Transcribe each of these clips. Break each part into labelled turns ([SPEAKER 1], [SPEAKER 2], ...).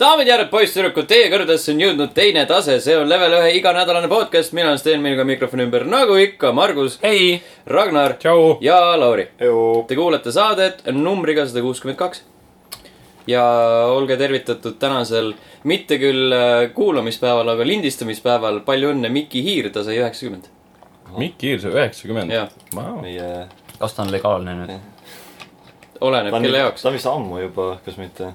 [SPEAKER 1] daamid ja härrad , poisssüdrukud , teie kõrvadesse on jõudnud teine tase , see on level ühe iganädalane podcast , mina olen Sten , minuga mikrofoni ümber , nagu ikka , Margus ,
[SPEAKER 2] hei .
[SPEAKER 1] Ragnar
[SPEAKER 2] tšau .
[SPEAKER 1] ja Lauri .
[SPEAKER 3] Joo.
[SPEAKER 1] Te kuulete saadet numbriga sada kuuskümmend kaks . ja olge tervitatud tänasel , mitte küll äh, kuulamispäeval , aga lindistamispäeval , palju õnne , Miki Hiir , ta sai üheksakümmend .
[SPEAKER 2] Mikk Hiirse üheksakümmend
[SPEAKER 1] Jah. .
[SPEAKER 2] Oh.
[SPEAKER 3] meie ,
[SPEAKER 4] kas ta on legaalne nüüd ?
[SPEAKER 1] oleneb ,
[SPEAKER 3] ta on
[SPEAKER 1] kelle jaoks
[SPEAKER 3] ta . on vist ammu juba , kas mitte ?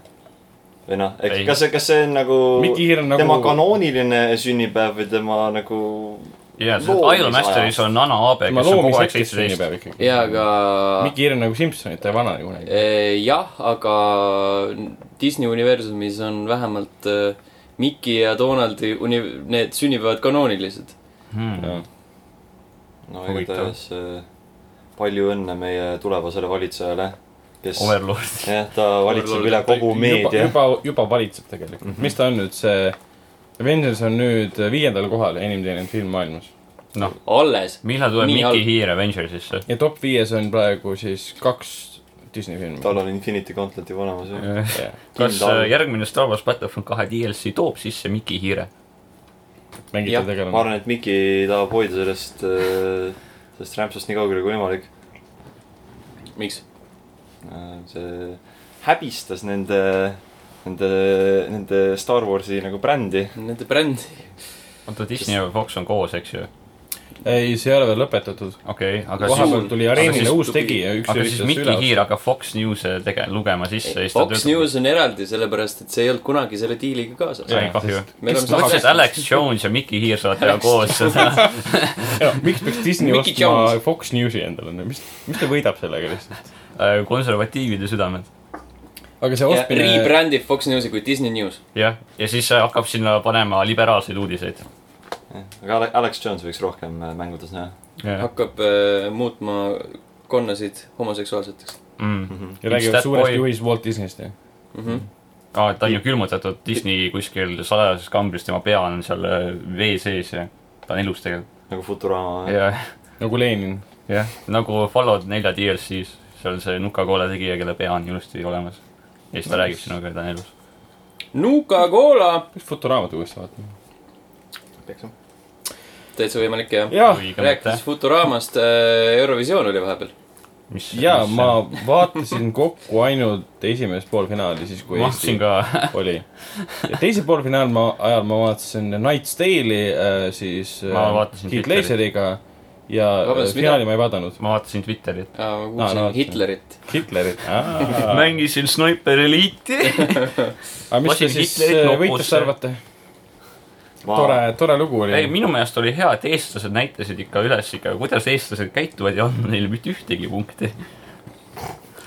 [SPEAKER 3] või noh ,
[SPEAKER 4] Ei.
[SPEAKER 3] kas see , kas see on nagu
[SPEAKER 2] Mikki Hiir on nagu-
[SPEAKER 3] tema kanooniline sünnipäev või tema nagu
[SPEAKER 4] jaa , sest
[SPEAKER 3] Loomise
[SPEAKER 4] Idolmasteris
[SPEAKER 3] ajast.
[SPEAKER 4] on Anna Aabe ,
[SPEAKER 2] ma
[SPEAKER 4] kes on kogu aeg
[SPEAKER 2] loomiseks vist
[SPEAKER 4] seitseteist .
[SPEAKER 2] sünnipäev ikkagi .
[SPEAKER 1] ja , aga
[SPEAKER 2] Mikk Hiir on nagu Simson , et ta ei vanane kunagi .
[SPEAKER 1] Eh, jah , aga Disney universumis on vähemalt eh, Mickey ja Donaldi uni- , need sünnipäevad kanoonilised .
[SPEAKER 4] Mm.
[SPEAKER 3] no
[SPEAKER 2] Huvitav.
[SPEAKER 3] igatahes eh, palju õnne meie tulevasele valitsejale , kes
[SPEAKER 4] Overlord .
[SPEAKER 3] jah , ta valitseb
[SPEAKER 1] Overlord
[SPEAKER 3] üle kogu
[SPEAKER 2] juba ,
[SPEAKER 3] meedia .
[SPEAKER 2] juba , juba valitseb tegelikult mm .
[SPEAKER 4] Mhm.
[SPEAKER 2] -hmm. mis ta on nüüd , see Avengers on nüüd viiendal kohal enim teeninud film maailmas .
[SPEAKER 4] noh ,
[SPEAKER 1] alles .
[SPEAKER 4] millal tuleb
[SPEAKER 1] Nii halb.
[SPEAKER 4] Mikki Hiir Avengersisse ?
[SPEAKER 2] ja top viies on praegu siis kaks Disney filmi .
[SPEAKER 3] tal on Infinity Gauntlet juba olemas ju .
[SPEAKER 4] kas
[SPEAKER 3] Kindel.
[SPEAKER 4] äh, järgmine Star wars Battlefront kahe DLC toob sisse Mikki Hiire ?
[SPEAKER 2] mängitav
[SPEAKER 1] Jah,
[SPEAKER 3] ma
[SPEAKER 2] tegelane .
[SPEAKER 3] arvan , et Miki tahab hoida sellest , sellest rämpsust nii kaugele kui võimalik .
[SPEAKER 1] miks ?
[SPEAKER 3] see häbistas nende , nende , nende Star Warsi nagu brändi .
[SPEAKER 1] Nende bränd .
[SPEAKER 4] oota , Disney ja Fox on koos , eks ju ?
[SPEAKER 2] ei , see ei ole veel lõpetatud .
[SPEAKER 4] okei , aga
[SPEAKER 2] vahepeal
[SPEAKER 1] suur-
[SPEAKER 2] tuli
[SPEAKER 1] aga
[SPEAKER 2] areenile
[SPEAKER 1] siis
[SPEAKER 2] uus
[SPEAKER 1] tuli-
[SPEAKER 2] tegija , üks
[SPEAKER 4] aga siis
[SPEAKER 2] üritas
[SPEAKER 4] Mikki
[SPEAKER 2] üle
[SPEAKER 4] Hiir hakkab Fox News'e tege- , lugema sisse ja siis ta
[SPEAKER 1] Fox News on eraldi , sellepärast et see ei olnud kunagi selle diiliga kaasas .
[SPEAKER 4] Ai, kahju.
[SPEAKER 1] meil on
[SPEAKER 2] Kes tahaks-
[SPEAKER 4] mõtlesin , et
[SPEAKER 1] saade ,
[SPEAKER 4] Alex Jones ja Mikki Hiir saavad teha koos seda .
[SPEAKER 2] Ja, miks peaks Disney
[SPEAKER 1] Mickey
[SPEAKER 2] ostma
[SPEAKER 1] Jones.
[SPEAKER 2] Fox Newsi endale , mis , mis ta võidab sellega lihtsalt ?
[SPEAKER 4] äh, konservatiivide südamed .
[SPEAKER 2] aga see ostmine ,
[SPEAKER 1] rebrändib Fox Newsi kui Disney News .
[SPEAKER 4] jah , ja siis äh, hakkab sinna panema liberaalseid uudiseid .
[SPEAKER 3] aga Ale- Alex Jones võiks rohkem äh, mängudes näha .
[SPEAKER 1] hakkab äh, muutma konnasid homoseksuaalseteks .
[SPEAKER 4] mm.
[SPEAKER 2] ja
[SPEAKER 4] It's that
[SPEAKER 2] räägivad suurest
[SPEAKER 4] boy.
[SPEAKER 2] juhist Walt Disneyst ja
[SPEAKER 1] Mhm.
[SPEAKER 2] Mhm.
[SPEAKER 4] aa , et ta on ju külmutatud Disney kuskil salajases kambris , tema pea on seal äh, vee sees ja ta on ilus tegelikult .
[SPEAKER 3] nagu Futurama .
[SPEAKER 4] ja ,
[SPEAKER 2] nagu Lenin .
[SPEAKER 4] jah , nagu Fallout nelja DLC-s , seal on see nukakoole tegija , kelle pea on ilusti olemas . ja siis ta räägib sinuga , et ta on elus .
[SPEAKER 1] Nuka-Cola ,
[SPEAKER 2] peaks Futuraamat uuesti vaatama .
[SPEAKER 1] täitsa võimalik jah .
[SPEAKER 2] jah ,
[SPEAKER 1] rääkides Futuramast , Eurovisioon oli vahepeal .
[SPEAKER 2] ja ma vaatasin kokku ainult esimest poolfinaali , siis kui Eesti
[SPEAKER 4] mahtusin ka
[SPEAKER 2] oli . ja teise poolfinaali ma , ajal ma vaatasin Night's Tale'i äh, siis
[SPEAKER 4] Ma vaatasin
[SPEAKER 2] Heath
[SPEAKER 4] Twitterit.
[SPEAKER 2] Laseriga ja
[SPEAKER 1] Vabandust,
[SPEAKER 2] äh, finaali ma ei vaadanud .
[SPEAKER 4] ma vaatasin Twitterit .
[SPEAKER 1] ma
[SPEAKER 2] Aa, no
[SPEAKER 1] kuulsin
[SPEAKER 2] vot.
[SPEAKER 1] Hitlerit .
[SPEAKER 2] Hitlerit .
[SPEAKER 4] Äh. mängisin Sniper Elite'i .
[SPEAKER 2] aga mis te
[SPEAKER 4] lasin
[SPEAKER 2] siis
[SPEAKER 4] Hitlerit
[SPEAKER 2] äh,
[SPEAKER 4] nopusse.
[SPEAKER 2] võitlust arvate ?
[SPEAKER 3] Ma-
[SPEAKER 2] tore , tore lugu
[SPEAKER 4] ei ,
[SPEAKER 2] oli .
[SPEAKER 4] minu meelest oli hea , et eestlased näitasid ikka üles ikka , kuidas eestlased käituvad ja ei andnud neile mitte ühtegi punkti .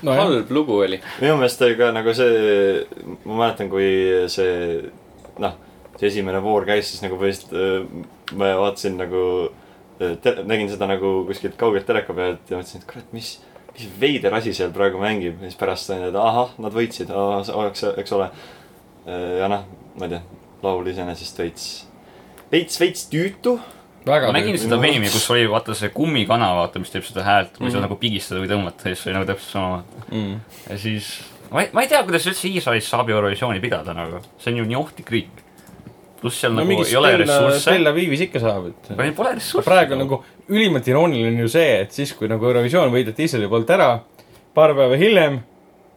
[SPEAKER 2] nojah ,
[SPEAKER 1] halb lugu oli .
[SPEAKER 3] minu meelest oli ka nagu see , ma mäletan , kui see noh , see esimene voor käis , siis nagu põhimõtteliselt äh, ma vaatasin nagu , nägin seda nagu kuskilt kaugelt teleka pealt ja mõtlesin , et kurat , mis , mis veider asi seal praegu mängib ja siis pärast sain teada , ahah , nad võitsid , eks , eks ole . ja noh , ma ei tea , laul iseenesest veits , veits , veits tüütu .
[SPEAKER 2] väga
[SPEAKER 4] ma nägin
[SPEAKER 2] tüüpiline.
[SPEAKER 4] seda meemi , kus oli vaata see kummikana , vaata , mis teeb seda häält , kui seda nagu pigistada või tõmmata , siis oli nagu täpselt sama .
[SPEAKER 2] mm. .
[SPEAKER 4] ja siis ma ei , ma ei tea , kuidas üldse Iisraelis saab Eurovisiooni pidada nagu , see on ju nii ohtlik riik . pluss seal
[SPEAKER 2] no
[SPEAKER 4] no, nagu
[SPEAKER 2] mingi
[SPEAKER 4] ei ole
[SPEAKER 2] Stella ,
[SPEAKER 4] ressursse ,
[SPEAKER 2] Stella Viivis ikka saab , et .
[SPEAKER 4] pole ressursse .
[SPEAKER 2] praegu nagu ülimalt irooniline on ju see , et siis , kui nagu Eurovisioon võideti Iisraeli poolt ära , paar päeva hiljem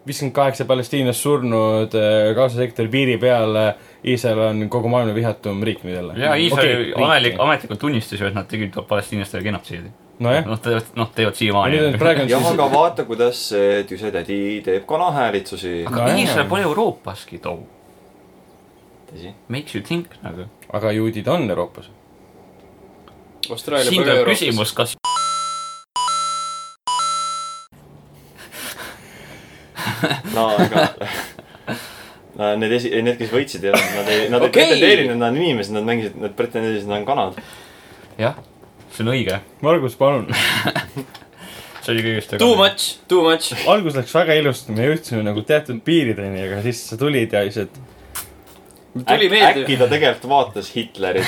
[SPEAKER 2] viiskümmend kaheksa Palestiinas surnud äh, Gaza sektori piiri peal , Iisrael on kogu maailma vihatum riik nüüd jälle .
[SPEAKER 4] ja Iisraeli okay, ametlik , ametlikult tunnistas ju , et nad tegid palestiinlastele genotsiidi .
[SPEAKER 2] nojah ,
[SPEAKER 4] Nad teevad , noh , teevad
[SPEAKER 2] aga
[SPEAKER 4] siiamaani
[SPEAKER 2] nüüd . on praegu on
[SPEAKER 3] jah ,
[SPEAKER 2] siis ,
[SPEAKER 3] aga vaata , kuidas see tüse tädi teeb kanahäälitsusi .
[SPEAKER 4] aga
[SPEAKER 2] nojah.
[SPEAKER 4] Iisrael pole Euroopaski too .
[SPEAKER 3] tõsi ,
[SPEAKER 4] Makes you think nagu .
[SPEAKER 2] aga juudid on Euroopas .
[SPEAKER 1] Austraalia
[SPEAKER 4] siin tuleb . küsimus , kas
[SPEAKER 3] no aga no, need esi- , need , kes võitsid , nad ei , nad
[SPEAKER 1] Okei.
[SPEAKER 3] ei okay. pretendeerinud , nad on inimesed , nad mängisid , nad pretendeerisid , nad on kanad .
[SPEAKER 4] jah , see on õige .
[SPEAKER 2] Margus , palun .
[SPEAKER 4] see oli kõigest .
[SPEAKER 1] Too . much , too much .
[SPEAKER 2] algus läks väga ilusti , me jõudsime nagu teatud piirideni , aga siis sa tulid ja siis , et
[SPEAKER 1] tuli
[SPEAKER 3] äkki
[SPEAKER 1] meelde .
[SPEAKER 3] ta tegelikult vaatas Hitlerit .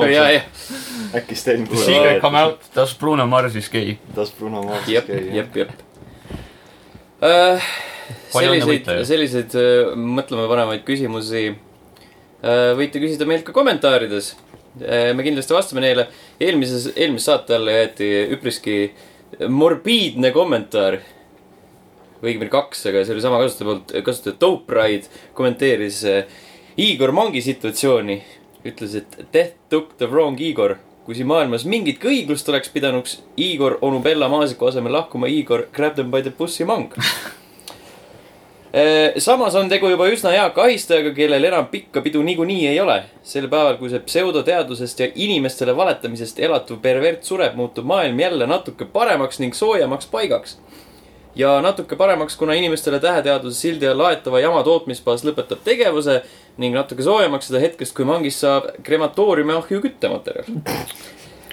[SPEAKER 1] ja ,
[SPEAKER 3] ausad ,
[SPEAKER 1] ja ,
[SPEAKER 3] äkki Sten
[SPEAKER 4] The secret
[SPEAKER 3] kuulab
[SPEAKER 4] come out , does Bruno Mars is gay .
[SPEAKER 3] Bruno Mars
[SPEAKER 1] jep , Äh,
[SPEAKER 3] käia .
[SPEAKER 1] jep , jep .
[SPEAKER 4] palju õnne
[SPEAKER 1] selliseid
[SPEAKER 4] võitleja .
[SPEAKER 1] selliseid äh, mõtlemapanevaid küsimusi äh, võite küsida meilt ka kommentaarides . me kindlasti vastame neile . eelmises , eelmise saate alla jäeti üpriski morbiidne kommentaar . või õigemini kaks , aga see oli sama kasutaja poolt , kasutaja Dope Ride kommenteeris äh, Igor Mangi situatsiooni . ütles , et death took the wrong Igor . kui siin maailmas mingitki õiglust oleks pidanuks Igor onu Bella Maasiku asemel lahkuma Igor Grab them by the pussy mang . Äh, samas on tegu juba üsna hea kahistajaga , kellel enam pikka pidu niikuinii ei ole . sel päeval , kui see pseudoteadusest ja inimestele valetamisest elatuv pervert sureb , muutub maailm jälle natuke paremaks ning soojemaks paigaks . ja natuke paremaks , kuna inimestele täheteaduse sildi all aetava jama tootmisbaas lõpetab tegevuse ning natuke soojemaks seda hetkest , kui vangist saab krematooriumi ahju küttematerjal .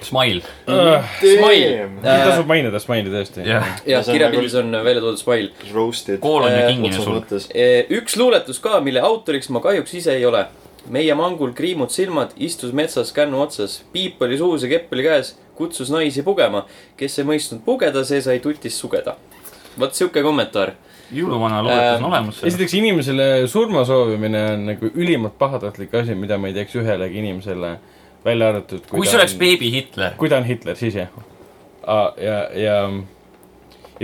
[SPEAKER 4] Smile ,
[SPEAKER 3] Damn ,
[SPEAKER 2] tasub mainida Smile'i tõesti .
[SPEAKER 4] Mm. Äh, jah .
[SPEAKER 1] jah ,
[SPEAKER 3] See on nagu-
[SPEAKER 1] kirjapildis on välja toodud smile .
[SPEAKER 3] roasted .
[SPEAKER 4] kool on ju
[SPEAKER 1] Eh,
[SPEAKER 4] kingine
[SPEAKER 3] otses
[SPEAKER 4] sul .
[SPEAKER 3] mõttes .
[SPEAKER 1] üks luuletus ka , mille autoriks ma kahjuks ise ei ole . meie mangul kriimud silmad , istus metsas kännu otsas , piip oli suus ja kepp oli käes , kutsus naisi pugema . kes ei mõistnud pugeda , see sai tutis sugeda . vot sihuke kommentaar .
[SPEAKER 4] jõuluvana luuletus
[SPEAKER 2] Äh,
[SPEAKER 4] on olemas .
[SPEAKER 2] esiteks inimesele surma soovimine on nagu ülimalt pahatahtlik asi , mida ma ei teeks ühelegi inimesele , välja arvatud .
[SPEAKER 4] kui see oleks beebi Hitler .
[SPEAKER 2] kui ta on Hitler , siis jah . ja , ja , ja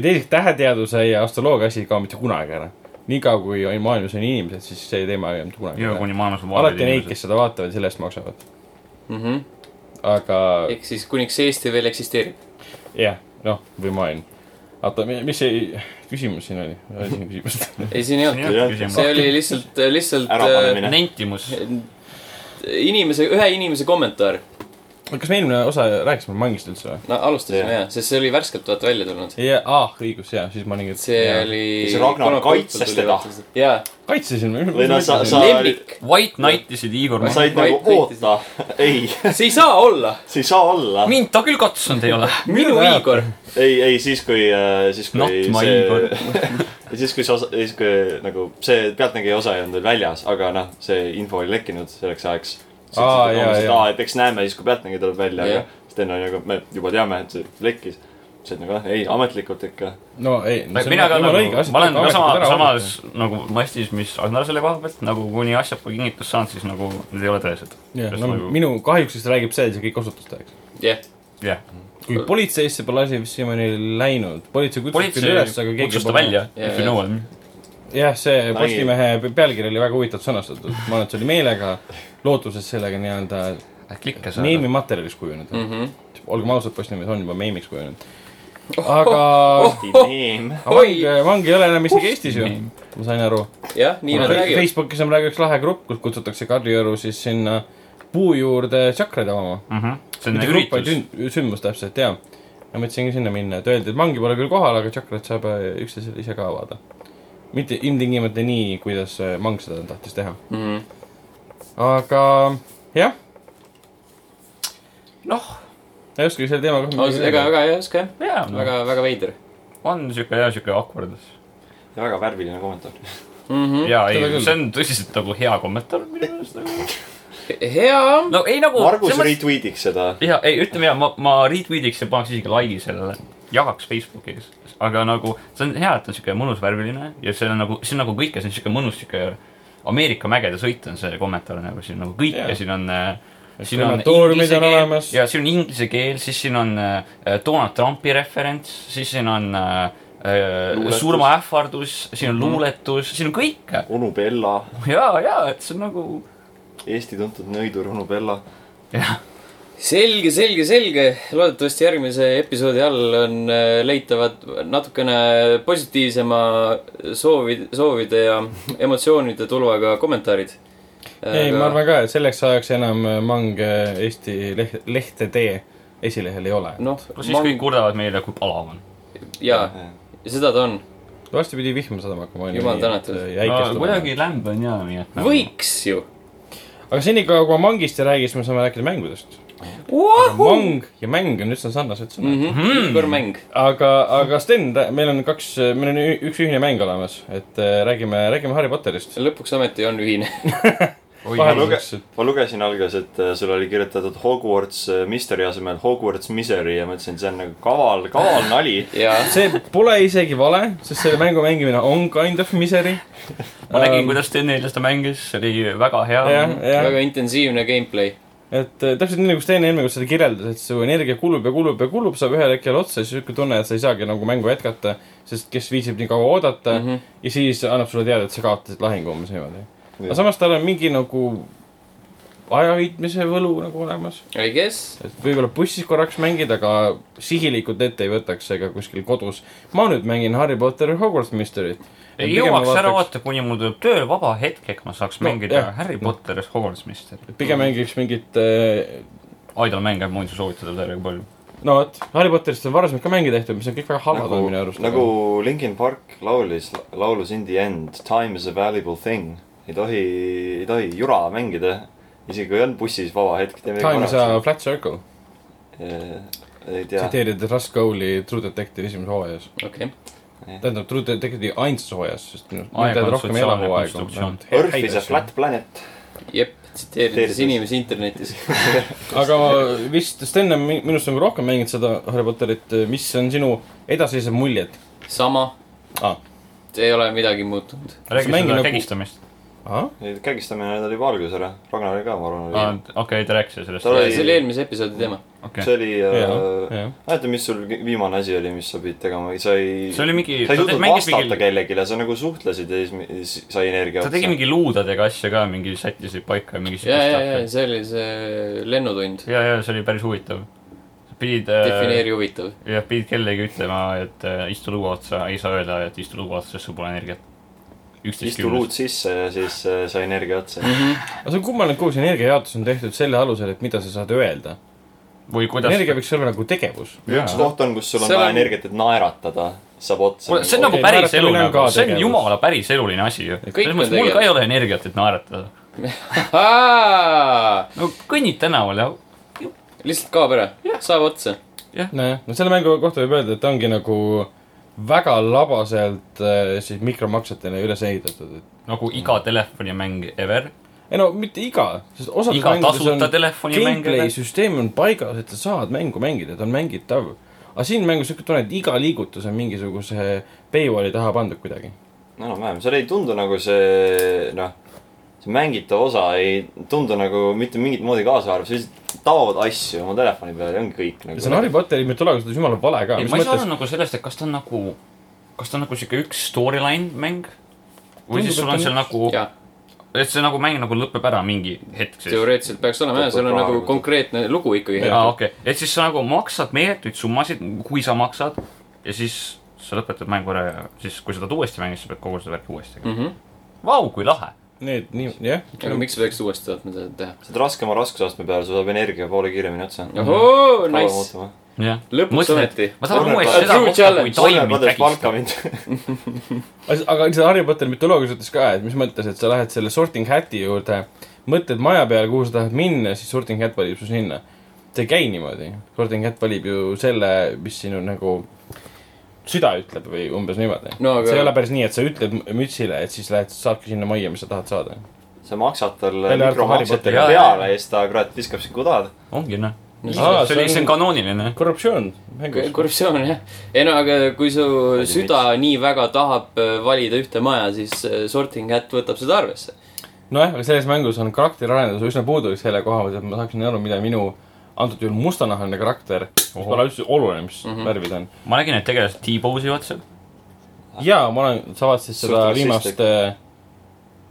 [SPEAKER 2] teiseks täheteaduse ja astroloogia asi ei kao mitte kunagi ära . niikaua kui on maailmas on inimesed , siis see teema ei kao mitte kunagi
[SPEAKER 4] ja
[SPEAKER 2] ära .
[SPEAKER 4] kuni maailmas on
[SPEAKER 2] alati on neid , kes seda vaatavad ja selle eest maksavad .
[SPEAKER 4] Mhm.
[SPEAKER 2] aga
[SPEAKER 1] ehk siis kuniks Eesti veel eksisteerib .
[SPEAKER 2] jah , noh , või maailm . oota , mis see küsimus siin oli ? oli siin küsimus ?
[SPEAKER 1] ei , siin ei olnud . see oli lihtsalt , lihtsalt
[SPEAKER 3] Ärapanemine.
[SPEAKER 1] äh,
[SPEAKER 4] nentimus .
[SPEAKER 1] inimese , ühe inimese kommentaar .
[SPEAKER 2] kas me eelmine osa rääkisime mangist üldse või ?
[SPEAKER 1] no alustasime
[SPEAKER 3] Jah.
[SPEAKER 1] jah , sest see oli värskelt vaata välja tulnud .
[SPEAKER 2] jaa , ah , õigus , jaa , siis ma olin .
[SPEAKER 1] see oli .
[SPEAKER 3] See Ragnar kaitses teda.
[SPEAKER 1] jaa ,
[SPEAKER 2] kaitsesin .
[SPEAKER 3] Või no sa- sa-
[SPEAKER 1] lemmik .
[SPEAKER 4] White Knightisid Igor .
[SPEAKER 3] said
[SPEAKER 1] Vaid
[SPEAKER 3] nagu
[SPEAKER 1] võitisid.
[SPEAKER 3] oota , ei ,
[SPEAKER 1] see ei saa olla .
[SPEAKER 3] see ei saa olla .
[SPEAKER 4] mind ta küll katsunud ei ole .
[SPEAKER 1] minu
[SPEAKER 2] Mida ta
[SPEAKER 1] Igor .
[SPEAKER 3] ei , ei siis , kui , siis
[SPEAKER 4] Not
[SPEAKER 3] kui
[SPEAKER 4] my Igor.
[SPEAKER 3] see , siis kui see osa , siis kui nagu see Pealtnägija osa ei olnud veel väljas , aga noh , see info oli lekkinud selleks ajaks .
[SPEAKER 2] Aa, jaa, jaa.
[SPEAKER 3] aa , et eks näeme siis , kui Pealtnägija tuleb välja ,
[SPEAKER 1] Jah.
[SPEAKER 3] aga siis enne oli nagu me juba teame , et see lekkis . siis nagu noh , ei ametlikult ikka .
[SPEAKER 2] no ei .
[SPEAKER 4] mina ka nagu , ma olen ka sama , samas nagu mastis , mis Agnar selle koha pealt , nagu kuni asjad pole kinnitust saanud , siis nagu need ei ole tõesed .
[SPEAKER 2] jah , no
[SPEAKER 4] nagu-
[SPEAKER 2] minu kahjuks siis räägib see , et see kõik osutus tõeks .
[SPEAKER 1] jah ,
[SPEAKER 4] jah ,
[SPEAKER 2] kui politseisse pole asi vist siiamaani läinud , politsei kutsus küll
[SPEAKER 4] politsei
[SPEAKER 2] üles , aga keegi
[SPEAKER 4] kutsus ta välja ,
[SPEAKER 1] Jaa,
[SPEAKER 4] if you
[SPEAKER 1] jaa.
[SPEAKER 4] know him .
[SPEAKER 2] jah , see
[SPEAKER 3] Ai.
[SPEAKER 2] Postimehe pe- pealkiri oli väga huvitavalt sõnastatud , ma arvan , et see oli meelega , lootuses sellega nii-öelda
[SPEAKER 4] klikke saada .
[SPEAKER 2] meemimaterjaliks kujuneda mm .
[SPEAKER 1] Mhm. Oh,
[SPEAKER 2] -hmm. olgem ausad , Postimees on juba meemiks kujunenud . aga vang , vang ei ole enam isegi Eestis ju , ma sain aru .
[SPEAKER 1] jah , nii nad räägivad .
[SPEAKER 2] Facebookis on praegu üks lahe grupp , kus kutsutakse Kadrioru siis sinna puu juurde tšakraid avama .
[SPEAKER 4] see on
[SPEAKER 2] mitte
[SPEAKER 4] nagu
[SPEAKER 2] grupp , vaid
[SPEAKER 4] üritus .
[SPEAKER 2] sünd- sündmus täpselt , jaa . ma mõtlesin ka sinna minna , et öeldi , et vangi pole küll kohal , aga tšakrat saab äh, üksteisele ise ka avada . mitte ilmtingimata nii , kuidas äh, vang seda tahtis teha .
[SPEAKER 1] Mhm.
[SPEAKER 2] aga jah ,
[SPEAKER 4] noh ,
[SPEAKER 2] ei oskagi selle teemaga
[SPEAKER 1] ausalt , ega väga ei oska jah ,
[SPEAKER 4] jaa ,
[SPEAKER 1] väga , väga veider .
[SPEAKER 4] on siuke jah , siuke awkwardness .
[SPEAKER 3] väga värviline kommentaar .
[SPEAKER 4] jaa ,
[SPEAKER 2] Hmm? seda
[SPEAKER 4] ei ,
[SPEAKER 2] küll.
[SPEAKER 4] see on tõsiselt nagu hea kommentaar minu meelest nagu .
[SPEAKER 1] hea ,
[SPEAKER 4] no ei nagu .
[SPEAKER 3] Margus . retweetiks seda .
[SPEAKER 4] jaa , ei , ütleme jaa , ma , ma retweetiks ja paneks isegi like'i sellele , jagaks Facebookis . aga nagu see on hea , et on siuke mõnus värviline ja see on nagu , see on nagu kõike , see on siuke mõnus siuke Ameerika mägede sõit on see kommentaar nagu siin on nagu kõike
[SPEAKER 2] Jaa.
[SPEAKER 4] yeah. , siin on äh, siin on
[SPEAKER 2] Krematooriumid
[SPEAKER 4] inglise
[SPEAKER 2] on
[SPEAKER 4] keel-
[SPEAKER 2] olemas.
[SPEAKER 4] ja siin on inglise keel , siis siin on äh, Donald Trumpi referents , siis siin on äh, äh,
[SPEAKER 3] Luuletus.
[SPEAKER 4] surmaähvardus , siin on luuletus , siin on kõike .
[SPEAKER 3] onu Bella ,
[SPEAKER 4] ja , ja , et see on nagu
[SPEAKER 3] Eesti tuntud nõidur onu Bella .
[SPEAKER 4] jah ,
[SPEAKER 1] selge , selge , selge . loodetavasti järgmise episoodi all on äh, leitavad natukene positiivsema soovi , soovide ja emotsioonide tulvaga kommentaarid .
[SPEAKER 2] ei , ma . arvan ka , et selleks ajaks enam äh, mang äh, Eesti leht , lehte tee esilehel ei ole .
[SPEAKER 1] noh ,
[SPEAKER 4] siis kõik kurdavad meile , kui palav on .
[SPEAKER 1] jaa ,
[SPEAKER 3] Eh,
[SPEAKER 1] seda ta on .
[SPEAKER 2] varsti pidi vihm sadama hakkama .
[SPEAKER 1] Jumal tänatud.
[SPEAKER 2] äh,
[SPEAKER 4] no kuidagi lämb on jaa , nii et nagu-
[SPEAKER 1] võiks ju .
[SPEAKER 2] aga senikaua , kui ma mangist ei räägi , siis me saame rääkida mängudest . mang ja mäng on üsna sarnased sõnad .
[SPEAKER 1] Mhm. Igor Mäng .
[SPEAKER 2] aga , aga Sten , meil on kaks , meil on ü- üks ühine mäng olemas , et äh, räägime , räägime Harry Potterist .
[SPEAKER 1] lõpuks ometi on ühine .
[SPEAKER 2] vahel
[SPEAKER 3] luge-
[SPEAKER 2] üks , et
[SPEAKER 3] ma lugesin alguses , et äh, sul oli kirjutatud Hogwarts äh, Mystery asemel Hogwarts Misery ja mõtlesin , et see on nagu kaval , kaval nali .
[SPEAKER 1] jaa ,
[SPEAKER 2] see pole isegi vale , sest selle mängu mängimine on kind of misery .
[SPEAKER 4] ma nägin , kuidas Sten4 seda mängis , see oli väga hea .
[SPEAKER 2] Ähm. jah , jah ,
[SPEAKER 1] väga intensiivne gameplay .
[SPEAKER 2] et äh, täpselt nii nagu Sten eelmine kord seda kirjeldas , et su energia kulub ja kulub ja kulub , saab ühel hetkel otsa ja siis niisugune tunne , et sa ei saagi nagu mängu jätkata , sest kes viitsib nii kaua oodata
[SPEAKER 1] Mhm.
[SPEAKER 2] mm -hmm. ja siis annab sulle teada , et sa kaotasid lahingu umbes niimoodi . aga samas tal on mingi nagu ajaheitmise võlu nagu olemas ,
[SPEAKER 1] I guess .
[SPEAKER 2] et võib-olla bussis korraks mängid , aga sihilikult ette ei võtaks ega kuskil kodus . ma nüüd mängin Harry Potteri Hogwarts Mystery't .
[SPEAKER 4] ei jõuaks ära oodata , kuni mul tuleb tööl vaba hetk , et ma saaks
[SPEAKER 2] No,
[SPEAKER 4] no, mängida
[SPEAKER 2] jah.
[SPEAKER 4] Harry Potteris Hogwarts Mystery .
[SPEAKER 2] pigem mängiks mingit äh,
[SPEAKER 4] aidalmänge on muidu soovitatud väga palju .
[SPEAKER 2] no vot , Harry Potterist on varasemalt ka mänge tehtud , mis on kõik väga halvad
[SPEAKER 3] nagu
[SPEAKER 2] olnud minu arust .,
[SPEAKER 3] nagu Linkin Park laulis laulus In the end , time is a valuable thing . ei tohi , ei tohi jura mängida . isegi kui on bussis vaba hetk , tee
[SPEAKER 2] Time is a . flat circle ,
[SPEAKER 3] ei tea ,
[SPEAKER 2] tsiteerides Russ Cole'i True Detective'i esimeses hooajas .
[SPEAKER 1] okei .
[SPEAKER 2] tähendab , True Detective'i ainsates hooajas , sest minu
[SPEAKER 4] Aeg on
[SPEAKER 2] arust rohkem ei ole
[SPEAKER 4] sotsiaalne
[SPEAKER 2] hooaegu
[SPEAKER 4] konstruktsioon. .
[SPEAKER 3] Earth is a flat planet .
[SPEAKER 1] jep , tsiteerides
[SPEAKER 3] Tsiteerides.
[SPEAKER 1] inimesi internetis .
[SPEAKER 2] aga vist Sten on mi- minust nagu rohkem mänginud seda Harry Potterit , mis on sinu edasised muljed
[SPEAKER 1] sama ,
[SPEAKER 2] ah. ?
[SPEAKER 1] ei ole midagi muutunud .
[SPEAKER 4] räägi
[SPEAKER 2] mängi
[SPEAKER 4] seda
[SPEAKER 2] nagu-
[SPEAKER 4] nagu... kägistamist .
[SPEAKER 2] Ah?
[SPEAKER 3] kägistamine oli juba alguses ära . Ragnar oli ka , ma arvan , oli .
[SPEAKER 4] Ah, okei , te rääkisite sellest
[SPEAKER 3] Tal Oi.
[SPEAKER 1] see oli eelmise episoodi teema .
[SPEAKER 4] okay. .
[SPEAKER 3] see oli
[SPEAKER 2] jah ,
[SPEAKER 3] äh, ,
[SPEAKER 2] jah .
[SPEAKER 3] mäleta , mis sul ki- viimane asi oli , mis sa pidid tegema , sa ei .
[SPEAKER 4] see oli mingi ,
[SPEAKER 3] sa ei
[SPEAKER 4] ta
[SPEAKER 3] suutnud
[SPEAKER 4] tegi- mängis
[SPEAKER 3] vastata mingil...
[SPEAKER 4] mingi ,
[SPEAKER 3] kellelegi , sa nagu suhtlesid ja siis mi- siis sai energia
[SPEAKER 4] ta tegi . mingi luudadega asja ka , mingi sättisid paika ja mingi
[SPEAKER 1] ja , ja , ja . see oli see lennutund .
[SPEAKER 4] ja , ja see oli päris huvitav . pidid ,
[SPEAKER 1] defineeri huvitav .
[SPEAKER 4] jah , pidid kellelegi ütlema , et äh, istu luua otsa , ei saa öelda , et istu luua otsa , sest sul pole energiat . üksteist
[SPEAKER 3] istu luud
[SPEAKER 4] kümnes .
[SPEAKER 3] sisse ja siis äh, sai energia otsa .
[SPEAKER 2] aga see on kummaline , kogu see energiajaotus on tehtud selle alusel , et mida sa saad öelda .
[SPEAKER 4] või kuidas .
[SPEAKER 2] energia võiks olla nagu tegevus .
[SPEAKER 3] üks koht on , kus sul on
[SPEAKER 1] Seal
[SPEAKER 3] vaja
[SPEAKER 1] on-
[SPEAKER 3] energiat , et naeratada , saab otsa .
[SPEAKER 4] kuule , see on
[SPEAKER 2] Okei,
[SPEAKER 4] nagu päris
[SPEAKER 2] naeratamine
[SPEAKER 4] elu
[SPEAKER 2] on
[SPEAKER 4] nagu
[SPEAKER 2] ka ,
[SPEAKER 4] see on
[SPEAKER 2] tegevus.
[SPEAKER 4] jumala päris eluline asi ju .
[SPEAKER 1] Kõik
[SPEAKER 4] selles
[SPEAKER 1] on
[SPEAKER 4] mõttes , mul ka
[SPEAKER 1] tegevus.
[SPEAKER 4] ei ole energiat , et naeratada . no kõnnid tänaval ja ,
[SPEAKER 1] lihtsalt kaob ära , saab otsa .
[SPEAKER 2] nojah , no selle mängu kohta võib öelda , et ta ongi nagu väga labaselt äh, siis mikromaksetele üles ehitatud , et
[SPEAKER 4] nagu iga
[SPEAKER 2] Mm.
[SPEAKER 4] telefonimäng ever .
[SPEAKER 2] ei no mitte iga , sest osades
[SPEAKER 4] iga
[SPEAKER 2] mängudes on
[SPEAKER 4] tasuta telefonimäng
[SPEAKER 2] gameplay
[SPEAKER 4] ever .
[SPEAKER 2] süsteem on paigas , et sa saad mängu mängida , ta on mängitav . aga siin mängus niisugune tunne , et iga liigutus on mingisuguse paywall'i taha pandud kuidagi .
[SPEAKER 3] enam-vähem , seal ei tundu nagu see , noh , see mängitav osa ei tundu nagu mitte mingit moodi kaasaarv , sa lihtsalt taod asju oma telefoni peale ja ongi kõik
[SPEAKER 2] ja see on Harry
[SPEAKER 3] nagu .
[SPEAKER 2] Potteri meil tulevikus on jumala vale ka ,
[SPEAKER 4] ei ,
[SPEAKER 2] mis
[SPEAKER 4] ma ei saa
[SPEAKER 2] mõttes
[SPEAKER 4] aru , nagu sellest , et kas ta on nagu , kas ta on nagu sihuke üks storyline mäng või
[SPEAKER 2] Tundub,
[SPEAKER 4] siis
[SPEAKER 2] et
[SPEAKER 4] sul on
[SPEAKER 2] on
[SPEAKER 4] seal nagu ,
[SPEAKER 1] jah ,
[SPEAKER 4] et see nagu mäng nagu lõpeb ära mingi hetk siis .
[SPEAKER 1] teoreetiliselt peaks olema jah , seal on nagu konkreetne lugu ikkagi .
[SPEAKER 4] aa , okei okay. , et siis sa nagu maksad meeletuid summasid , kui sa maksad ja siis sa lõpetad mängu ära ja siis , kui sa tahad uuesti mängida , siis sa pead kogu seda värki uuesti tegema mm .
[SPEAKER 2] Mhm.
[SPEAKER 4] -hmm. Vau , kui lahe .
[SPEAKER 2] need nii , jah .
[SPEAKER 1] aga miks peaks uuesti tahtma seda teha ?
[SPEAKER 3] sa oled raskema raskusastme peal , sul saab energia poole kiiremini otsa .
[SPEAKER 1] ohoo , nice .
[SPEAKER 4] jah .
[SPEAKER 1] Lõpuks ometi.
[SPEAKER 4] ma tahan
[SPEAKER 3] Surner-
[SPEAKER 4] uuesti seda
[SPEAKER 1] True
[SPEAKER 4] kohta , kui
[SPEAKER 1] challenge.
[SPEAKER 3] Soome
[SPEAKER 4] taimi
[SPEAKER 3] padres
[SPEAKER 4] kägistab .
[SPEAKER 3] palka mind .
[SPEAKER 2] aga see Harry Potteri mütoloogias ütles ka , et mis mõttes , et sa lähed selle sorting hat'i juurde , mõtled maja peale , kuhu sa tahad minna , siis sorting hat valib su sinna . see ei käi niimoodi , sorting hat valib ju selle , mis sinu nagu süda ütleb või umbes niimoodi
[SPEAKER 1] No aga-
[SPEAKER 2] see ei ole päris nii , et sa ütled mütsile , et siis lähed , saadki sinna majja , mis sa tahad saada .
[SPEAKER 3] sa maksad talle
[SPEAKER 2] Välja arvatud
[SPEAKER 3] mikromaksete
[SPEAKER 4] Harry Potteri.
[SPEAKER 3] peale ja siis ta kurat viskab sind kudad .
[SPEAKER 4] ongi noh .
[SPEAKER 2] Aa,
[SPEAKER 4] see oli , see on kanooniline .
[SPEAKER 2] korruptsioon mängus .
[SPEAKER 1] korruptsioon jah . ei no aga kui su
[SPEAKER 3] miks?
[SPEAKER 1] süda nii väga tahab äh, valida ühte maja , siis äh, sorting hat võtab seda arvesse .
[SPEAKER 2] nojah , aga selles mängus on karakteriarendus üsna puudulik selle koha pealt , et ma saaksin aru , mida minu antud juhul mustanahaline karakter , mis pole üldse oluline , mis
[SPEAKER 4] Mhm.
[SPEAKER 2] mm -hmm. värvi ta on .
[SPEAKER 4] ma nägin , et tegelased T-pose'i otsa .
[SPEAKER 2] jaa , ma olen , sa vaatasid seda
[SPEAKER 3] Suhteliselt
[SPEAKER 2] viimast äh,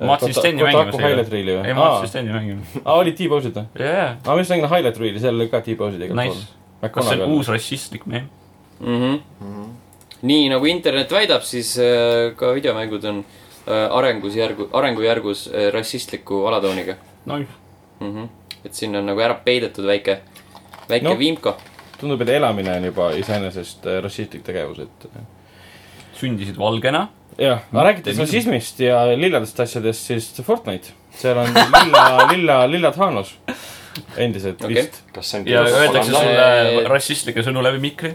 [SPEAKER 4] ma vaatasin Steni mängimas .
[SPEAKER 2] Kotaku highlight reel'i
[SPEAKER 4] ei ,
[SPEAKER 2] või ?
[SPEAKER 4] ma vaatasin Steni mängimas .
[SPEAKER 2] aa , oli T-pose'id või ?
[SPEAKER 4] jaa , jaa .
[SPEAKER 2] aa , ma just nägin highlight reel'i , seal oli ka T-pose'id igal
[SPEAKER 4] Nice . kas see on
[SPEAKER 2] pool .
[SPEAKER 4] uus rassistlik meem ?
[SPEAKER 1] nii nagu internet väidab , siis äh, ka videomängud on äh, arengus järgu , arengujärgus äh, rassistliku alatooniga
[SPEAKER 4] noh ,
[SPEAKER 1] mm . -hmm. et siin on nagu ära peidetud väike , väike
[SPEAKER 2] No.
[SPEAKER 1] no. vimka .
[SPEAKER 2] tundub , et elamine on juba iseenesest äh, rassistlik tegevus , et äh,
[SPEAKER 4] sündisid valgena .
[SPEAKER 2] jah ,
[SPEAKER 4] Mm,
[SPEAKER 2] aga rääkides
[SPEAKER 4] Mitte
[SPEAKER 2] rassismist ja lilladest asjadest , siis Fortnite . seal on lilla , lilla , lillad Hanos endiselt
[SPEAKER 1] Okei.
[SPEAKER 2] okay. vist .
[SPEAKER 3] kas see on
[SPEAKER 4] ja öeldakse
[SPEAKER 1] see-
[SPEAKER 4] sulle rassistlikke sõnu läbi mikri .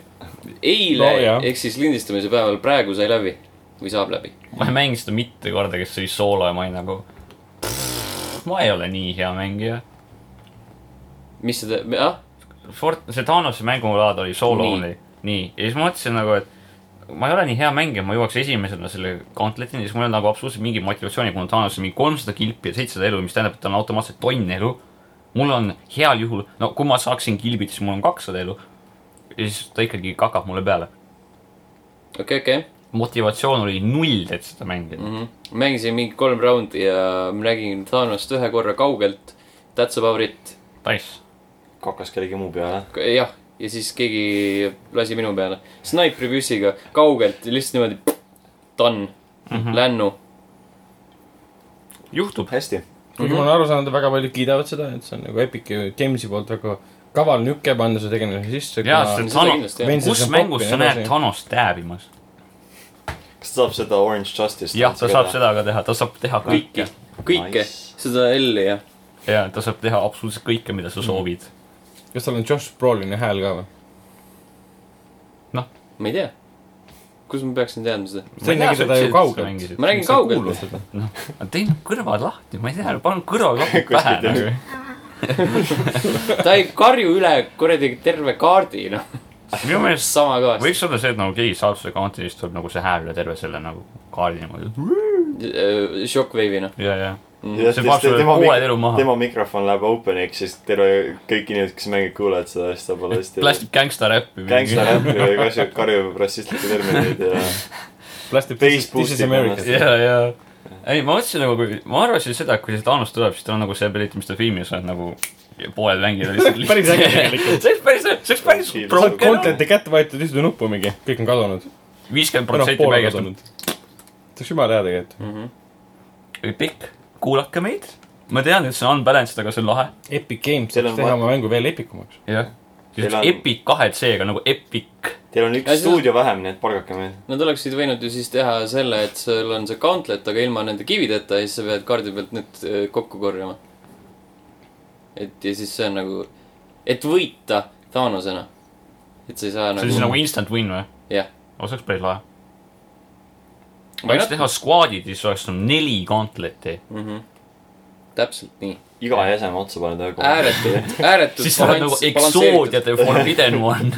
[SPEAKER 1] eile
[SPEAKER 2] No, jah.
[SPEAKER 1] no, ehk siis lindistamise päeval praegu sai läbi või saab läbi .
[SPEAKER 4] ma ei mänginud seda mitte kordagi , sest see oli soolamaine nagu . sest ma ei ole nii hea mängija .
[SPEAKER 1] mis seda , ah ,
[SPEAKER 4] Fort- , see Thanose mängulaad oli solo
[SPEAKER 1] Nii.
[SPEAKER 4] only , nii , ja siis ma mõtlesin nagu , et ma ei ole nii hea mängija , ma jõuaks esimesena selle gauntletini , siis mul ei ole nagu absoluutselt mingit motivatsiooni , kuna Thanos on mingi kolmsada kilpi ja seitsesada elu , mis tähendab , et tal on automaatselt tonn elu . mul on heal juhul , no kui ma saaksin kilbid , siis mul on kakssada elu . ja siis ta ikkagi kakab mulle peale .
[SPEAKER 1] okei , okei .
[SPEAKER 4] motivatsioon oli null , et seda mängida mm .
[SPEAKER 1] mängisin mingi kolm raundi ja ma nägin Thanost ühe korra kaugelt . That's about it .
[SPEAKER 4] -hmm. Nice .
[SPEAKER 3] kakas kellegi muu peale .
[SPEAKER 1] jah , ja siis keegi lasi minu peale . snaipri püssiga kaugelt , lihtsalt niimoodi . Done mm ,
[SPEAKER 2] Mhm.
[SPEAKER 1] -hmm. lännu .
[SPEAKER 4] juhtub .
[SPEAKER 3] hästi .
[SPEAKER 4] Mhm.
[SPEAKER 2] kuigi ma olen aru saanud , väga paljud kiidavad seda , et see on nagu Epic ja Games'i poolt väga kaval nüke panna see tegemine sisse .
[SPEAKER 4] jaa , sest
[SPEAKER 1] seda
[SPEAKER 4] Thanos
[SPEAKER 1] kindlasti, jah. ,
[SPEAKER 4] kus
[SPEAKER 2] Vincent
[SPEAKER 4] mängus
[SPEAKER 2] Popi
[SPEAKER 4] sa
[SPEAKER 2] ja
[SPEAKER 4] näed
[SPEAKER 2] edasi.
[SPEAKER 4] Thanost tääbimas ?
[SPEAKER 3] kas ta saab seda Orange Justice'i ?
[SPEAKER 4] jah , ta saab seda ka teha , ta saab teha kõike
[SPEAKER 1] kõike , kõike
[SPEAKER 3] Nice.
[SPEAKER 1] nice. , seda L-i ja .
[SPEAKER 4] ja ta saab teha absoluutselt kõike , mida sa soovid .
[SPEAKER 2] kas tal on Josh Brolini hääl ka või ?
[SPEAKER 4] noh ,
[SPEAKER 1] ma ei tea . kus ma peaksin teadma seda ?
[SPEAKER 2] sa ei nägi teda ju kaugelt .
[SPEAKER 1] ma nägin kaugelt .
[SPEAKER 4] noh , tee nüüd kõrvad lahti , ma ei tea , palun kõrvaklapid pähe
[SPEAKER 3] Kuskilt
[SPEAKER 4] nagu .
[SPEAKER 1] ta ei karju üle kuradi terve kaardi , noh .
[SPEAKER 4] minu meelest
[SPEAKER 1] sama kõvasti .
[SPEAKER 4] võiks olla see , et nagu keegi saab selle kaanti , siis tuleb nagu see hääl üle terve selle nagu kaardi niimoodi .
[SPEAKER 1] Äh, Shockwave'ina .
[SPEAKER 4] ja , ja .
[SPEAKER 3] Mm. Ja
[SPEAKER 4] see
[SPEAKER 3] siis
[SPEAKER 4] paneb sulle
[SPEAKER 3] tema
[SPEAKER 4] pooled
[SPEAKER 3] mik-
[SPEAKER 4] elu maha.
[SPEAKER 3] tema mikrofon läheb open'iks , siis terve , kõik inimesed , kes mängivad , kuulevad seda , siis saab olla hästi .
[SPEAKER 4] plastik gängsta räppi .
[SPEAKER 3] gängsta räppi ja kasvab , karjub rassistlikke termineid ja .
[SPEAKER 2] Plastic
[SPEAKER 3] Face
[SPEAKER 2] This is
[SPEAKER 3] boost'i
[SPEAKER 2] America .
[SPEAKER 4] ja , ja . ei , ma mõtlesin nagu , kui , ma arvasin seda , et kui see Thanos tuleb , siis tal on nagu see ability , mis ta filmis on nagu poel mängida . see
[SPEAKER 2] oleks päris äge tegelikult.
[SPEAKER 4] see oleks päris , see oleks päris
[SPEAKER 3] Sa oled
[SPEAKER 4] broken ,
[SPEAKER 2] Content'i kätte võetud , ühte nuppu mingi , kõik on kadunud .
[SPEAKER 4] viiskümmend
[SPEAKER 2] või noh ,
[SPEAKER 4] protsenti
[SPEAKER 2] pool on
[SPEAKER 4] mängijast on
[SPEAKER 2] kadunud . see oleks jumala hea
[SPEAKER 4] Mm.
[SPEAKER 2] tegelikult .
[SPEAKER 4] Epic , kuulake meid . ma tean , et see on unbalanced , aga see on lahe .
[SPEAKER 2] Epic Games
[SPEAKER 3] Teil on
[SPEAKER 2] saaks teha
[SPEAKER 3] vaat-
[SPEAKER 2] oma mängu veel epikumaks .
[SPEAKER 4] jah .
[SPEAKER 3] Teil on-
[SPEAKER 4] Epic kahe C-ga nagu Epic .
[SPEAKER 3] Teil on
[SPEAKER 1] Ja
[SPEAKER 3] üks
[SPEAKER 1] siis-
[SPEAKER 3] stuudio vähem , nii et palgake meid .
[SPEAKER 1] Nad oleksid võinud ju siis teha selle , et sul on see gauntlet , aga ilma nende kivideta ja siis sa pead kaardi pealt need äh, kokku korjama . et ja siis see on nagu , et võita Thanosena . et sa ei saa
[SPEAKER 4] see on siis
[SPEAKER 1] nagu ,
[SPEAKER 4] nagu instant win või ?
[SPEAKER 1] jah .
[SPEAKER 4] no see oleks päris lahe . võiks teha squad'id , siis oleks sul neli gauntlet'i .
[SPEAKER 1] täpselt nii .
[SPEAKER 3] iga jäseme otsa paned ühe koha .
[SPEAKER 1] ääretult , ääretult .
[SPEAKER 4] siis sa oled nagu eksoodiate forbidden one .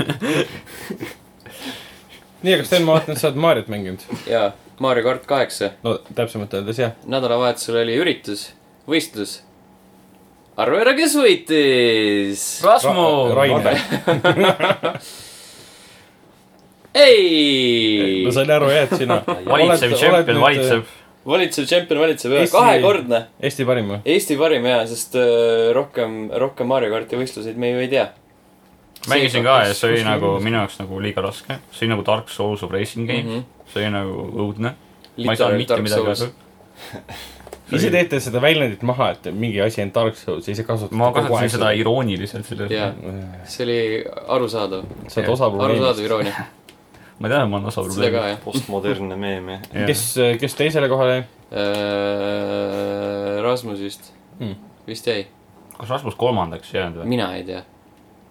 [SPEAKER 2] nii , aga Sten , ma vaatan , et sa oled Mariot mänginud .
[SPEAKER 1] jaa , Mario kart kaheksa .
[SPEAKER 2] no täpsemalt öeldes jah .
[SPEAKER 1] nädalavahetusel oli üritus , võistlus . arva ära , kes võitis .
[SPEAKER 4] Rasmo .
[SPEAKER 2] Rainer .
[SPEAKER 1] ei
[SPEAKER 2] ma . sain aru jah , et sina .
[SPEAKER 4] valitsev
[SPEAKER 1] äh,
[SPEAKER 4] tšempion , valitsev .
[SPEAKER 1] valitsev tšempion valitseb üle ,
[SPEAKER 2] äh, Eesti-
[SPEAKER 1] kahekordne .
[SPEAKER 2] Eesti parim või ?
[SPEAKER 1] Eesti parim jaa , sest äh, rohkem , rohkem Mario karti võistluseid me ju ei tea .
[SPEAKER 4] mängisin
[SPEAKER 1] see-
[SPEAKER 4] ka ja see
[SPEAKER 2] kus-
[SPEAKER 4] oli
[SPEAKER 2] kus-
[SPEAKER 4] nagu minu jaoks nagu liiga raske . see oli nagu Dark Souls of Racing
[SPEAKER 1] Mhm.
[SPEAKER 4] Game . see oli nagu õudne . ma ei saanud mitte midagi aru .
[SPEAKER 2] ise teete seda väljendit maha , et mingi asi on Dark Souls ja ise kasutate .
[SPEAKER 4] ma kasutasin seda . irooniliselt selle
[SPEAKER 1] jaa , see oli arusaadav ,
[SPEAKER 2] sa oled osa
[SPEAKER 1] arusaadav
[SPEAKER 2] probleemist .
[SPEAKER 1] iroonia ,
[SPEAKER 4] ma tean , et ma olen osa
[SPEAKER 1] seda ka
[SPEAKER 4] probleemi .
[SPEAKER 1] jah .
[SPEAKER 3] postmodernne meem , jah .
[SPEAKER 2] kes , kes teisele kohale jäi ?
[SPEAKER 1] Äh, Rasmus vist
[SPEAKER 2] Mm. ,
[SPEAKER 1] vist jäi ,
[SPEAKER 4] kas Rasmus kolmandaks ei jäänud või ?
[SPEAKER 1] mina ei tea ,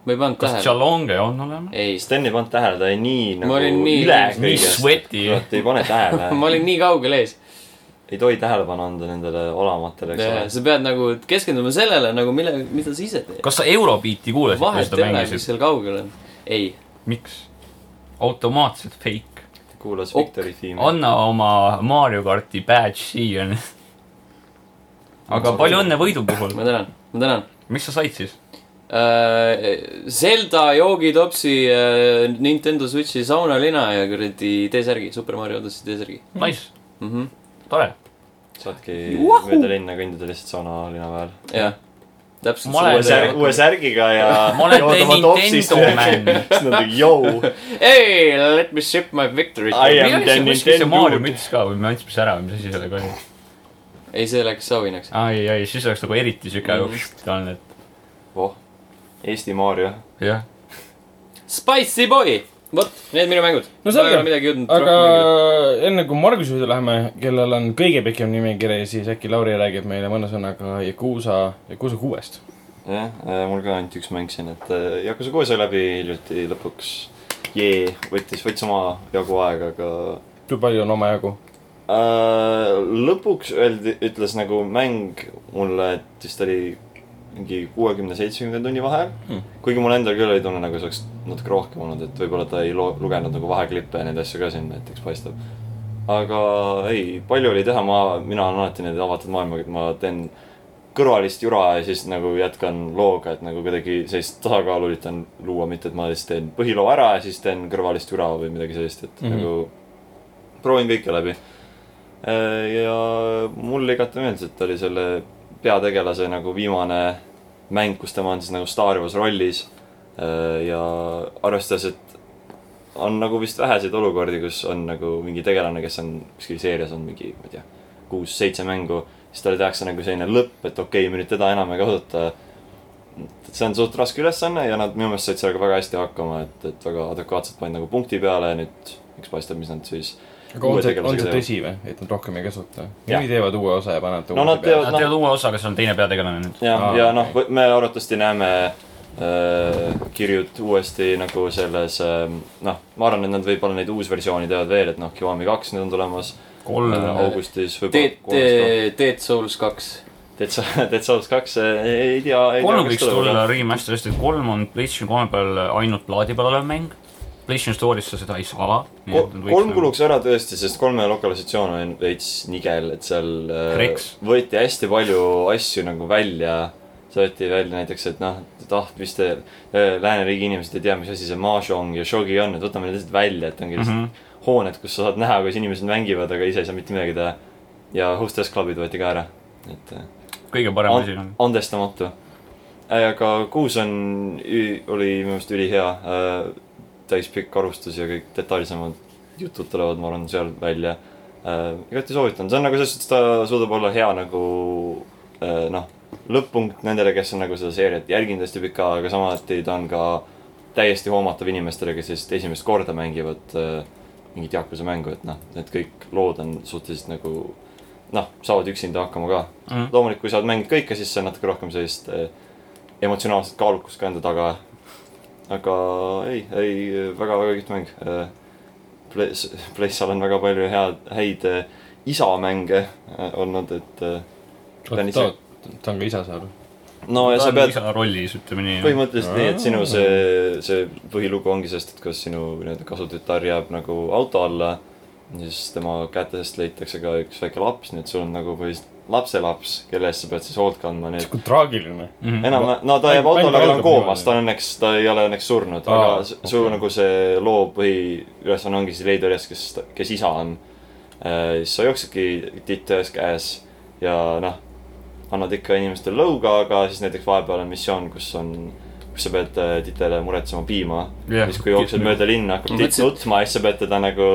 [SPEAKER 1] ma ei pannud
[SPEAKER 4] kas
[SPEAKER 1] tähele ,
[SPEAKER 4] Tšalonge on olemas ?
[SPEAKER 1] ei ,
[SPEAKER 3] Sten ei pannud tähele , ta oli nii nagu
[SPEAKER 1] olin nii-
[SPEAKER 3] üle
[SPEAKER 4] nii
[SPEAKER 3] kõigest.
[SPEAKER 4] sweaty.
[SPEAKER 3] kurat , ei pane tähele .
[SPEAKER 1] ma olin nii kaugel ees ,
[SPEAKER 3] ei tohi tähelepanu anda nendele olamatele , eks
[SPEAKER 1] sa pead nagu keskenduma sellele nagu mille , mida sa ise teed .
[SPEAKER 4] kas sa Eurobeati kuulasid , kui
[SPEAKER 1] vahet
[SPEAKER 4] seda
[SPEAKER 1] ei ole , mis
[SPEAKER 4] mängisid ?
[SPEAKER 1] seal kaugel on , ei ,
[SPEAKER 4] miks ? automaatselt fake .
[SPEAKER 3] ole . kuulas
[SPEAKER 1] Ok.
[SPEAKER 3] Victory tiimi .
[SPEAKER 4] anna oma Mario karti badge siia . aga palju õnne võidu puhul .
[SPEAKER 1] ma tänan , ma tänan .
[SPEAKER 4] mis sa said siis ?
[SPEAKER 1] Äh, Zelda , joogitopsi äh, , Nintendo Switchi saunalina ja kuradi T-särgi , Super Mario Odyssey T-särgi
[SPEAKER 4] Nice ,
[SPEAKER 1] mm . -hmm.
[SPEAKER 4] tore .
[SPEAKER 3] saadki
[SPEAKER 1] Juhu!
[SPEAKER 3] mööda linna kõndida lihtsalt saunalinna peal .
[SPEAKER 1] jah , täpselt
[SPEAKER 4] Ma
[SPEAKER 3] uue
[SPEAKER 4] olen-
[SPEAKER 1] sama
[SPEAKER 3] särg , uue särgiga ja .
[SPEAKER 4] Ma olen Nintendo man.
[SPEAKER 3] siis nad on jõu .
[SPEAKER 1] Hey , let me ship my victory
[SPEAKER 3] I am
[SPEAKER 4] meil oli
[SPEAKER 3] the
[SPEAKER 4] siin kuskil see
[SPEAKER 3] Nintendo.
[SPEAKER 4] Mario müts ka või me andsime see ära või mis asi sellega oli ?
[SPEAKER 1] ei , see läks sauhinaks
[SPEAKER 4] ai , ai , siis oleks nagu eriti siuke mm. ,
[SPEAKER 3] voh , Oh, Eesti Mario .
[SPEAKER 4] et jah .
[SPEAKER 1] Spicy boy , vot , need minu mängud
[SPEAKER 2] No selge.
[SPEAKER 1] ma ei ole midagi jõudnud
[SPEAKER 2] aga
[SPEAKER 1] rohkem mängida.
[SPEAKER 2] enne kui Marguse juurde läheme , kellel on kõige pikem nimekiri , siis äkki Lauri räägib meile mõne sõnaga Yakuusa , Yakuusa kuuest .
[SPEAKER 3] jah , mul ka ainult üks mäng siin , et äh, Yakuza kuue sai läbi hiljuti lõpuks . Jee , võttis , võttis oma jagu aega , aga
[SPEAKER 2] kui palju on omajagu ?
[SPEAKER 3] Äh, lõpuks öeldi , ütles nagu mäng mulle , et vist oli mingi kuuekümne , seitsmekümne tunni vahe
[SPEAKER 2] Hmm.
[SPEAKER 3] hmm. . kuigi mul endal küll oli tunne , nagu see oleks natuke rohkem olnud , et võib-olla ta ei lo- , lugenud nagu vaheklippe ja neid asju ka siin näiteks paistab . aga ei , palju oli teha , ma , mina olen alati need avatud maailmaga , et ma teen kõrvalist jura ja siis nagu jätkan looga , et nagu kuidagi sellist tasakaalu üritan luua , mitte et ma siis teen põhiloo ära ja siis teen kõrvalist jura või midagi sellist , et mm
[SPEAKER 2] Mhm.
[SPEAKER 3] -hmm. nagu proovin kõike läbi . Äh, ja mulle igati meeldis , et oli selle peategelase nagu viimane mäng , kus tema on siis nagu Star Wars rollis . ja arvestades , et on nagu vist väheseid olukordi , kus on nagu mingi tegelane , kes on kuskil seerias on mingi , ma ei tea , kuus-seitse mängu , siis talle tehakse nagu selline lõpp , et okei okay, , me nüüd teda enam ei kasuta . et see on suht raske ülesanne ja nad minu meelest said sellega väga hästi hakkama , et , et väga adekvaatselt panid nagu punkti peale ja nüüd eks paistab , mis nad siis .
[SPEAKER 2] aga on
[SPEAKER 3] Uue
[SPEAKER 2] see ,
[SPEAKER 3] tegelasega
[SPEAKER 2] on see
[SPEAKER 3] teevad.
[SPEAKER 2] tõsi või , et nad rohkem ei kasuta ?
[SPEAKER 3] Jah.
[SPEAKER 2] mõni teevad uue osa ja panevad ta
[SPEAKER 3] No
[SPEAKER 2] uuesti
[SPEAKER 3] nad teevad-
[SPEAKER 4] Nad teevad uue osa , kas on teine peategelane nüüd ?
[SPEAKER 3] ja
[SPEAKER 2] Aa,
[SPEAKER 3] ah, , ja noh
[SPEAKER 2] okei. ,
[SPEAKER 3] me arvatavasti näeme äh, kirjut uuesti nagu selles äh, , noh , ma arvan , et nad võib-olla neid uusversioone teevad veel , et noh , Kiwami kaks nüüd on tulemas
[SPEAKER 4] kolm
[SPEAKER 3] äh, . augustis .
[SPEAKER 1] Dead , Dead Souls kaks .
[SPEAKER 3] Dead Sa- Dead Souls kaks , ei tea .
[SPEAKER 4] kolm võiks tulla . remaster , sest et kolm on PlayStation kolme peal ainult plaadi peal olev mäng . PlayStation Store'is sa seda ei saa .
[SPEAKER 3] kolm .
[SPEAKER 4] nagu-
[SPEAKER 3] kuluks ära tõesti , sest kolme lokalisatsioon on veits nigel , et seal äh,
[SPEAKER 4] Reks.
[SPEAKER 3] võeti hästi palju asju nagu välja . see võeti välja näiteks , et noh , et ah , mis te äh, lääneriigi inimesed ei tea , mis asi see mahjong ja shogi on , et võtame need lihtsalt välja , et ongi lihtsalt
[SPEAKER 4] Mhm.
[SPEAKER 3] mm -hmm. hooned , kus sa saad näha , kuidas inimesed mängivad , aga ise ei saa mitte midagi teha . ja hostess club'id võeti ka ära , et äh,
[SPEAKER 4] kõige parem asi
[SPEAKER 3] an-
[SPEAKER 4] on .
[SPEAKER 3] andestamatu . aga kuus on , oli minu meelest ülihea äh, , täispikk arvustus ja kõik detailsemad jutud tulevad , ma arvan , seal välja äh, . igati soovitan , see on nagu selles suhtes , ta suudab olla hea nagu äh, noh , lõpp-punkt nendele , kes on nagu seda seeriat jälginud hästi pika , aga samuti ta on ka täiesti hoomatav inimestele , kes sellist esimest korda mängivad äh, mingit jaakuse mängu , et noh , need kõik lood on suhteliselt nagu noh , saavad üksinda hakkama ka
[SPEAKER 4] Mm.
[SPEAKER 3] loomulikult , kui sa oled mänginud kõike , siis see on natuke rohkem sellist eh, emotsionaalset kaalukust ka enda taga . aga ei , ei väga-väga kihvt mäng . Eh, Place , Place'al on väga palju head , häid eh, isamänge eh, olnud , et eh, ta on
[SPEAKER 2] peale .
[SPEAKER 3] ise-
[SPEAKER 2] ta , ta on ka isa seal .
[SPEAKER 3] no ja
[SPEAKER 4] ta
[SPEAKER 3] sa
[SPEAKER 4] on
[SPEAKER 3] pead
[SPEAKER 4] isa rollis , ütleme nii .
[SPEAKER 3] põhimõtteliselt nii , et sinu see , see põhilugu ongi sellest , et kas sinu nii-öelda kasutütar jääb nagu auto alla . ja siis tema kätest leitakse ka üks väike laps , nii et sul on nagu põhiliselt lapselaps , kelle eest sa pead siis hoolt kandma , nii et
[SPEAKER 2] kui traagiline .
[SPEAKER 4] Mhm.
[SPEAKER 3] enam , no ta
[SPEAKER 2] Mäng-
[SPEAKER 3] jääb autole ,
[SPEAKER 2] mäng
[SPEAKER 3] aga ta on
[SPEAKER 2] algab
[SPEAKER 3] koomas ,
[SPEAKER 2] niimoodi.
[SPEAKER 3] ta on õnneks , ta ei ole õnneks surnud ,
[SPEAKER 2] Aa,
[SPEAKER 3] aga su- su
[SPEAKER 2] okei.
[SPEAKER 3] nagu see loo põhiülesanne ongi siis leida üles , kes , kes isa on . siis sa jooksedki titt ühes käes ja noh , annad ikka inimestele lõuga , aga siis näiteks vahepeal on missioon , kus on , kus sa pead äh, titele muretsema piima . siis kui jooksed . mööda linna , hakkab
[SPEAKER 1] Ma
[SPEAKER 3] titt
[SPEAKER 1] mõtlesin-
[SPEAKER 3] nutma ja siis sa pead teda nagu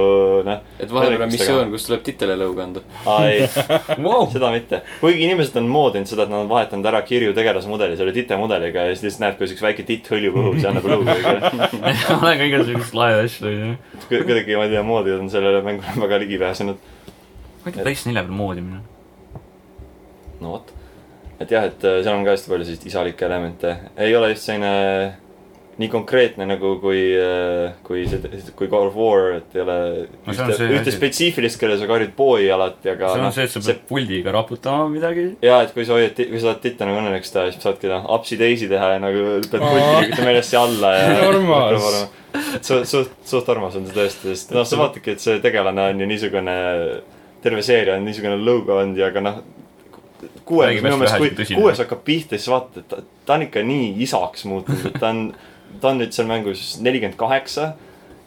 [SPEAKER 3] noh ,
[SPEAKER 1] et vahepeal on
[SPEAKER 3] Tervitustega.
[SPEAKER 1] missioon , kus tuleb titele lõuga anda .
[SPEAKER 3] ei
[SPEAKER 4] Wow.
[SPEAKER 3] seda mitte , kuigi inimesed on moodinud seda , et nad on vahetanud ära kirju tegelasmudeli selle tite mudeliga ja siis lihtsalt näeb , kuidas üks väike titt hõljub õhus ja annab lõugu kõigile .
[SPEAKER 4] olen ka igasuguseid lae asju teinud .
[SPEAKER 3] kuidagi ma ei tea , moodi on sellele mängule väga ligi pääsenud .
[SPEAKER 4] huvitav , PlayStation nelja peal moodi minna .
[SPEAKER 3] no vot , et jah , et äh, seal on ka hästi palju selliseid isalikke elemente , ei ole just selline äh, nii konkreetne nagu kui , kui see , kui God of War , et ei ole
[SPEAKER 4] No see on
[SPEAKER 3] ühte,
[SPEAKER 4] see
[SPEAKER 3] ühte
[SPEAKER 4] asi.
[SPEAKER 3] spetsiifilist , kelle sa karjud boy alati , aga
[SPEAKER 4] see on
[SPEAKER 3] noh,
[SPEAKER 4] see , et sa pead puldiga raputama midagi .
[SPEAKER 3] jaa , et kui sa hoiad , kui sa tahad titta nagu õnnelikuks teha , siis saadki noh , upsi-daisy teha ja nagu pead puldiga meelest siia alla ja .
[SPEAKER 2] Armas. .
[SPEAKER 3] suht , suht , suht armas on see tõesti , sest noh , sa vaatadki , et see tegelane on ju niisugune , terve seeria on niisugune logo olnud ja , aga noh , kuues
[SPEAKER 4] Räägime
[SPEAKER 3] minu meelest ,
[SPEAKER 4] hästi
[SPEAKER 3] kui
[SPEAKER 4] tõsine.
[SPEAKER 3] kuues hakkab pihta , siis vaatad , et ta, ta on ikka nii isaks muutunud , et ta on , ta on nüüd seal mängus nelikümmend kaheksa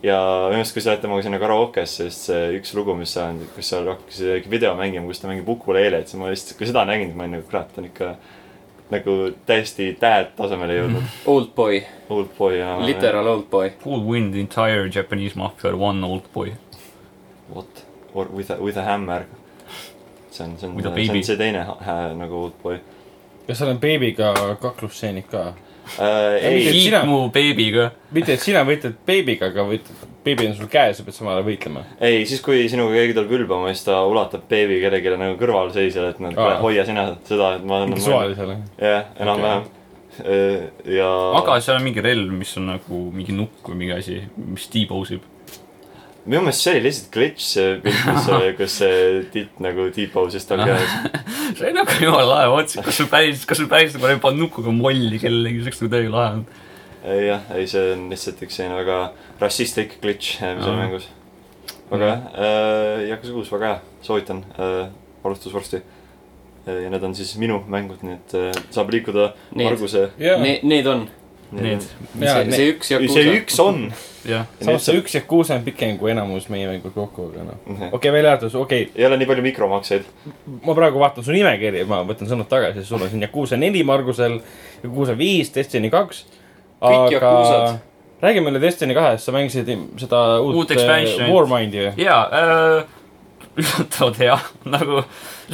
[SPEAKER 3] ja minu meelest , kui sa lähed temaga sinna karaokesse , siis see üks lugu , mis seal on , kus seal hakkas isegi video mängima , kus ta mängib ukuleelet , siis ma lihtsalt , kui seda nägin , siis ma olin nagu , kurat , ta on ikka nagu täiesti tähed tasemele
[SPEAKER 4] Mhm.
[SPEAKER 3] jõudnud .
[SPEAKER 1] Old boy ,
[SPEAKER 3] Old boy ja .
[SPEAKER 1] literal old boy .
[SPEAKER 4] Cool win the entire Japanese mafia one old boy .
[SPEAKER 3] What ? Or with a , with a hammer . see on , see on ,
[SPEAKER 4] With a
[SPEAKER 3] see
[SPEAKER 4] baby.
[SPEAKER 3] on see teine ha- hä- nagu old boy .
[SPEAKER 2] kas seal on beebiga kaklusstseenid ka ?
[SPEAKER 3] Äh, ei ,
[SPEAKER 2] Ei.
[SPEAKER 4] Eat
[SPEAKER 2] sina-
[SPEAKER 4] mu beebiga .
[SPEAKER 2] mitte , et sina võitled beebiga , aga võitled , beebi on sul käes ja pead samal ajal võitlema .
[SPEAKER 3] ei , siis kui sinuga keegi tuleb ülbama , siis ta ulatab beebi kellelegi nagu kõrvalseisjale , et no kuule
[SPEAKER 2] Aa. ,
[SPEAKER 3] hoia sina seda , et ma .
[SPEAKER 2] mingi suvalisele .
[SPEAKER 3] jah , enam-vähem . ja .
[SPEAKER 4] aga seal on mingi relv , mis on nagu mingi nukk või mingi asi , mis debose ib .
[SPEAKER 3] minu meelest see oli lihtsalt glitch see pilt , kus , kus see titt nagu T-pose'is tal käes .
[SPEAKER 4] see on nagu jumala lahe , ma mõtlesin , kas sul päris , kas sul päris nagu pannud nukuga molli kellelegi , see oleks nagu täiega lahe olnud .
[SPEAKER 3] ei jah , ei see on lihtsalt üks selline väga rassistlik glitch , mis
[SPEAKER 4] Aa.
[SPEAKER 3] on mängus . väga hea , Yakuza kuus , väga hea , soovitan , alustus varsti . ja need on siis minu mängud , nii et äh, saab liikuda
[SPEAKER 1] Need.
[SPEAKER 3] Marguse .
[SPEAKER 2] jaa ,
[SPEAKER 1] Ne- , need on .
[SPEAKER 4] Need ,
[SPEAKER 2] jaa ,
[SPEAKER 1] see , see üks Yakuusa .
[SPEAKER 3] see üks on .
[SPEAKER 4] jah .
[SPEAKER 2] samas see üks Yakuusa on pikem kui enamus meie mängud kokku , aga noh .
[SPEAKER 3] Mhm.
[SPEAKER 2] okei okay, , välja arvatud , okei okay, ,
[SPEAKER 3] ei ole nii palju mikromakseid .
[SPEAKER 2] ma praegu vaatan su nimekirja , ma võtan sõnad tagasi , sul on siin Yakuusa neli Margusel , Yakuusa viis , Destiny kaks .
[SPEAKER 1] Kõik Yakuusad.
[SPEAKER 2] räägi meile Destiny kahest , sa mängisid seda uut,
[SPEAKER 4] Uut expansionit.
[SPEAKER 2] äh, Warmindi või ?
[SPEAKER 4] jaa , üllatavalt hea , nagu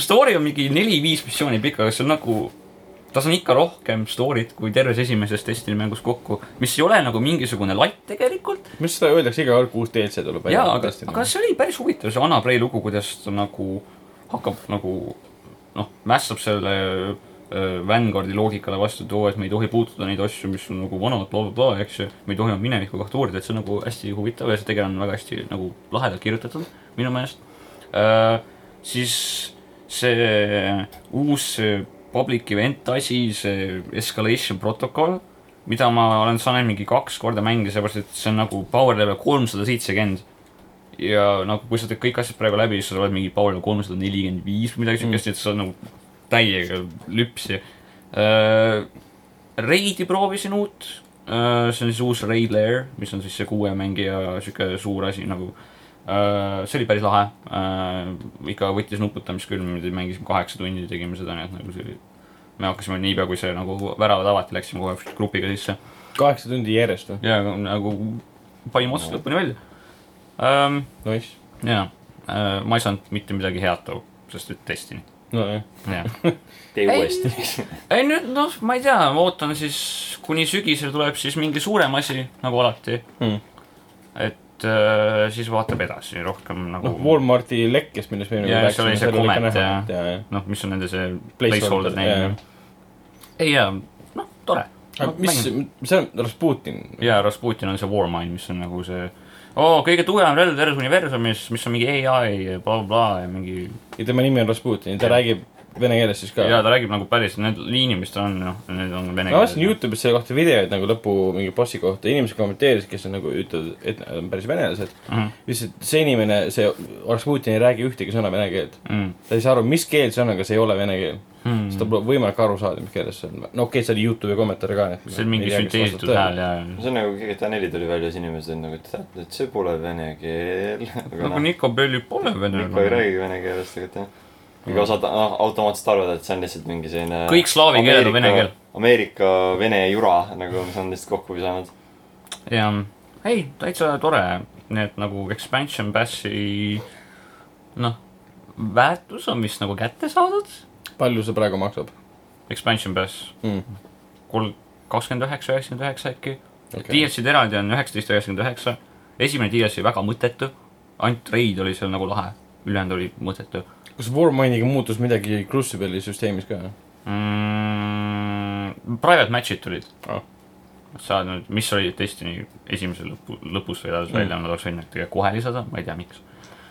[SPEAKER 4] story on mingi neli-viis missiooni pikk , aga see on nagu , tas on ikka rohkem story't kui terves esimeses Destiny mängus kokku , mis ei ole nagu mingisugune latt tegelikult .
[SPEAKER 2] mis seda öeldakse iga kord , kui uus DLC tuleb
[SPEAKER 4] jaa , aga ,
[SPEAKER 2] nagu.
[SPEAKER 4] aga see oli päris huvitav , see Anna Prei lugu , kuidas ta nagu hakkab nagu noh , mässab selle öö, Vanguardi loogikale vastu , et oo , et me ei tohi puutuda neid asju , mis on nagu vanad blablabla , eks ju . me ei tohi oma minevikku kohta uurida , et see on nagu hästi huvitav ja see tegelane on väga hästi nagu lahedalt kirjutatud minu meelest . siis see uus see public event asi , see escalation protokoll , mida ma olen saanud mingi kaks korda mängida , sellepärast et see on nagu power level kolmsada seitsekümmend . ja nagu , kui sa teed kõik asjad praegu läbi , siis sa oled mingi power level kolmsada nelikümmend viis või midagi siukest , et sa oled nagu täiega lüpsi . Raidi proovisin uut , see on siis uus Raid Lair , mis on siis see kuue mängija sihuke suur asi nagu . see oli päris lahe , ikka võttis nuputamist küll , me mängisime kaheksa tundi , tegime seda , nii et nagu see oli me hakkasime niipea , kui see nagu väravad avati , läksime kohe grupiga sisse
[SPEAKER 2] kaheksa tundi järjest või ?
[SPEAKER 4] ja aga nagu panime otsast lõpuni välja um, .
[SPEAKER 2] Nice .
[SPEAKER 4] ja uh, ma ei saanud mitte midagi head too , sest et Destiny ,
[SPEAKER 2] nojah ,
[SPEAKER 4] jah .
[SPEAKER 3] tee
[SPEAKER 4] Ei.
[SPEAKER 3] uuesti .
[SPEAKER 4] ei nüüd noh , ma ei tea , ma ootan siis , kuni sügisel tuleb siis mingi suurem asi , nagu alati
[SPEAKER 2] Hmm. .
[SPEAKER 4] et uh, siis vaatab edasi rohkem nagu
[SPEAKER 2] noh , Walmarti lekkes , millest me
[SPEAKER 4] Jaa, seal oli see comment, jah.
[SPEAKER 2] ja , ja .
[SPEAKER 4] noh , mis on nende see
[SPEAKER 2] Placeholder,
[SPEAKER 4] placeholder name
[SPEAKER 2] jaa. .
[SPEAKER 4] ei jaa , noh , tore .
[SPEAKER 2] aga mis , see on Rasputin .
[SPEAKER 4] jaa , Rasputin on see Warmind , mis on nagu see oo , kõige tugevam relv terves universumis , mis on mingi ai blablabla ja mingi
[SPEAKER 2] ja tema nimi on Rasputin ja ta
[SPEAKER 4] Jah.
[SPEAKER 2] räägib vene keeles siis ka .
[SPEAKER 4] ja ta räägib nagu päris , need liinid , mis tal on , noh , need on vene
[SPEAKER 2] ma vaatasin . Youtube'is selle kohta videoid nagu lõpu mingi bossi kohta , inimesed kommenteerisid , kes on nagu ütlevad , et nad on päris venelased .
[SPEAKER 4] Mhm.
[SPEAKER 2] lihtsalt see inimene , see Rasputin ei räägi ühtegi sõna vene keelt .
[SPEAKER 4] Mm.
[SPEAKER 2] ta ei saa aru , mis keel see on , aga see ei ole vene keel mm. .
[SPEAKER 4] Hmm.
[SPEAKER 2] siis tal pole võimalik aru saada , mis keeles see on . no okei okay, , see oli Youtube'i kommentaare ka .
[SPEAKER 4] see on mingi sünteesitud hääl . ja , ja
[SPEAKER 3] see on nagu GTA neli tuli välja , siis inimesed on nagu , et , et see pole vene keel .
[SPEAKER 4] nagu Niko Belli pole vene
[SPEAKER 3] Mikko ei . räägigi vene keelest tegelikult jah . kuigi osad noh , automaatselt arvavad , et see on lihtsalt mingi selline .
[SPEAKER 4] Kõik slaavi keeled on vene keel. .
[SPEAKER 3] Ameerika vene jura nagu , mis on lihtsalt kokku visanud .
[SPEAKER 4] jah , ei , täitsa tore , nii et nagu expansion pass'i noh , väärtus on vist nagu kätte saadud ,
[SPEAKER 2] palju see praegu maksab
[SPEAKER 4] expansion pass
[SPEAKER 2] mm. ?
[SPEAKER 4] kolm , kakskümmend üheksa , üheksakümmend üheksa äkki okay. .
[SPEAKER 2] Okei.
[SPEAKER 4] DLC-d eraldi on üheksateist , üheksakümmend üheksa . esimene DLC väga mõttetu , ainult Raid oli seal nagu lahe , ülejäänud oli mõttetu
[SPEAKER 2] kas Warmindiga muutus midagi Crucible'i süsteemis ka ?
[SPEAKER 4] mm, . Private match'id tulid
[SPEAKER 2] Ah.
[SPEAKER 4] oh. . saad nüüd , mis oli Destiny esimese lõpu , lõpus või edasi välja , nad oleks võinud need tegelikult kohe lisada , ma ei tea , miks .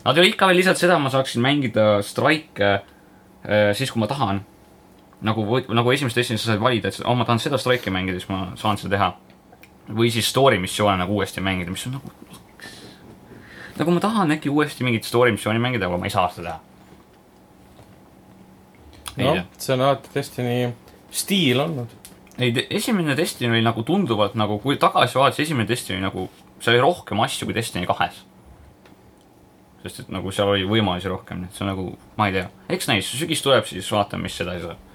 [SPEAKER 4] Nad ei ole ikka veel lisanud seda , ma saaksin mängida Strike'e eh, siis , kui ma tahan . nagu , nagu esimeses Destiny's sa said valida , et oh, ma tahan seda Strike'i mängida , siis ma saan seda teha . või siis story missioone nagu uuesti mängida , mis on nagu nagu ma tahan äkki uuesti mingit story missiooni mängida , aga ma ei saa seda teha . ei
[SPEAKER 2] noh
[SPEAKER 4] tea. ,
[SPEAKER 2] see on alati Destiny stiil olnud .
[SPEAKER 4] ei , esimene Destiny oli nagu tunduvalt nagu , kui tagasi vaadates , esimene Destiny nagu , seal oli rohkem asju kui Destiny kahes . sest et nagu seal oli võimalusi rohkem , nii et see on nagu , ma ei tea , eks näis , sügis tuleb , siis vaatame , mis edasi saab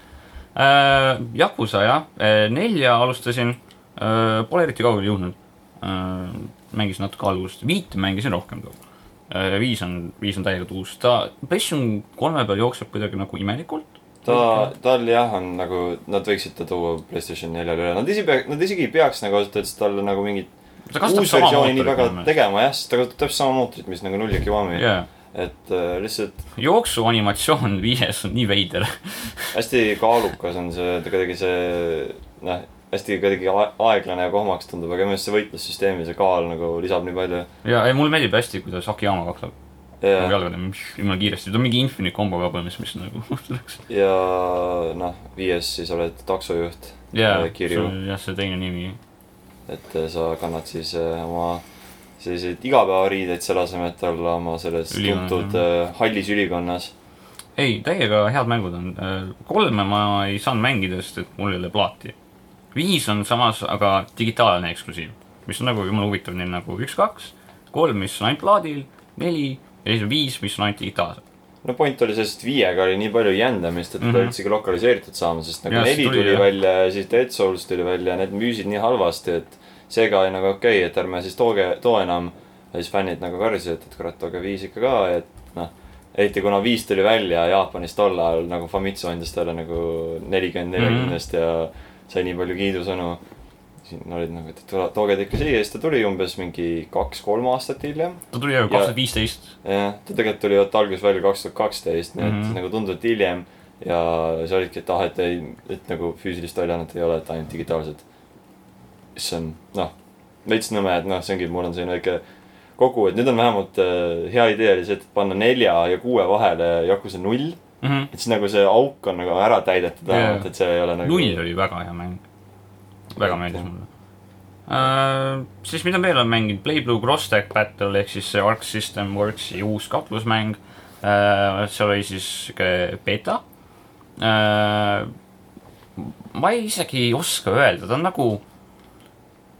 [SPEAKER 4] äh, . Yakuza jah äh, , nelja alustasin äh, , pole eriti kaugele jõudnud äh, . mängisin natuke algust , viite mängisin rohkem too äh, . viis on , viis on täielikult uus , ta , PlayStation kolme peal jookseb kuidagi nagu imelikult .
[SPEAKER 3] ta , tal jah , on nagu , nad võiksid ta tuua Playstation neljale üle , nad ise , nad isegi ei peaks nagu ausalt öeldes talle nagu mingit
[SPEAKER 4] ta
[SPEAKER 3] uus
[SPEAKER 4] kasutab sama
[SPEAKER 3] versiooni nii väga
[SPEAKER 4] mootorit .
[SPEAKER 3] tegema jah , sest ta kasutab täpselt sama mootorit , mis nagu null ja Kiwami
[SPEAKER 4] jaa .
[SPEAKER 3] et äh, lihtsalt
[SPEAKER 4] jooksuanimatsioon viies on nii veider .
[SPEAKER 3] hästi kaalukas on see , kuidagi see noh , hästi kuidagi ae- aeglane ja kohmaks tundub , aga minu meelest see võitlussüsteemi , see kaal nagu lisab nii palju .
[SPEAKER 4] ja , ja mulle meeldib hästi , kuidas Akiyama kakleb yeah.
[SPEAKER 3] ja ,
[SPEAKER 4] jalgadega , mis jumala kiiresti , ta on mingi infinite kombo ka põhimõtteliselt , mis nagu läks .
[SPEAKER 3] ja noh , viies siis oled taksojuht ,
[SPEAKER 4] jaa ,
[SPEAKER 3] Kirju.
[SPEAKER 4] jah , see teine nimi .
[SPEAKER 3] et eh, sa kannad siis eh, oma selliseid igapäevariideid selle asemel , et olla oma selles
[SPEAKER 4] Ülikonnas,
[SPEAKER 3] tuntud eh, hallis ülikonnas .
[SPEAKER 4] ei , täiega head mängud on . kolme ma ei saanud mängida , sest et mul ei ole plaati . viis on samas aga digitaalne eksklusiiv , mis on nagu jumala huvitav , neil nagu üks , kaks , kolm , mis on ainult plaadil , neli ja siis on viis , mis on ainult digitaalselt .
[SPEAKER 3] no point oli selles , et viiega oli nii palju jändamist , et teda mm
[SPEAKER 4] Mhm.
[SPEAKER 3] -hmm. üldsegi lokaliseeritud saama , sest nagu
[SPEAKER 4] Jaa, see
[SPEAKER 3] neli
[SPEAKER 4] tuli,
[SPEAKER 3] tuli, tuli
[SPEAKER 4] jah.
[SPEAKER 3] välja ja siis Dead Souls tuli välja ja need müüsid nii halvasti , et seega oli nagu okei okay, , et ärme siis tooge , too enam . ja siis fännid nagu karjusid , et kurat , tooge viis ikka ka , et noh . eriti kuna viis tuli välja Jaapanis tol ajal nagu Famitsu andis talle nagu nelikümmend ,
[SPEAKER 4] Mhm.
[SPEAKER 3] neljakümnest ja sai nii palju kiidusõnu . siin olid nagu , et tule- tooge ta ikka siia , siis ta tuli umbes mingi kaks-kolm aastat hiljem
[SPEAKER 4] ta tuli ju
[SPEAKER 3] Ja-
[SPEAKER 4] kaks tuhat viisteist .
[SPEAKER 3] jah , ta tegelikult tuli vaata alguses välja kaks tuhat kaksteist , nii et mm
[SPEAKER 4] Mhm.
[SPEAKER 3] -hmm. nagu tunduvalt hiljem . ja siis olidki , et ah , et ei , et nagu füüsilist väljaannet ei ole , et ainult digitaalsed . mis on noh , veits nõme , et noh , see ongi , mul on selline väike kogu , et nüüd on vähemalt äh, hea idee oli see , et panna nelja ja kuue vahele Yakuza null .
[SPEAKER 4] Mhm.
[SPEAKER 3] et siis nagu see auk on nagu ära täidetud
[SPEAKER 4] Jaa.
[SPEAKER 3] vähemalt yeah. , et see ei ole nagu .
[SPEAKER 4] null oli väga hea mäng . väga meeldis mulle uh, . siis mida veel on mänginud , Playblue Cross Tag Battle ehk siis see Arc System Worksi uus kaklusmäng uh, . seal oli siis sihuke beta uh, . ma ei isegi ei oska öelda , ta on nagu ,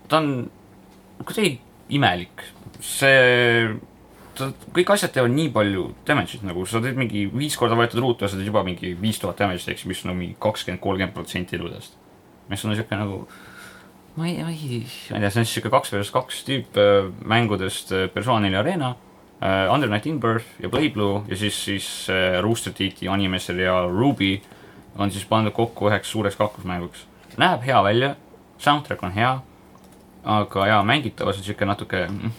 [SPEAKER 4] ta on kuidagi imelik , see ta , kõik asjad teevad nii palju damage'it nagu , sa teed mingi viis korda võetud ruutu ja sa teed juba mingi viis tuhat damage'it , eks , mis on mingi kakskümmend , kolmkümmend protsenti eludest . mis on siuke nagu , ma ei , ma ei , ma ei tea , see on siuke kaks versus kaks tüüp äh, mängudest äh, Persona neli Arena äh, , Undernight Inbirth ja Playblue ja siis , siis äh, Rooster Teeth'i animeseriaal Ruby on siis pandud kokku üheks suureks kaklusmänguks . näeb hea välja , soundtrack on hea , aga jaa , mängitavus on siuke natuke mm,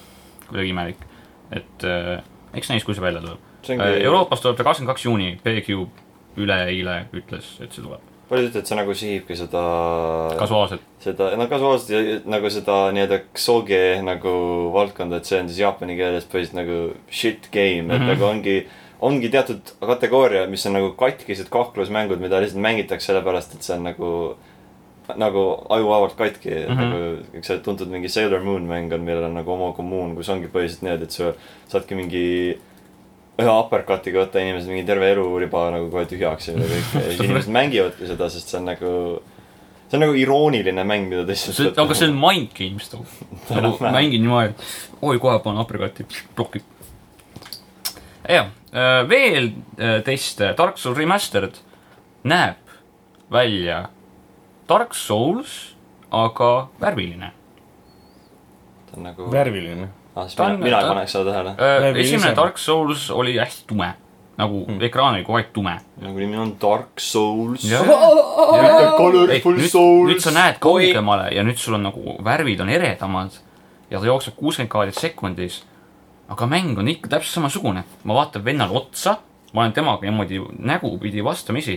[SPEAKER 4] kuidagi imelik , et äh, eks näis , kui see välja tuleb .
[SPEAKER 3] see ongi Euroopa .
[SPEAKER 4] Euroopas tuleb ta kakskümmend kaks juuni , PQ üleeile ütles , et see tuleb ,
[SPEAKER 3] paljud ütlevad , see nagu sihibki seda .
[SPEAKER 4] kasuaalselt .
[SPEAKER 3] seda , no kasuaalselt ja- nagu seda nii-öelda ksoge nagu valdkonda , et see on siis jaapani keeles põhiliselt nagu shit game , et mm
[SPEAKER 4] Mhm.
[SPEAKER 3] -hmm. nagu ongi , ongi teatud kategooria , mis on nagu katkised kaklusmängud , mida lihtsalt mängitakse sellepärast , et see on nagu , nagu ajuvabalt katki mm , -hmm.
[SPEAKER 4] Mhm.
[SPEAKER 3] nagu üks see tuntud mingi Sailor Moon mäng on , millel on nagu oma kommuun , kus ongi põhiliselt niimoodi , et sa saadki mingi ühe uppercut'iga võtta inimesed mingi terve eluriba nagu kohe tühjaks ja kõik . ja siis inimesed mängivadki seda , sest see on nagu , see on nagu irooniline mäng , mida
[SPEAKER 4] see ,
[SPEAKER 3] tõesti .
[SPEAKER 4] aga see on mind games too . nagu mängin niimoodi , et oi , kohe panen aprikati , plokib . jah , veel äh, teste , Dark Souls Remastered näeb välja Dark Souls , aga värviline .
[SPEAKER 3] ta on nagu ,
[SPEAKER 2] värviline .
[SPEAKER 3] ah siis
[SPEAKER 4] ta
[SPEAKER 3] mina
[SPEAKER 4] on- ,
[SPEAKER 3] mina ei
[SPEAKER 4] ta-
[SPEAKER 3] paneks seda tähele .
[SPEAKER 2] Näeb
[SPEAKER 4] Äh, esimene
[SPEAKER 2] ilusam.
[SPEAKER 4] Dark Souls oli hästi tume , nagu
[SPEAKER 2] Hmm.
[SPEAKER 4] ekraan oli kogu aeg tume .
[SPEAKER 3] nagu nimi on Dark Souls .
[SPEAKER 4] Jah. Ei,
[SPEAKER 3] Colorful
[SPEAKER 4] nüüd, nüüd
[SPEAKER 3] Souls
[SPEAKER 4] sa . näed
[SPEAKER 1] Oi.
[SPEAKER 4] kaugemale ja nüüd sul on nagu värvid on eredamad ja ta jookseb kuuskümmend kaadrit sekundis . aga mäng on ikka täpselt samasugune , ma vaatan vennale otsa , ma olen temaga niimoodi nägupidi vastamisi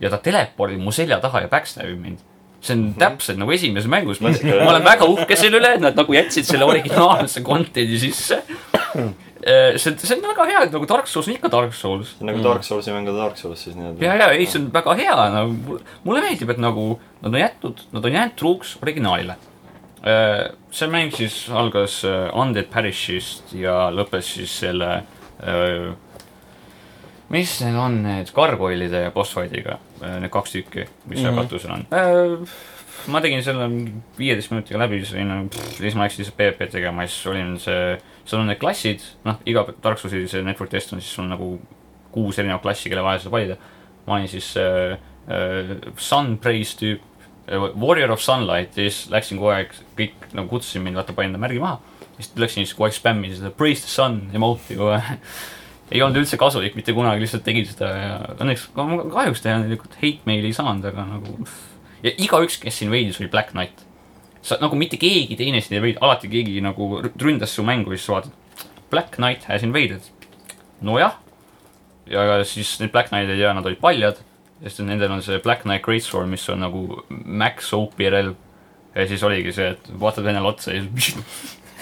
[SPEAKER 4] ja ta telepordib mu selja taha ja backstabib mind . see on täpselt nagu esimeses mängus , ma ma olen väga uhke selle üle , et nad nagu jätsid selle originaalse content'i sisse . see , see on väga hea , et nagu Dark Souls on ikka Dark Souls .
[SPEAKER 3] see on nagu Dark Soulsi mäng on Dark Souls siis nii-öelda .
[SPEAKER 4] Mm. ja , ja ei , see on väga hea , nagu mulle meeldib , et nagu nad on jätnud , nad on jäänud truuks originaalile . see mäng siis algas äh, Undead Parishist ja lõppes siis selle , mis need on need gargoylide boss fight'iga , äh, need kaks tükki , mis seal
[SPEAKER 2] Mhm.
[SPEAKER 4] katusel on . ma tegin selle mingi viieteist minutiga läbi , siis olin nagu , siis ma läksin lihtsalt PvP tegema , siis olin see , seal on need klassid , noh , iga Dark Soulsi see network test on , siis sul on nagu kuus erinevat klassi , kelle vahel saab valida . ma olin siis äh, äh, Sun Praise tüüp äh, , Warrior of Sunlight ja siis läksin kogu aeg , kõik nagu kutsusid mind , vaata panin ta märgi maha . siis läksin siis kogu aeg spämmin seda Praise the Sun emote'i kogu aeg . ei olnud üldse kasulik mitte kunagi , lihtsalt tegin seda ja õnneks , kahjuks tegelikult hate meili ei saanud , aga nagu . ja igaüks , kes siin veidis , oli Black Knight . sa nagu mitte keegi teine siin ei veidi , alati keegi nagu rü- ründas su mängu ja siis sa vaatad . Black Knight has invaded . nojah , ja siis need Black Knight'id ja nad olid paljad , sest et nendel on see Black Knight Greatsword , mis on nagu Max OP relv . ja siis oligi see , et vaatad venele otsa ja siis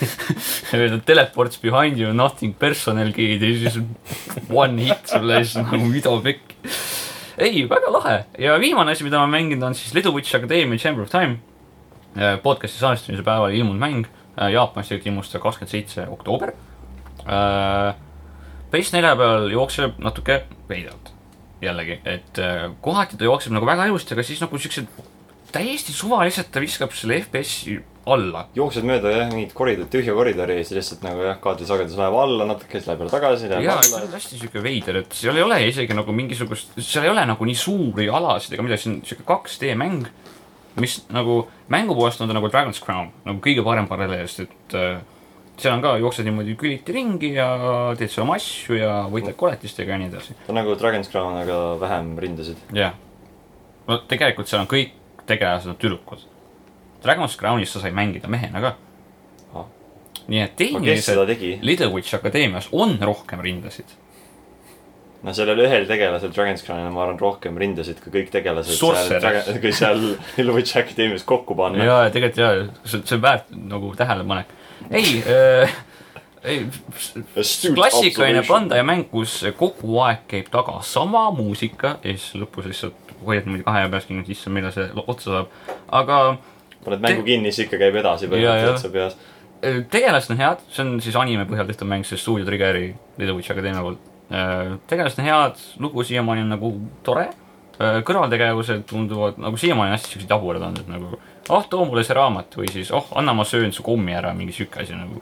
[SPEAKER 4] ja öelda teleports behind you nothing personal kid ja siis one hit sulle ja siis nagu mida pekki . ei , väga lahe ja viimane asi , mida ma mänginud on siis Little Witch Academia Chamber of Time . podcast'i salvestamise päeval ilmunud mäng , Jaapanis tegelikult ilmus ta kakskümmend seitse oktoober . PS4 peal jookseb natuke veidralt jällegi , et äh, kohati ta jookseb nagu väga ilusti , aga siis nagu siuksed täiesti suvaliselt ta viskab selle FPS-i alla .
[SPEAKER 3] jooksed mööda jah , mingit koridori , tühja koridori ja siis lihtsalt nagu jah , kaadrisagedus läheb alla natuke , siis läheb jälle tagasi , läheb
[SPEAKER 4] jaa , see
[SPEAKER 3] alla
[SPEAKER 4] on . hästi siuke veider , et seal ei ole isegi nagu mingisugust , seal ei ole nagu nii suuri alasid ega midagi , see on siuke 2D mäng , mis nagu mängu poolest on ta nagu Dragon's Crown , nagu kõige parem paralleel , sest et äh, seal on ka , jooksed niimoodi küliti ringi ja teed seal oma asju ja võitled koletistega ja nii edasi .
[SPEAKER 3] ta on nagu Dragon's Crown , aga vähem rindasid .
[SPEAKER 4] jah . no tegelikult seal on kõik tegelased on tüdrukud . Dragon's Crownis sa sai mängida mehena ka
[SPEAKER 3] Ah. .
[SPEAKER 4] nii et
[SPEAKER 3] kes seda
[SPEAKER 4] tehniliselt
[SPEAKER 3] tegi ?
[SPEAKER 4] Little Witch Akadeemias on rohkem rindasid .
[SPEAKER 3] no sellel ühel tegelasel Dragon's Crownil on , ma arvan , rohkem rindasid kui kõik tegelased seal
[SPEAKER 4] Sorcerer.
[SPEAKER 3] Dragon- , kui seal Illuwitch Academias kokku panna .
[SPEAKER 4] ja , ja tegelikult ja , see , see on väärt nagu tähelepanek . ei äh, , ei , klassikaline . Bandai mäng , kus kogu aeg käib taga sama muusika ja siis lõpus lihtsalt hoiad niimoodi kahe peas kinni , siis millal see lo- otsa saab . aga
[SPEAKER 3] paned mängu kinni , siis ikka käib edasi
[SPEAKER 4] Jaa, jaa.
[SPEAKER 3] põhimõtteliselt su peas .
[SPEAKER 4] äh, tegelased on head , see on siis anime põhjal tehtud mäng , see stuudio Triggeri Little Witch Academia poolt . tegelased on head , lugu siiamaani on nagu tore . kõrvaltegevused tunduvad nagu siiamaani hästi siuksed jaburad olnud , et nagu ah , too mulle see raamat või siis oh , anna ma söön su kommi ära , mingi siuke asi nagu ,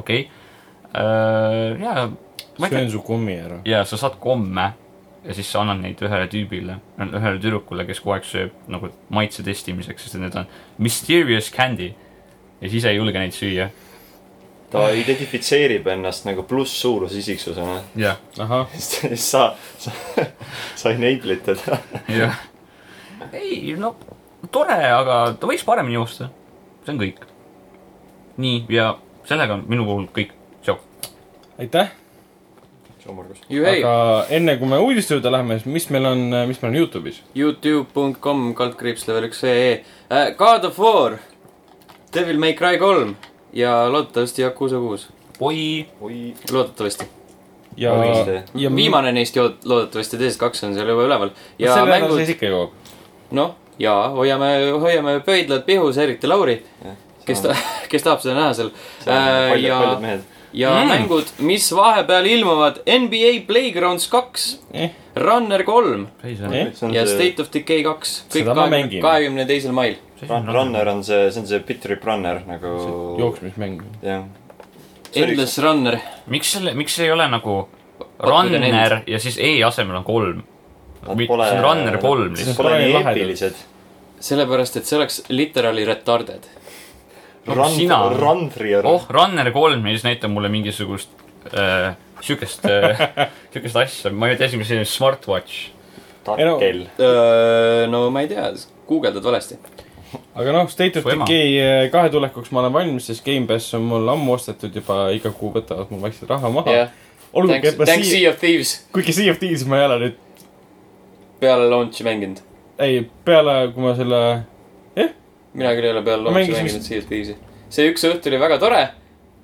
[SPEAKER 4] okei okay. . ja , ma ei tea ,
[SPEAKER 2] söön su kummi ära .
[SPEAKER 4] ja sa saad komme ja siis sa annad neid ühele tüübile , ühele tüdrukule , kes kogu aeg sööb nagu maitse testimiseks , sest et need on mysterious candy ja siis ei julge neid süüa .
[SPEAKER 3] ta identifitseerib ennast nagu plusssuuruse isiksusena .
[SPEAKER 4] jah ,
[SPEAKER 2] ahah ,
[SPEAKER 3] siis sa , sa , sa enable'id teda .
[SPEAKER 4] jah . ei , no tore , aga ta võiks paremini joosta . see on kõik . nii , ja sellega on minu puhul kõik . tšau .
[SPEAKER 2] aitäh ,
[SPEAKER 1] Juhei ,
[SPEAKER 2] aga enne kui me uudiste juurde läheme , siis mis meil on , mis meil on Youtube'is ?
[SPEAKER 1] Youtube.com kaldkriips level üks ee . God of War , Devil May Cry kolm ja loodetavasti Yakuusa kuus ,
[SPEAKER 4] oi ,
[SPEAKER 3] oi ,
[SPEAKER 1] loodetavasti .
[SPEAKER 2] ja
[SPEAKER 3] Uudiste. ,
[SPEAKER 2] ja
[SPEAKER 1] viimane neist jood- loodetavasti , teised kaks on seal juba üleval
[SPEAKER 2] ja
[SPEAKER 1] ja
[SPEAKER 2] selle mängud... ära
[SPEAKER 1] mängud
[SPEAKER 2] siis , ikka jõuab .
[SPEAKER 1] noh , ja hoiame , hoiame pöidlad pihus , eriti Lauri , kes ta , kes tahab seda näha seal .
[SPEAKER 3] paljud ,
[SPEAKER 1] ja ,
[SPEAKER 3] paljud mehed .
[SPEAKER 1] ja
[SPEAKER 4] Mm.
[SPEAKER 1] mm. mängud , mis vahepeal ilmuvad NBA Playgrounds kaks ,
[SPEAKER 2] Eh.
[SPEAKER 1] Runner kolm
[SPEAKER 4] ei see
[SPEAKER 2] Eh?
[SPEAKER 4] on ,
[SPEAKER 3] see on
[SPEAKER 1] ja
[SPEAKER 3] see ,
[SPEAKER 1] State of Decay kaks , kõik
[SPEAKER 2] Seda ma mängin.
[SPEAKER 1] kahekümne teisel mail .
[SPEAKER 4] see on
[SPEAKER 3] Runner on see , see on see Bitrip Runner nagu .
[SPEAKER 2] jooksmismäng .
[SPEAKER 3] jah .
[SPEAKER 1] Endless Runner ,
[SPEAKER 4] miks selle , miks see ei ole nagu
[SPEAKER 1] Pakkuda
[SPEAKER 4] Runner ja siis E asemel on kolm ?
[SPEAKER 3] Nad
[SPEAKER 4] Mi-
[SPEAKER 3] pole-
[SPEAKER 4] see on Runner kolm
[SPEAKER 3] Nad
[SPEAKER 4] lihtsalt .
[SPEAKER 3] pole
[SPEAKER 2] Pole
[SPEAKER 3] nii
[SPEAKER 2] lahedad.
[SPEAKER 3] eepilised .
[SPEAKER 1] sellepärast et see oleks literaali retarded .
[SPEAKER 4] sina.
[SPEAKER 3] Run , Rundri on
[SPEAKER 4] oh , Runner kolm ja siis näitab mulle mingisugust äh, siukest äh, , siukest asja , ma ei tea , mis see on , smartwatch .
[SPEAKER 3] tark
[SPEAKER 2] ei no-
[SPEAKER 3] kell .
[SPEAKER 1] Äh, no ma ei tea , guugeldad valesti .
[SPEAKER 2] aga noh , State of
[SPEAKER 4] Su ema.
[SPEAKER 2] Decay eh, kahe tulekuks ma olen valmis , sest Gamepass on mul ammu ostetud juba , iga kuu võtavad mul vaikselt raha maha .
[SPEAKER 1] jah ,
[SPEAKER 2] Ah, olgugi ,
[SPEAKER 1] thanks
[SPEAKER 2] et , ma
[SPEAKER 1] thanks
[SPEAKER 2] siia ,
[SPEAKER 1] Sea of Thieves
[SPEAKER 2] kuigi Sea of Thieves ma ei ole nüüd ,
[SPEAKER 1] peale launch'i mänginud .
[SPEAKER 2] ei , peale , kui ma selle ,
[SPEAKER 1] mina küll ei ole peale
[SPEAKER 2] Ma
[SPEAKER 1] launch'i
[SPEAKER 2] mängisin
[SPEAKER 1] mänginud Sea of Thieves'i . see üks õht oli väga tore ,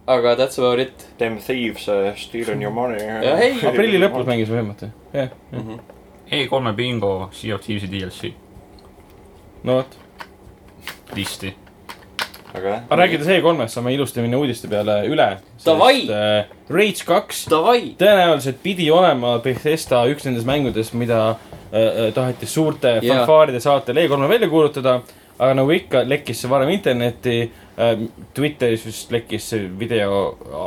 [SPEAKER 1] aga that's about it .
[SPEAKER 3] Them thieves uh, stealing your money .
[SPEAKER 1] Ja hei,
[SPEAKER 2] aprilli lõpus mängisime viimati , jah ,
[SPEAKER 4] E3-e E bingo , Sea of Thieves'i DLC
[SPEAKER 2] no vot .
[SPEAKER 4] listi .
[SPEAKER 3] aga jah
[SPEAKER 2] aga . rääkides E3-st , saame ilusti minna uudiste peale üle .
[SPEAKER 1] Davai!
[SPEAKER 2] äh, Rage kaks
[SPEAKER 1] Davai ,
[SPEAKER 2] tõenäoliselt pidi olema Bethesda üks nendest mängudest , mida äh, äh, taheti suurte
[SPEAKER 1] Jaa.
[SPEAKER 2] fanfaaride saatel E3-e välja kuulutada . aga nagu ikka , lekkis see varem internetti äh, . Twitteris vist lekkis see video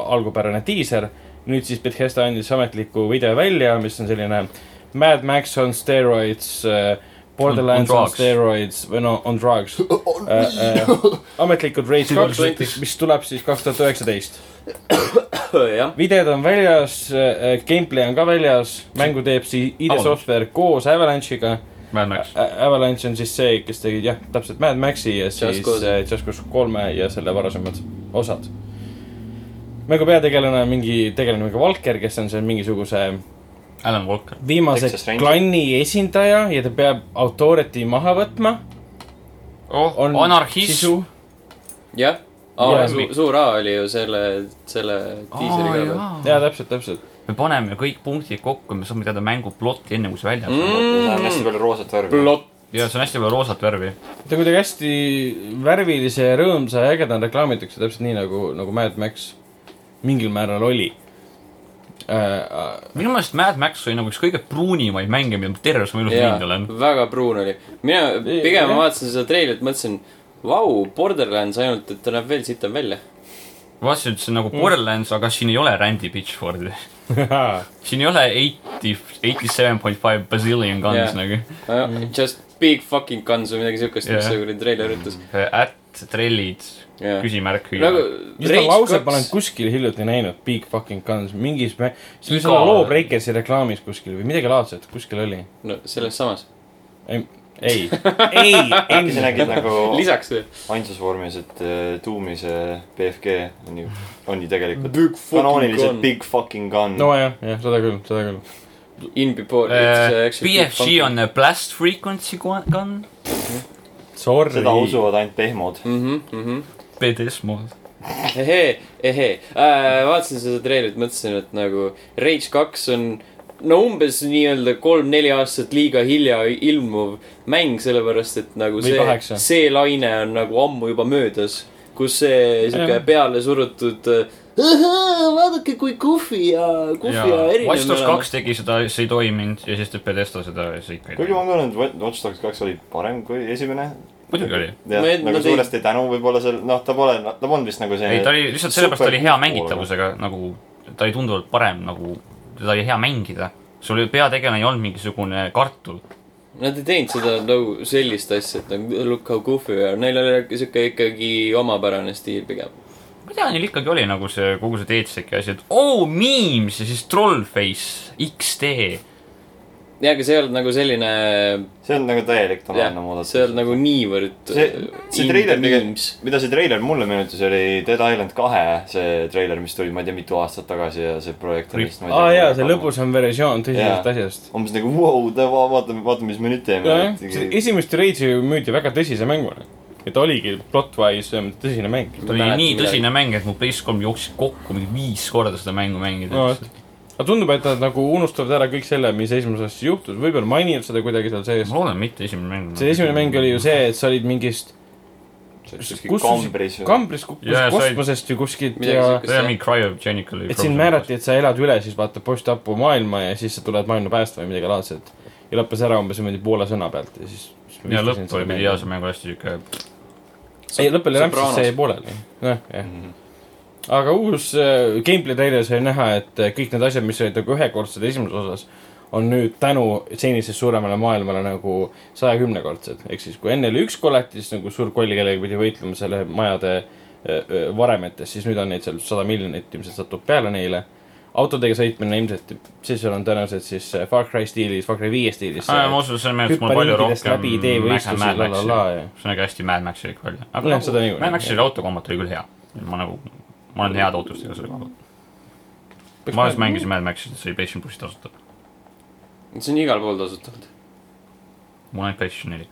[SPEAKER 2] algupärane diiser . nüüd siis Bethesda andis ametliku video välja , mis on selline Mad Max on steroids äh, . Borderlands on, on
[SPEAKER 4] drugs.
[SPEAKER 2] steroids või no on drugs . Äh, äh, ametlikult Rage kaks , mis tuleb siis kaks tuhat üheksateist .
[SPEAKER 1] jah .
[SPEAKER 2] videod on väljas , gameplay on ka väljas , mängu teeb siis ID
[SPEAKER 4] Avalanche.
[SPEAKER 2] Software koos Avalanche'iga .
[SPEAKER 4] Mad Max .
[SPEAKER 2] Avalanche on siis see , kes tegi jah , täpselt Mad Maxi ja siis
[SPEAKER 1] Cause'i.
[SPEAKER 2] äh, Just Cause kolme ja selle varasemad osad . mängu peategelane on mingi tegelane nagu Valker , kes on seal mingisuguse
[SPEAKER 4] Alan Walker .
[SPEAKER 2] viimase
[SPEAKER 3] Texas Ranger.
[SPEAKER 2] klanni esindaja ja ta peab authority maha võtma .
[SPEAKER 4] oh , anarhism .
[SPEAKER 1] jah ,
[SPEAKER 2] Jaa.
[SPEAKER 1] suur A oli ju selle , selle diiseli ka .
[SPEAKER 2] jaa , täpselt , täpselt .
[SPEAKER 4] me paneme kõik punktid kokku , me saame teada mängu plotti enne , kui see väljas on mm. .
[SPEAKER 3] seal on hästi palju roosat värvi .
[SPEAKER 1] plott .
[SPEAKER 4] ja see on hästi palju roosat värvi .
[SPEAKER 2] ta kuidagi hästi värvilise ja rõõmsa ja ägeda on reklaamitakse täpselt nii nagu , nagu Mad Max mingil määral oli äh, .
[SPEAKER 4] minu meelest Mad Max oli nagu üks kõige pruunimaid mänge , mida ma terves oma elus näinud
[SPEAKER 1] jaa
[SPEAKER 4] olen .,
[SPEAKER 1] väga pruun oli . mina
[SPEAKER 2] Ei,
[SPEAKER 1] pigem
[SPEAKER 2] jah.
[SPEAKER 1] ma vaatasin seda treilit , mõtlesin , vau , Borderlands ainult , et ta näeb veel sitem välja .
[SPEAKER 4] vaatasin , et see on nagu
[SPEAKER 1] Mm.
[SPEAKER 4] Borderlands , aga siin ei ole Randy Pitchfordi .
[SPEAKER 2] äh,
[SPEAKER 4] siin ei ole eighty , eighty seven point five bazillion guns
[SPEAKER 1] Jaa.
[SPEAKER 4] yeah. nagu .
[SPEAKER 1] Just big fucking guns või midagi siukest , mis
[SPEAKER 4] Jah.
[SPEAKER 1] see kuradi treiler ütles .
[SPEAKER 4] Äh, At trellid , küsimärk .
[SPEAKER 1] nagu
[SPEAKER 2] seda lauset ma olen
[SPEAKER 1] kaks ,
[SPEAKER 2] kuskil hiljuti näinud , big fucking guns , mingis mä- , see oli
[SPEAKER 4] Iga-
[SPEAKER 2] selle loo Breakersi reklaamis kuskil või midagi laadset , kuskil oli .
[SPEAKER 1] no selles samas ,
[SPEAKER 2] ei , ei , ei
[SPEAKER 3] äkki sa nägid nagu
[SPEAKER 1] lisaks või ?
[SPEAKER 3] ainsas vormis , et eh, Doom'i see BFG on ju , on ju tegelikult
[SPEAKER 1] Big fucking
[SPEAKER 3] kanooniliselt
[SPEAKER 1] gun .
[SPEAKER 3] big fucking gun .
[SPEAKER 2] nojah , jah , seda küll , seda küll .
[SPEAKER 1] In before
[SPEAKER 4] Äh,
[SPEAKER 1] it's äh, actually big
[SPEAKER 4] BFG
[SPEAKER 1] fucking-
[SPEAKER 4] on a blast frequency gu- gun ,
[SPEAKER 2] Sorry .
[SPEAKER 3] seda usuvad ainult pehmod .
[SPEAKER 1] mhm , mhm .
[SPEAKER 4] BDS mood .
[SPEAKER 1] ehee , ehee äh, . vaatasin seda treilit , mõtlesin , et nagu Rage kaks on no umbes nii-öelda kolm-neli aastat liiga hilja ilmuv mäng , sellepärast et nagu
[SPEAKER 2] Või
[SPEAKER 1] see ,
[SPEAKER 2] kaheksa.
[SPEAKER 1] see laine on nagu ammu juba möödas , kus see sihuke
[SPEAKER 2] Jah.
[SPEAKER 1] peale surutud äh, vaadake , kui kuhvi ja , kuhvi ja
[SPEAKER 4] Watch
[SPEAKER 1] erinev
[SPEAKER 4] Dogs kaks tegi seda , see ei toiminud ja siis teeb BDS-ta seda ja see ikka ei
[SPEAKER 3] kuigi ma kuulen ,
[SPEAKER 4] toimi .
[SPEAKER 3] et Watch Dogs kaks oli parem kui esimene .
[SPEAKER 4] muidugi oli .
[SPEAKER 3] jah
[SPEAKER 1] Ma ei- ,
[SPEAKER 3] nagu
[SPEAKER 1] nad ei-
[SPEAKER 3] suuresti tänu võib-olla seal , noh , ta pole , ta on vist nagu
[SPEAKER 4] ei , ta
[SPEAKER 3] see .
[SPEAKER 4] oli lihtsalt sellepärast , ta oli hea
[SPEAKER 3] Super-
[SPEAKER 4] mängitavusega nagu , ta oli tunduvalt parem nagu , teda oli hea mängida . sul oli- peategelane ei olnud mingisugune kartul .
[SPEAKER 1] Nad ei teinud seda nagu sellist asja , et nagu look how goofy we are , neil oli sihuke ikkagi omapärane stiil pigem .
[SPEAKER 4] ma ei tea , neil ikkagi oli nagu see kogu see teeduseki asi , et oo oh, , memes ja siis trollface , XD .
[SPEAKER 1] ja , aga see ei olnud nagu selline
[SPEAKER 3] see on nagu täielik tonaalne
[SPEAKER 1] jah ,
[SPEAKER 3] muudatus
[SPEAKER 1] see . on nagu niivõrd äh,
[SPEAKER 3] see , see treiler tegelikult
[SPEAKER 1] tegelikult ,
[SPEAKER 3] mida see treiler mulle meenutas , oli Dead Island kahe see treiler , mis tuli , ma ei tea , mitu aastat tagasi ja see projekt on
[SPEAKER 4] Rip-
[SPEAKER 3] vist .
[SPEAKER 2] aa jaa , see . lõbusam versioon tõsisest
[SPEAKER 3] Jaa.
[SPEAKER 2] asjast .
[SPEAKER 3] umbes nagu vau , vaatame , vaatame , mis me nüüd
[SPEAKER 2] nojah ,
[SPEAKER 3] teeme .
[SPEAKER 2] esimest Rage'i müüdi väga tõsise mänguna . et oligi plot-wise ähm, tõsine mäng .
[SPEAKER 4] ta oli
[SPEAKER 1] mäletan
[SPEAKER 4] nii
[SPEAKER 1] midagi.
[SPEAKER 4] tõsine mäng , et mu PS3 jooksis kokku mingi viis korda seda mängu
[SPEAKER 2] no
[SPEAKER 4] mängides
[SPEAKER 2] vot . Noh, aga tundub , et nad nagu unustavad ära kõik selle , mis esimeses asjas juhtus , võib-olla mainivad seda kuidagi seal sees
[SPEAKER 4] ma . loodan , mitte esimene mäng .
[SPEAKER 2] see esimene mäng oli ju see , et sa olid mingist kus sa siis-
[SPEAKER 3] kambris ju .
[SPEAKER 2] kambris ,
[SPEAKER 4] Jaa,
[SPEAKER 2] kukkus
[SPEAKER 4] sa olid-
[SPEAKER 2] kosmosest ju kuskilt
[SPEAKER 1] Midagi
[SPEAKER 2] ja
[SPEAKER 1] siukest.
[SPEAKER 4] see oli mingi cryogenic oli .
[SPEAKER 2] et sind määrati , et sa elad üle siis vaata post-apu maailma ja siis sa tuled maailma päästma või midagi laadset . ja lõppes ära umbes niimoodi poole sõna pealt ja siis .
[SPEAKER 4] ja lõpp oli pidi jaa , see mäng oli hästi siuke ,
[SPEAKER 2] ei , lõpp oli rämpsist , see jäi pooleli . jah , jah .
[SPEAKER 4] Mhm.
[SPEAKER 2] aga uus äh, gameplay treiler sai näha , et äh, kõik need asjad , mis olid nagu ühekordsed esimeses osas , on nüüd tänu senisest suuremale maailmale nagu saja kümnekordsed . ehk siis , kui enne oli üks koletis nagu suur koll , kellega pidi võitlema selle majade äh, äh, varemetes , siis nüüd on neid seal sada miljonit ilmselt satub peale neile . autodega sõitmine ilmselt , siis seal on tõenäoliselt siis äh, Far Cry stiilis , Far Cry viie stiilis .
[SPEAKER 4] ma usun , see meenutas mulle palju
[SPEAKER 2] hüpparingidest
[SPEAKER 4] rohkem
[SPEAKER 2] läbi teevõistlusi ,
[SPEAKER 4] Mad
[SPEAKER 2] la la la
[SPEAKER 4] Maxi .
[SPEAKER 2] ja .
[SPEAKER 4] see on ikka hästi Mad Maxilik välja . aga
[SPEAKER 2] Jah, seda
[SPEAKER 4] nagu
[SPEAKER 2] niikuinii,
[SPEAKER 4] Mad Maxi
[SPEAKER 2] jah.
[SPEAKER 4] autokombat oli küll hea . ma nagu , ma olen head ootustega selle koha pealt . ma alles mängisin Mad Maxi , see oli PlayStation plussi tasuta .
[SPEAKER 1] see on igal pool tasutud .
[SPEAKER 4] mul on ainult PlayStation neli .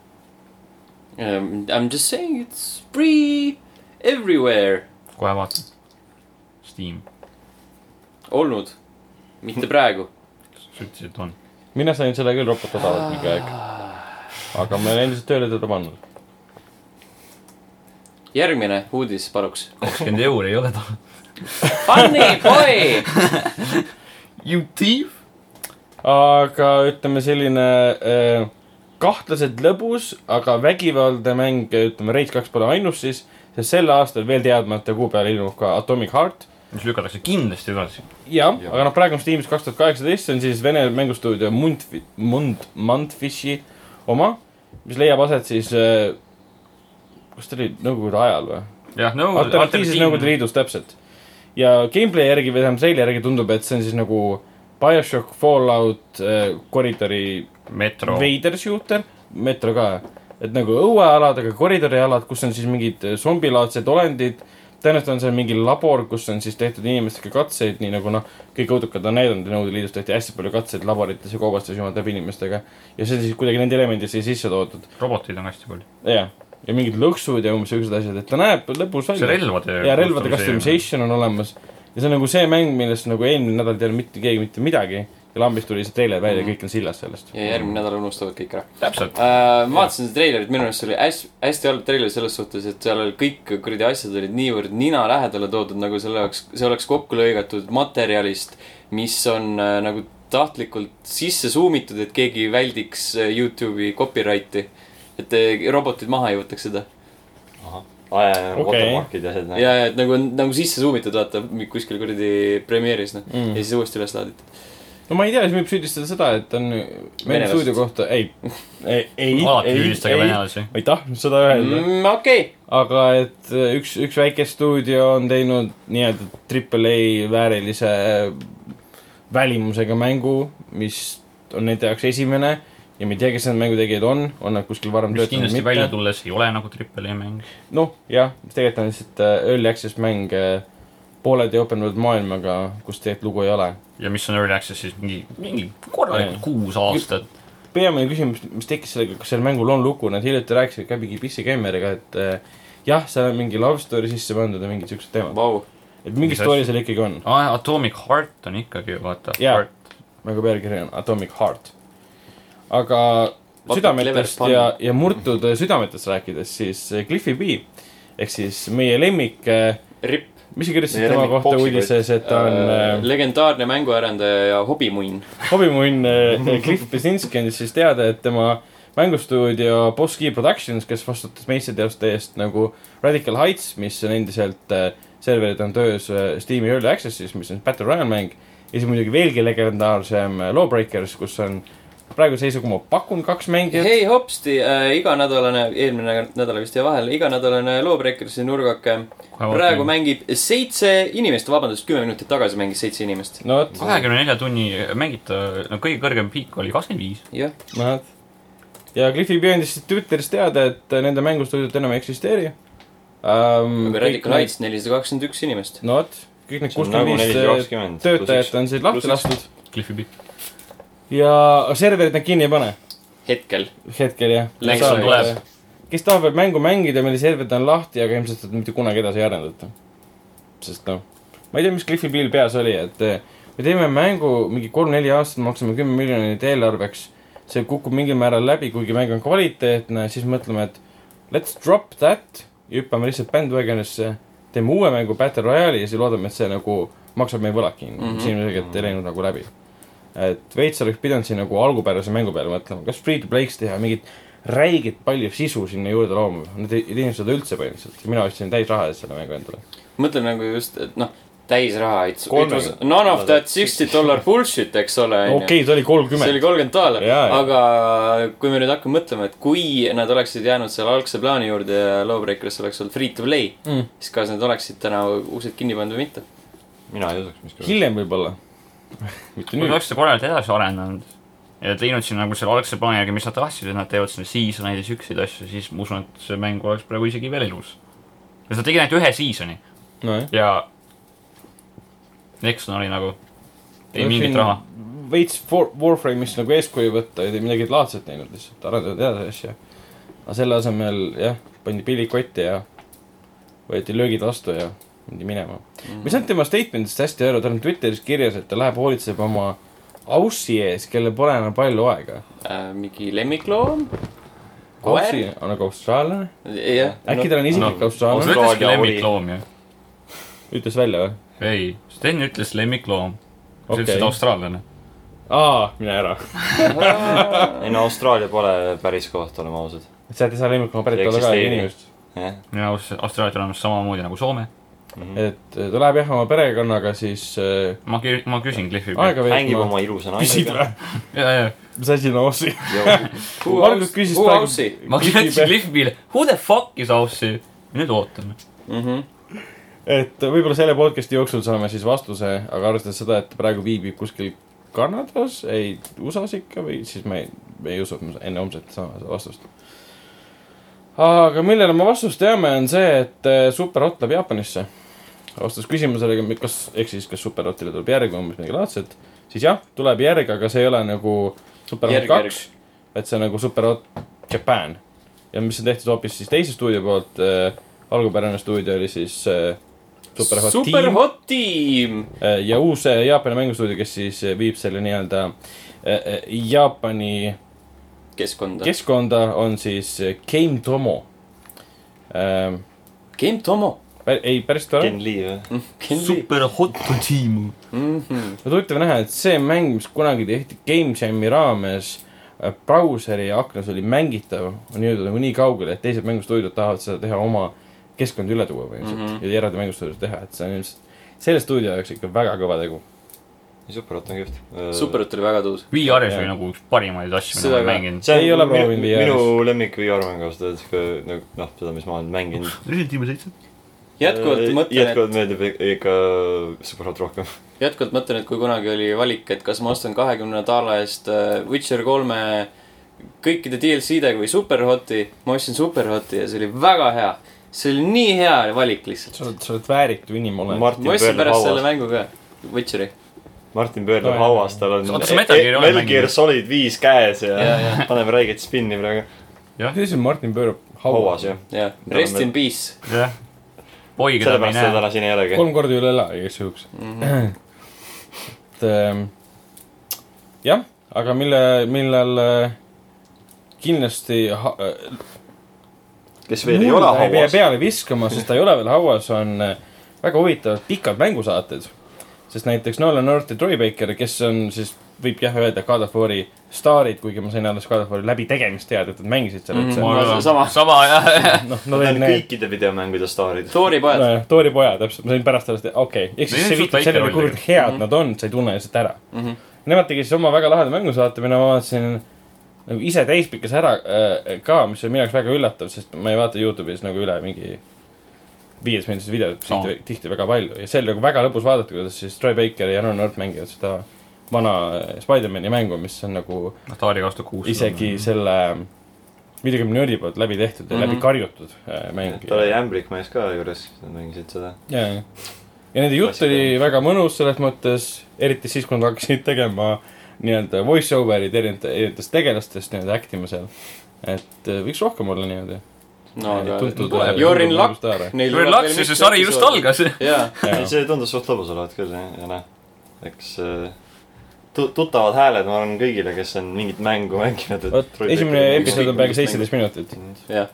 [SPEAKER 1] I m Um, just saying it's free everywhere
[SPEAKER 4] kohe vaatan . Steam ,
[SPEAKER 1] olnud , mitte praegu .
[SPEAKER 4] sa ütlesid , et on .
[SPEAKER 2] mina sain selle küll ropult odavalt mingi aeg . aga ma olen endiselt tööle teda pannud .
[SPEAKER 1] järgmine uudis , paluks .
[SPEAKER 4] kakskümmend euri ei ole ta .
[SPEAKER 1] Funny boy ,
[SPEAKER 4] You thief ?
[SPEAKER 2] aga ütleme selline äh, kahtlaselt lõbus , aga vägivaldne mäng , ütleme Rage kaks pole ainus siis , sest sel aastal veel teadmata kuupäeval ilmub ka Atomic Heart .
[SPEAKER 4] mis lükatakse kindlasti edasi .
[SPEAKER 2] jah ja. ,
[SPEAKER 3] Jah.
[SPEAKER 2] aga noh , praegu on Steamis kaks tuhat kaheksateist , see on siis Vene mängustuudio Mundfi- , Mund- , Mundfishi oma , mis leiab aset siis äh, kas ta oli Nõukogude ajal või ?
[SPEAKER 4] jah , Nõukogude ,
[SPEAKER 2] alternatiivses Nõukogude . Liidus , täpselt . ja gameplay järgi või tähendab seili järgi tundub , et see on siis nagu BioShock , Fallout äh, koridori
[SPEAKER 4] Metro .
[SPEAKER 2] veider shooter , metro ka . et nagu õuealadega koridorialad , kus on siis mingid äh, zombilaadsed olendid , tõenäoliselt on seal mingi labor , kus on siis tehtud inimestega katseid , nii nagu noh , kõik õudukad on näidanud , Nõukogude Liidus tehti hästi palju katseid laborites ja kaubastes jumal teab inimestega . ja see on siis kuidagi nende elemendid siia sisse toodud .
[SPEAKER 4] roboteid on hästi palju .
[SPEAKER 2] jah , ja mingid lõksud ja umbes siuksed asjad , et ta näeb lõbus
[SPEAKER 4] see
[SPEAKER 2] välja .
[SPEAKER 4] relvade .
[SPEAKER 2] ja relvade . customization on olemas ja see on nagu see mäng , millest nagu eelmine nädal ei teadnud mitte keegi mitte midagi ja lambist tuli see treiler välja mm. , kõik on sillas sellest .
[SPEAKER 1] ja järgmine nädal unustavad kõik ära .
[SPEAKER 4] täpselt ,
[SPEAKER 1] Äh, ma vaatasin seda treilerit , minu meelest see oli hästi , hästi halb treiler selles suhtes , et seal oli kõik kuradi asjad olid niivõrd nina lähedale toodud , nagu selle jaoks , see oleks kokku lõigatud materjalist , mis on äh, nagu tahtlikult sisse suumitud , et keegi väldiks äh, Youtube'i copyright'i . et äh, robotid maha ei võtaks seda .
[SPEAKER 3] aa jaa , jaa ,
[SPEAKER 2] Okei.
[SPEAKER 3] watermarkid ja asjad ,
[SPEAKER 1] ja , ja et nagu , nagu sisse suumitud , vaata , kuskil kuradi Premiere'is , noh . ja
[SPEAKER 2] Mm.
[SPEAKER 1] siis uuesti üles laaditi .
[SPEAKER 2] no ma ei tea , siis võib süüdistada seda , et on meie
[SPEAKER 1] Venelast.
[SPEAKER 2] stuudio kohta , ei , ei , ei ,
[SPEAKER 4] alati
[SPEAKER 2] ei ,
[SPEAKER 4] süüdistage
[SPEAKER 2] ei ,
[SPEAKER 4] venelasi .
[SPEAKER 2] ma ei tahtnud seda öelda mm. ,
[SPEAKER 1] okei ,
[SPEAKER 2] aga et äh, üks , üks väike stuudio on teinud nii-öelda triple A väärilise äh, välimusega mängu , mis on nende jaoks esimene ja me ei tea , kes need mängutegijad on , on nad kuskil varem
[SPEAKER 4] mis
[SPEAKER 2] töötanud
[SPEAKER 4] kindlasti
[SPEAKER 2] või
[SPEAKER 4] välja
[SPEAKER 2] mitte .
[SPEAKER 4] tulles ei ole nagu triple A mäng .
[SPEAKER 2] noh , jah , tegelikult on lihtsalt äh, early access mäng äh, poole tee open world maailmaga , kus tegelikult lugu ei ole .
[SPEAKER 4] ja mis on early access'is mingi , mingi korralikult
[SPEAKER 2] Jah.
[SPEAKER 4] kuus aastat .
[SPEAKER 2] peamine küsimus , mis tekkis sellega , kas sellel mängul on lugu , nad hiljuti rääkisid ka mingi PC Gameriga , et äh, jah , seal on mingi love story sisse pandud ja mingid siuksed teemad ,
[SPEAKER 1] vau .
[SPEAKER 2] et mingi
[SPEAKER 4] Mis
[SPEAKER 2] story seal ikkagi on .
[SPEAKER 4] aa , Ah, Atomic Heart on ikkagi ju vaata .
[SPEAKER 2] Jaa. nagu pealkiri on Atomic Heart . aga
[SPEAKER 1] Vaata, clever
[SPEAKER 2] südametest
[SPEAKER 1] pun.
[SPEAKER 2] ja , ja murtud südametest rääkides , siis äh, Cliffi B ehk siis meie lemmik ,
[SPEAKER 1] ripp .
[SPEAKER 2] mis sa kirjutasid
[SPEAKER 3] Meie
[SPEAKER 2] tema
[SPEAKER 3] lemmik
[SPEAKER 2] kohta
[SPEAKER 3] poksikott.
[SPEAKER 2] uudises , et ta on äh,
[SPEAKER 1] legendaarne mänguarendaja ja hobimunn .
[SPEAKER 2] hobimunn äh, Cliff Bezinski andis siis teada , et tema mängustuudio Boss Key Productions , kes vastutas meistriteoste eest nagu Radical Heights , mis on endiselt äh, , serverid on töös äh, Steam'i Early Access'is , mis on siis Battle Royale mäng . ja siis muidugi veelgi legendaarsem äh, Lawbreakers , kus on praeguse seisuga ma pakun kaks mängijat .
[SPEAKER 1] hei hopsti äh, , iganädalane , eelmine nädal vist jäi vahele , iganädalane Lawbreakersi nurgake . praegu mängib seitse inimest , vabandust , kümme minutit tagasi mängis seitse inimest .
[SPEAKER 2] no vot ,
[SPEAKER 4] kahekümne nelja tunni mängita , no kõige kõrgem piik oli kakskümmend viis .
[SPEAKER 1] jah ,
[SPEAKER 2] näed . ja Cliffi B andis siis Twitteris teada , et äh, nende mängustuudiot enam ei eksisteeri um,
[SPEAKER 1] aga Radical . Heights nelisada kakskümmend üks inimest .
[SPEAKER 2] no vot , kõik need
[SPEAKER 3] see on nagu
[SPEAKER 2] kuuskümmend
[SPEAKER 3] nelisada
[SPEAKER 2] viis äh, eh,
[SPEAKER 3] kakskümmend .
[SPEAKER 2] töötajat on siit lahti
[SPEAKER 3] Pluss üks.
[SPEAKER 2] lastud .
[SPEAKER 4] Cliffi Bit .
[SPEAKER 2] ja serverit nad kinni ei pane .
[SPEAKER 1] hetkel .
[SPEAKER 2] hetkel jah .
[SPEAKER 1] Läks
[SPEAKER 4] on tuleb. .
[SPEAKER 2] kes tahab veel mängu mängida , meil serverid on lahti , aga ilmselt seda mitte kunagi edasi ei arendata . sest noh , ma ei tea , mis Cliffi Bill peas oli , et eh, me teeme mängu mingi kolm-neli aastat , maksame kümme miljonit eelarveks . see kukub mingil määral läbi , kuigi mäng on kvaliteetne , siis mõtleme , et let's drop that ja hüppame lihtsalt bandwagonisse . teeme uue mängu Battle Royale'i ja siis loodame , et see nagu maksab meie võlad kinni mm
[SPEAKER 1] Mhm.
[SPEAKER 2] -hmm. . see ilmselgelt ei läinud nagu läbi . et veits oleks pidanud siin nagu algupärase mängu peale mõtlema , kas Free to Play'ks teha mingit räiget palju sisu sinna juurde looma , nad ei ei teinud seda üldse põhimõtteliselt , mina ostsin täis raha eest selle mängu endale .
[SPEAKER 1] mõtlen nagu just , et noh , täis raha , it's , it
[SPEAKER 3] Kolmega.
[SPEAKER 1] was none of that sixty dollar bullshit , eks ole .
[SPEAKER 2] okei okay, , see oli
[SPEAKER 1] see oli
[SPEAKER 2] kolmkümmend .
[SPEAKER 1] kolmkümmend dollar ,
[SPEAKER 2] Jaa, jaa.
[SPEAKER 1] aga kui me nüüd hakkame mõtlema , et kui nad oleksid jäänud selle algse plaani juurde ja Lawbreakers oleks olnud free to play
[SPEAKER 2] Mm.
[SPEAKER 1] siis kas nad oleksid täna uksed kinni pannud või mitte ?
[SPEAKER 3] mina ei usuks , mis küll .
[SPEAKER 2] hiljem võib-olla . mitte
[SPEAKER 4] kui te
[SPEAKER 2] nüüd .
[SPEAKER 4] oleksite korralikult edasi arendanud ja teinud siin nagu selle algse plaani järgi , mis nad tahtsid , et nad teevad sinna seasoneid ja siukseid asju , siis ma usun , et see mäng oleks praegu isegi veel elus . sest nad tegid ainult ühe seasoni
[SPEAKER 2] nojah .
[SPEAKER 4] ja Nexon oli nagu , ei mingit raha ..
[SPEAKER 2] veits for- Warframe'ist nagu eeskuju võtta , ei midagi laadset teinud lihtsalt , arendavad edasi asja . aga selle asemel jah , pandi pillid kotti ja võeti löögid vastu ja mindi minema . ma ei saanud tema statement'ist hästi aru , tal on Twitteris kirjas , et ta läheb hoolitseb oma aussi ees , kellel pole enam palju aega .
[SPEAKER 1] äh, mingi lemmikloom ? Koer?
[SPEAKER 2] aussi on nagu austraallane ,
[SPEAKER 1] jah .
[SPEAKER 2] äkki tal on isiklik no,
[SPEAKER 4] sa
[SPEAKER 2] austraallane ,
[SPEAKER 3] Austraalia
[SPEAKER 4] ütlesidki
[SPEAKER 3] oli-
[SPEAKER 4] lemmikloom ju ?
[SPEAKER 2] ütles välja või ?
[SPEAKER 4] ei , Sten ütles lemmikloom . sa
[SPEAKER 2] Okei.
[SPEAKER 4] okay. ütlesid austraallane .
[SPEAKER 2] aa , mine ära .
[SPEAKER 3] ei no Austraalia pole päris koht , oleme ausad .
[SPEAKER 2] sealt ei saa lemmikuma päritolu ka
[SPEAKER 3] eksisteeri.
[SPEAKER 2] inimest .
[SPEAKER 3] jah ,
[SPEAKER 4] minu arust Austraalia on samamoodi nagu Soome .
[SPEAKER 2] et eh, ta läheb jah oma perekonnaga siis äh,
[SPEAKER 4] ma kir- , ma küsin Cliffi pealt .
[SPEAKER 2] aega
[SPEAKER 3] mängib
[SPEAKER 2] veetma .
[SPEAKER 3] oma ilusa
[SPEAKER 2] küsid
[SPEAKER 3] naisega .
[SPEAKER 2] või ?
[SPEAKER 4] ja , ja ,
[SPEAKER 2] mis asi on aussi ? Margus küsis
[SPEAKER 1] praegu .
[SPEAKER 2] praegu-
[SPEAKER 1] Aussi
[SPEAKER 4] ma kirjutasin Cliffi peale , who the fuck is Aussie ? nüüd ootame .
[SPEAKER 1] mm . -hmm.
[SPEAKER 2] et võib-olla selle podcast'i jooksul saame siis vastuse , aga arvestades seda , et ta praegu viibib kuskil Kanadas , ei , USA-s ikka või siis me , me ei usu , et me enne homset saame seda vastust . aga millele me vastust teame , on see , et eh, Superhot läheb Jaapanisse . vastus küsimusele , kas , ehk siis kas Superhotile tuleb järg või umbes midagi laadset , siis jah , tuleb järg , aga see ei ole nagu Superhot
[SPEAKER 1] Järg-
[SPEAKER 2] kaks , et see on nagu Superhot Jaapan . ja mis on tehtud hoopis siis teise stuudio poolt . algupärane stuudio oli siis äh, Superhot
[SPEAKER 1] super
[SPEAKER 2] Team
[SPEAKER 1] hot tiim .
[SPEAKER 2] Äh, ja uus äh, Jaapani mängustuudio , kes siis äh, viib selle nii-öelda äh, äh, Jaapani
[SPEAKER 1] keskkonda .
[SPEAKER 2] keskkonda , on siis äh, Game Tomo .
[SPEAKER 1] Game Tomo . Mhm.
[SPEAKER 2] ei , päris tore .
[SPEAKER 3] Ken Lee või ?
[SPEAKER 4] super hot tiim .
[SPEAKER 2] no huvitav näha , et see mäng , mis kunagi tehti Game Jam'i raames äh, brauseri aknas oli mängitav , on jõudnud nagu nii kaugele , et teised mängustuudiod tahavad seda teha oma keskkonda üle tuua põhimõtteliselt mm -hmm. ja eraldi mängustuudiod teha , et see on ilmselt selle stuudio jaoks ikka väga kõva tegu .
[SPEAKER 3] Superhot on kihvt . Äh,
[SPEAKER 1] Superhot oli väga tõus .
[SPEAKER 4] VR-is oli nagu üks parimaid asju , mida ma
[SPEAKER 1] Seda
[SPEAKER 4] olen
[SPEAKER 1] ka.
[SPEAKER 4] mänginud .
[SPEAKER 3] see on
[SPEAKER 2] Ei ole proovinud
[SPEAKER 3] minu,
[SPEAKER 2] VR-is.
[SPEAKER 3] minu lemmik VR-mäng ausalt öeldes , nagu noh , seda , mis ma olen mänginud .
[SPEAKER 4] Resident Evil seitse .
[SPEAKER 1] jätkuvalt mõtlen ,
[SPEAKER 3] Äh, jätkuvalt meeldib ik- ikka Superhot rohkem .
[SPEAKER 1] et , jätkuvalt mõtlen , et kui kunagi oli valik , et kas ma ostan kahekümne taala eest äh, Witcher kolme kõikide DLC-dega või Superhoti , ma ostsin Superhoti ja see oli väga hea . see oli nii hea valik lihtsalt .
[SPEAKER 2] sa oled , sa oled vääritu inimene .
[SPEAKER 3] Martin
[SPEAKER 1] ma ostsin
[SPEAKER 3] Pöörleb
[SPEAKER 1] pärast selle
[SPEAKER 3] hauas ,
[SPEAKER 1] mängu ka , Witcheri .
[SPEAKER 3] Martin
[SPEAKER 2] No
[SPEAKER 3] Pöörleb
[SPEAKER 2] jaa.
[SPEAKER 3] hauas , tal on
[SPEAKER 4] Oota, sa Metal Gear'i ei ole
[SPEAKER 3] Metal Gear
[SPEAKER 4] mänginud?
[SPEAKER 3] Solid viis käes
[SPEAKER 1] Jaa,
[SPEAKER 3] ja paneme räiget spinni praegu .
[SPEAKER 2] kuidas see Martin pöörab
[SPEAKER 3] hauas
[SPEAKER 2] hauas ?
[SPEAKER 3] jah .
[SPEAKER 1] jah ,
[SPEAKER 3] Me
[SPEAKER 1] Rest
[SPEAKER 3] oleme-
[SPEAKER 1] in Peace .
[SPEAKER 4] jah . oi , keda me
[SPEAKER 3] sellepärast
[SPEAKER 4] ei
[SPEAKER 3] seda
[SPEAKER 4] näe .
[SPEAKER 3] täna siin ei olegi .
[SPEAKER 2] kolm korda üle ela igaks juhuks mm . -hmm. et ähm, jah , aga mille , millal äh, kindlasti ha- äh,
[SPEAKER 3] kes veel ei ole
[SPEAKER 2] mulda pea
[SPEAKER 3] hauas .
[SPEAKER 2] peale viskama , sest ta ei ole veel hauas , on äh, väga huvitavad pikad mängusaated . sest näiteks Nolan North ja Troy Baker , kes on siis , võib jah öelda , God of War'i staarid , kuigi ma sain alles God of War'i läbitegemist teada , et nad mängisid seal
[SPEAKER 1] Mhm.
[SPEAKER 2] üldse
[SPEAKER 1] Ma-
[SPEAKER 2] mm
[SPEAKER 1] sama.
[SPEAKER 4] sama jah .
[SPEAKER 2] -hmm. . noh , nad
[SPEAKER 3] Nad on
[SPEAKER 2] olid need
[SPEAKER 3] kõikide videomängude staarid .
[SPEAKER 1] Tori pojad .
[SPEAKER 2] nojah , Tori poja , täpselt , ma sain pärast sellest , okei okay. , ehk siis
[SPEAKER 4] Neil
[SPEAKER 2] see
[SPEAKER 4] on
[SPEAKER 2] viitab
[SPEAKER 4] suht väike
[SPEAKER 2] sellele ,
[SPEAKER 4] roll
[SPEAKER 2] kuivõrd
[SPEAKER 4] tegelikult.
[SPEAKER 2] head nad on , sa ei tunne lihtsalt ära mm .
[SPEAKER 1] Mhm.
[SPEAKER 2] -hmm. Nemad tegid siis oma väga laheda mängusaate , mida ma vaatasin nagu ise täispikas ära äh, ka , mis oli minu jaoks väga üllatav , sest ma ei vaata Youtube'is nagu üle mingi viies minutis videot
[SPEAKER 4] No.
[SPEAKER 2] tihti, tihti väga palju ja see oli nagu väga lõbus vaadata , kuidas siis Troy Baker ja Aaron North mängivad seda vana äh, Spider-man'i mängu , mis on nagu
[SPEAKER 4] Atari kaks tuhat kuus .
[SPEAKER 2] isegi . selle viiekümne nördi poolt läbi tehtud ja
[SPEAKER 1] Mhm.
[SPEAKER 2] mm -hmm. läbi karjutud äh, mäng .
[SPEAKER 3] tal oli ämblik mees ka juures , nad mängisid seda .
[SPEAKER 2] ja , ja , ja nende jutt oli
[SPEAKER 3] Klassikaline.
[SPEAKER 2] väga mõnus selles mõttes , eriti siis , kui nad hakkasid tegema nii-öelda voice over'id erinevate , erinevatest tegelastest nii-öelda actima seal . et eh, võiks rohkem olla niimoodi .
[SPEAKER 1] no aga
[SPEAKER 2] Tuntud-
[SPEAKER 1] you are in luck .
[SPEAKER 2] You
[SPEAKER 4] Relax , see sari just . algas .
[SPEAKER 1] jaa ,
[SPEAKER 3] ei , see tundus suht lõbus olevat küll jah , ja noh , eks äh, tu- tuttavad hääled , ma arvan kõigile , kes on mingit mängu mänginud .
[SPEAKER 2] vot esimene episood on peaaegu
[SPEAKER 1] millist
[SPEAKER 2] seitseteist minutit .
[SPEAKER 1] jah .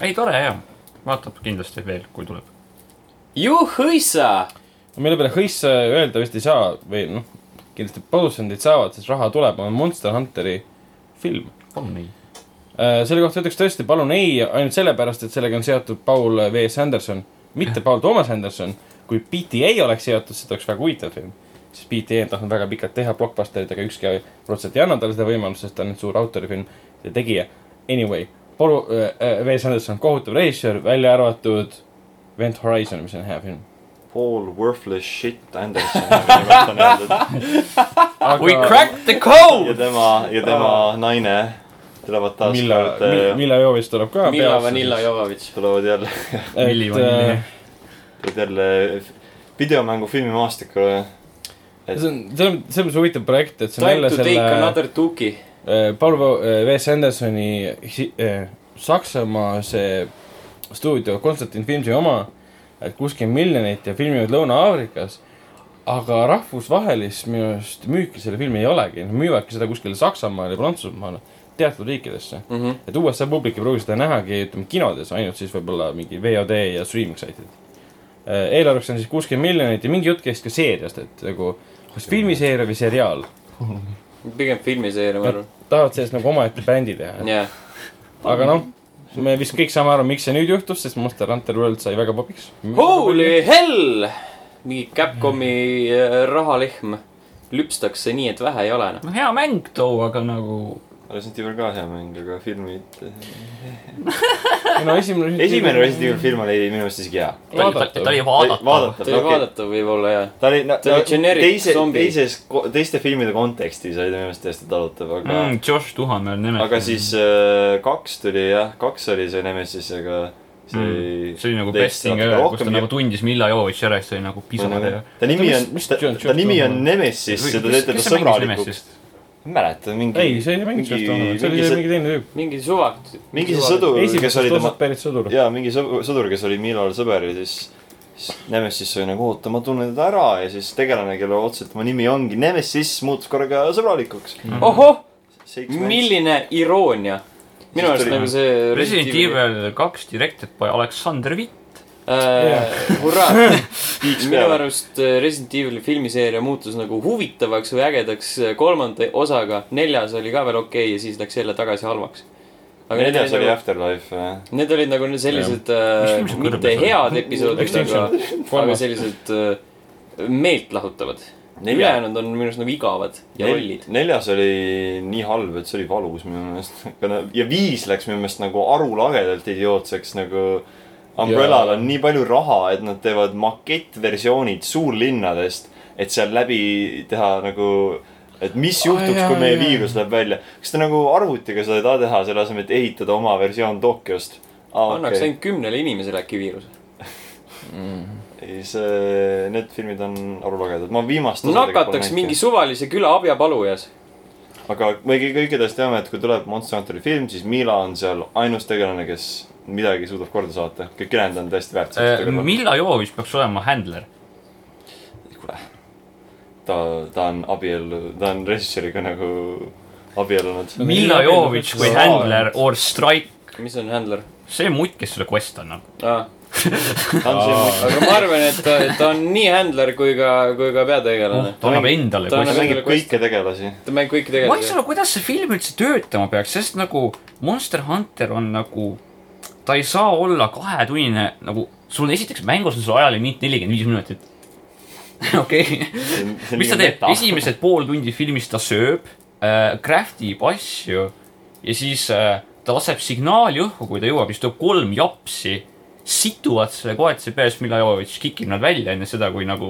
[SPEAKER 4] ei , tore jah . vaatab kindlasti veel , kui tuleb .
[SPEAKER 1] juhõissa
[SPEAKER 2] mille peale hõissa öelda vist ei saa või noh , kindlasti produtsendid saavad , sest raha tuleb , on Monster Hunteri film .
[SPEAKER 4] on nii .
[SPEAKER 2] Äh, selle kohta ütleks tõesti palun ei , ainult sellepärast , et sellega on seotud Paul V S Anderson , mitte Paul Thomas Anderson . kui BTA oleks seotud , siis ta oleks väga huvitav film . sest BTA on tahtnud väga pikalt teha blockbusterit , aga ükski protsent ei anna talle seda võimalust , sest ta on nüüd suur autorifilm ja tegija . Anyway , Paul äh, V S Anderson , kohutav režissöör , välja arvatud Event Horizon , mis on hea film .
[SPEAKER 3] Paul Worthless Shit Anderson nagu ma tahan öelda.
[SPEAKER 4] We
[SPEAKER 2] aga
[SPEAKER 4] cracked the code
[SPEAKER 3] ja . tema , ja tema naine tulevad taas
[SPEAKER 2] Milla ,
[SPEAKER 3] kord , äh,
[SPEAKER 2] Milla Jovovitš tuleb ka .
[SPEAKER 1] Milla Vanilla . Jovovitš .
[SPEAKER 3] tulevad jälle ,
[SPEAKER 4] Milli
[SPEAKER 2] äh,
[SPEAKER 4] Vanilli.
[SPEAKER 3] tulevad jälle videomängu filmimaastikule .
[SPEAKER 2] see on , see on , see on see huvitav projekt , et see on
[SPEAKER 1] Time
[SPEAKER 2] jälle
[SPEAKER 1] to take
[SPEAKER 2] selle
[SPEAKER 1] another tuki .
[SPEAKER 2] Äh, Paul Vo- äh, V. Sandersoni hi- äh, Saksamaa see stuudio Konstantin Filmsi oma , et kuuskümmend miljonit ja filmivad Lõuna-Aafrikas . aga rahvusvahelist minu arust müüki selle filmi ei olegi , nad müüvadki seda kuskile Saksamaale ja Prantsusmaale , teatud riikidesse .
[SPEAKER 1] Mhm.
[SPEAKER 2] et USA publik ei pruugi seda nähagi , ütleme kinodes , ainult siis võib-olla mingi VOD ja streaming saitid . eelarveks on siis kuuskümmend miljonit ja mingi jutt käis ka seeriast , et nagu kas filmiseeria või seriaal
[SPEAKER 1] pigem filmiseeria , ma arvan .
[SPEAKER 2] tahavad sellest nagu omaette bändi teha ,
[SPEAKER 1] jah ,
[SPEAKER 2] aga noh , me vist kõik saame aru , miks see nüüd juhtus , sest Monster Hunter World sai väga popiks .
[SPEAKER 1] holy hell , mingi Capcomi äh, rahalehm lüpstakse nii , et vähe ei ole noh .
[SPEAKER 4] no hea mäng too , aga nagu
[SPEAKER 3] Resident Evil ka hea mäng , aga filmid .
[SPEAKER 2] no esimene .
[SPEAKER 3] esimene Resident Evil film oli minu meelest isegi hea .
[SPEAKER 4] ta oli , ta oli vaadatav .
[SPEAKER 1] ta oli . vaadatav võib-olla ja ,
[SPEAKER 3] ta oli , no
[SPEAKER 1] Ta oli generic
[SPEAKER 3] teise ,
[SPEAKER 1] zombi.
[SPEAKER 3] teises , teiste filmide kontekstis oli ta minu meelest täiesti talutav , aga
[SPEAKER 4] Mm, Josh Tuhamäel nimetas .
[SPEAKER 3] aga siis äh, kaks tuli jah , kaks oli see Nemesis , aga see
[SPEAKER 4] Mm,
[SPEAKER 3] mm,
[SPEAKER 4] see oli nagu best thing ever , kus ta nagu tundis Milla Jovovitši ära ja siis ta oli nagu pisama teha .
[SPEAKER 3] ta nimi
[SPEAKER 2] Oota,
[SPEAKER 3] on
[SPEAKER 2] mis- mis ,
[SPEAKER 3] ta,
[SPEAKER 2] John-
[SPEAKER 3] ta nimi on
[SPEAKER 2] John-
[SPEAKER 3] Nemesis ja ta teeb teda sõbralikuks .. ei mäleta , mingi .
[SPEAKER 2] ei , see ei mänginud sellest olnud , see oli see mingi teine tüüp .
[SPEAKER 1] mingi suvakt .
[SPEAKER 3] mingi see sõdur , kes oli
[SPEAKER 2] esimesest
[SPEAKER 3] tema
[SPEAKER 2] osast , pärit sõdur .
[SPEAKER 3] jaa , mingi sõdu- sõdur , kes oli Milal sõber ja siis , siis Nemesis oli nagu oota , ma tunnen teda ära ja siis tegelane , kelle otseselt tema nimi ongi Nemesis , muutus korraga sõbralikuks .
[SPEAKER 1] ohoh , milline iroonia . minu
[SPEAKER 3] Siis
[SPEAKER 1] arust
[SPEAKER 3] tuli-
[SPEAKER 1] nagu see .
[SPEAKER 4] Resident . Evil kaks directed by Aleksander Vitt .
[SPEAKER 1] Äh, hurraa
[SPEAKER 3] piiks
[SPEAKER 1] minu
[SPEAKER 3] peale .
[SPEAKER 1] arust äh, Resident Evil'i filmiseeria muutus nagu huvitavaks või ägedaks äh, kolmanda osaga , neljas oli ka veel okei okay ja siis läks jälle tagasi halvaks . aga need
[SPEAKER 3] neljas
[SPEAKER 1] olid
[SPEAKER 3] oli
[SPEAKER 1] nagu ,
[SPEAKER 3] Afterlife jah .
[SPEAKER 1] need olid nagu need sellised
[SPEAKER 4] Mis
[SPEAKER 1] äh,
[SPEAKER 4] film see
[SPEAKER 1] mitte
[SPEAKER 4] kõrges oli?
[SPEAKER 1] head episoodid , aga , aga
[SPEAKER 2] kolmas .
[SPEAKER 1] sellised äh, meeltlahutavad .
[SPEAKER 3] Nelja-
[SPEAKER 1] ülejäänud on minu arust nagu igavad ja
[SPEAKER 3] Nel,
[SPEAKER 1] lollid .
[SPEAKER 3] neljas oli nii halb , et see oli valus minu meelest . ja viis läks minu meelest nagu arulagedalt idiootseks nagu . Umbrellal
[SPEAKER 2] Jaa.
[SPEAKER 3] on nii palju raha , et nad teevad makettversioonid suurlinnadest , et seal läbi teha nagu , et mis
[SPEAKER 2] Aa,
[SPEAKER 3] juhtuks ,
[SPEAKER 2] jaa,
[SPEAKER 3] kui meie
[SPEAKER 2] jaa.
[SPEAKER 3] viirus läheb välja . kas te nagu arvutiga seda ei taha teha , selle asemel , et ehitada oma versioon Tokyost ? Ah,
[SPEAKER 1] annaks ainult kümnele inimesele äkki viiruse .
[SPEAKER 3] ei , see , need filmid on arulagedad , ma viimast .
[SPEAKER 1] nakataks mingi suvalise küla abjapalujas .
[SPEAKER 3] aga me kõik , kõik edasi teame , et kui tuleb Monster Hunteri film , siis Mila on seal ainus tegelane , kes midagi suudab korda saata . kõik ülejäänud on täiesti
[SPEAKER 4] Äh,
[SPEAKER 3] väärtuslikud .
[SPEAKER 4] Eh, Milla Jovovitš peaks olema händler .
[SPEAKER 3] ta , ta on abiellu , ta on režissööriga nagu abiellunud .
[SPEAKER 2] No
[SPEAKER 4] Milla
[SPEAKER 2] Milla
[SPEAKER 4] Jovovitš kui
[SPEAKER 2] Jovovitš-
[SPEAKER 4] händler or strike ,
[SPEAKER 1] mis on händler
[SPEAKER 4] see mutt , kes selle quest annab .
[SPEAKER 1] ah. ?
[SPEAKER 3] ta on siin ,
[SPEAKER 1] aga ma arvan , et ta, ta on nii händler kui ka , kui ka peategelane .
[SPEAKER 4] ta annab endale
[SPEAKER 1] ta
[SPEAKER 3] ta
[SPEAKER 1] annab-
[SPEAKER 4] quest'i .
[SPEAKER 3] mängib kõiki tegelasi .
[SPEAKER 1] ta mängib kõiki
[SPEAKER 4] Oh. ma ei saa
[SPEAKER 1] tegelasi .
[SPEAKER 4] aru , kuidas see film üldse töötama peaks , sest nagu Monster Hunter on nagu , ta ei saa olla kahetunnine nagu , sul on esiteks mängus on sul ajaline minut nelikümmend viis minutit . okei , mis ta teeb , esimesed pool tundi filmis ta sööb äh, , craft ib asju ja siis äh, ta laseb signaali õhku , kui ta jõuab , siis tuleb kolm japsi , situvad selle koetise peale , siis Milajovitš kikib nad välja enne seda , kui nagu ,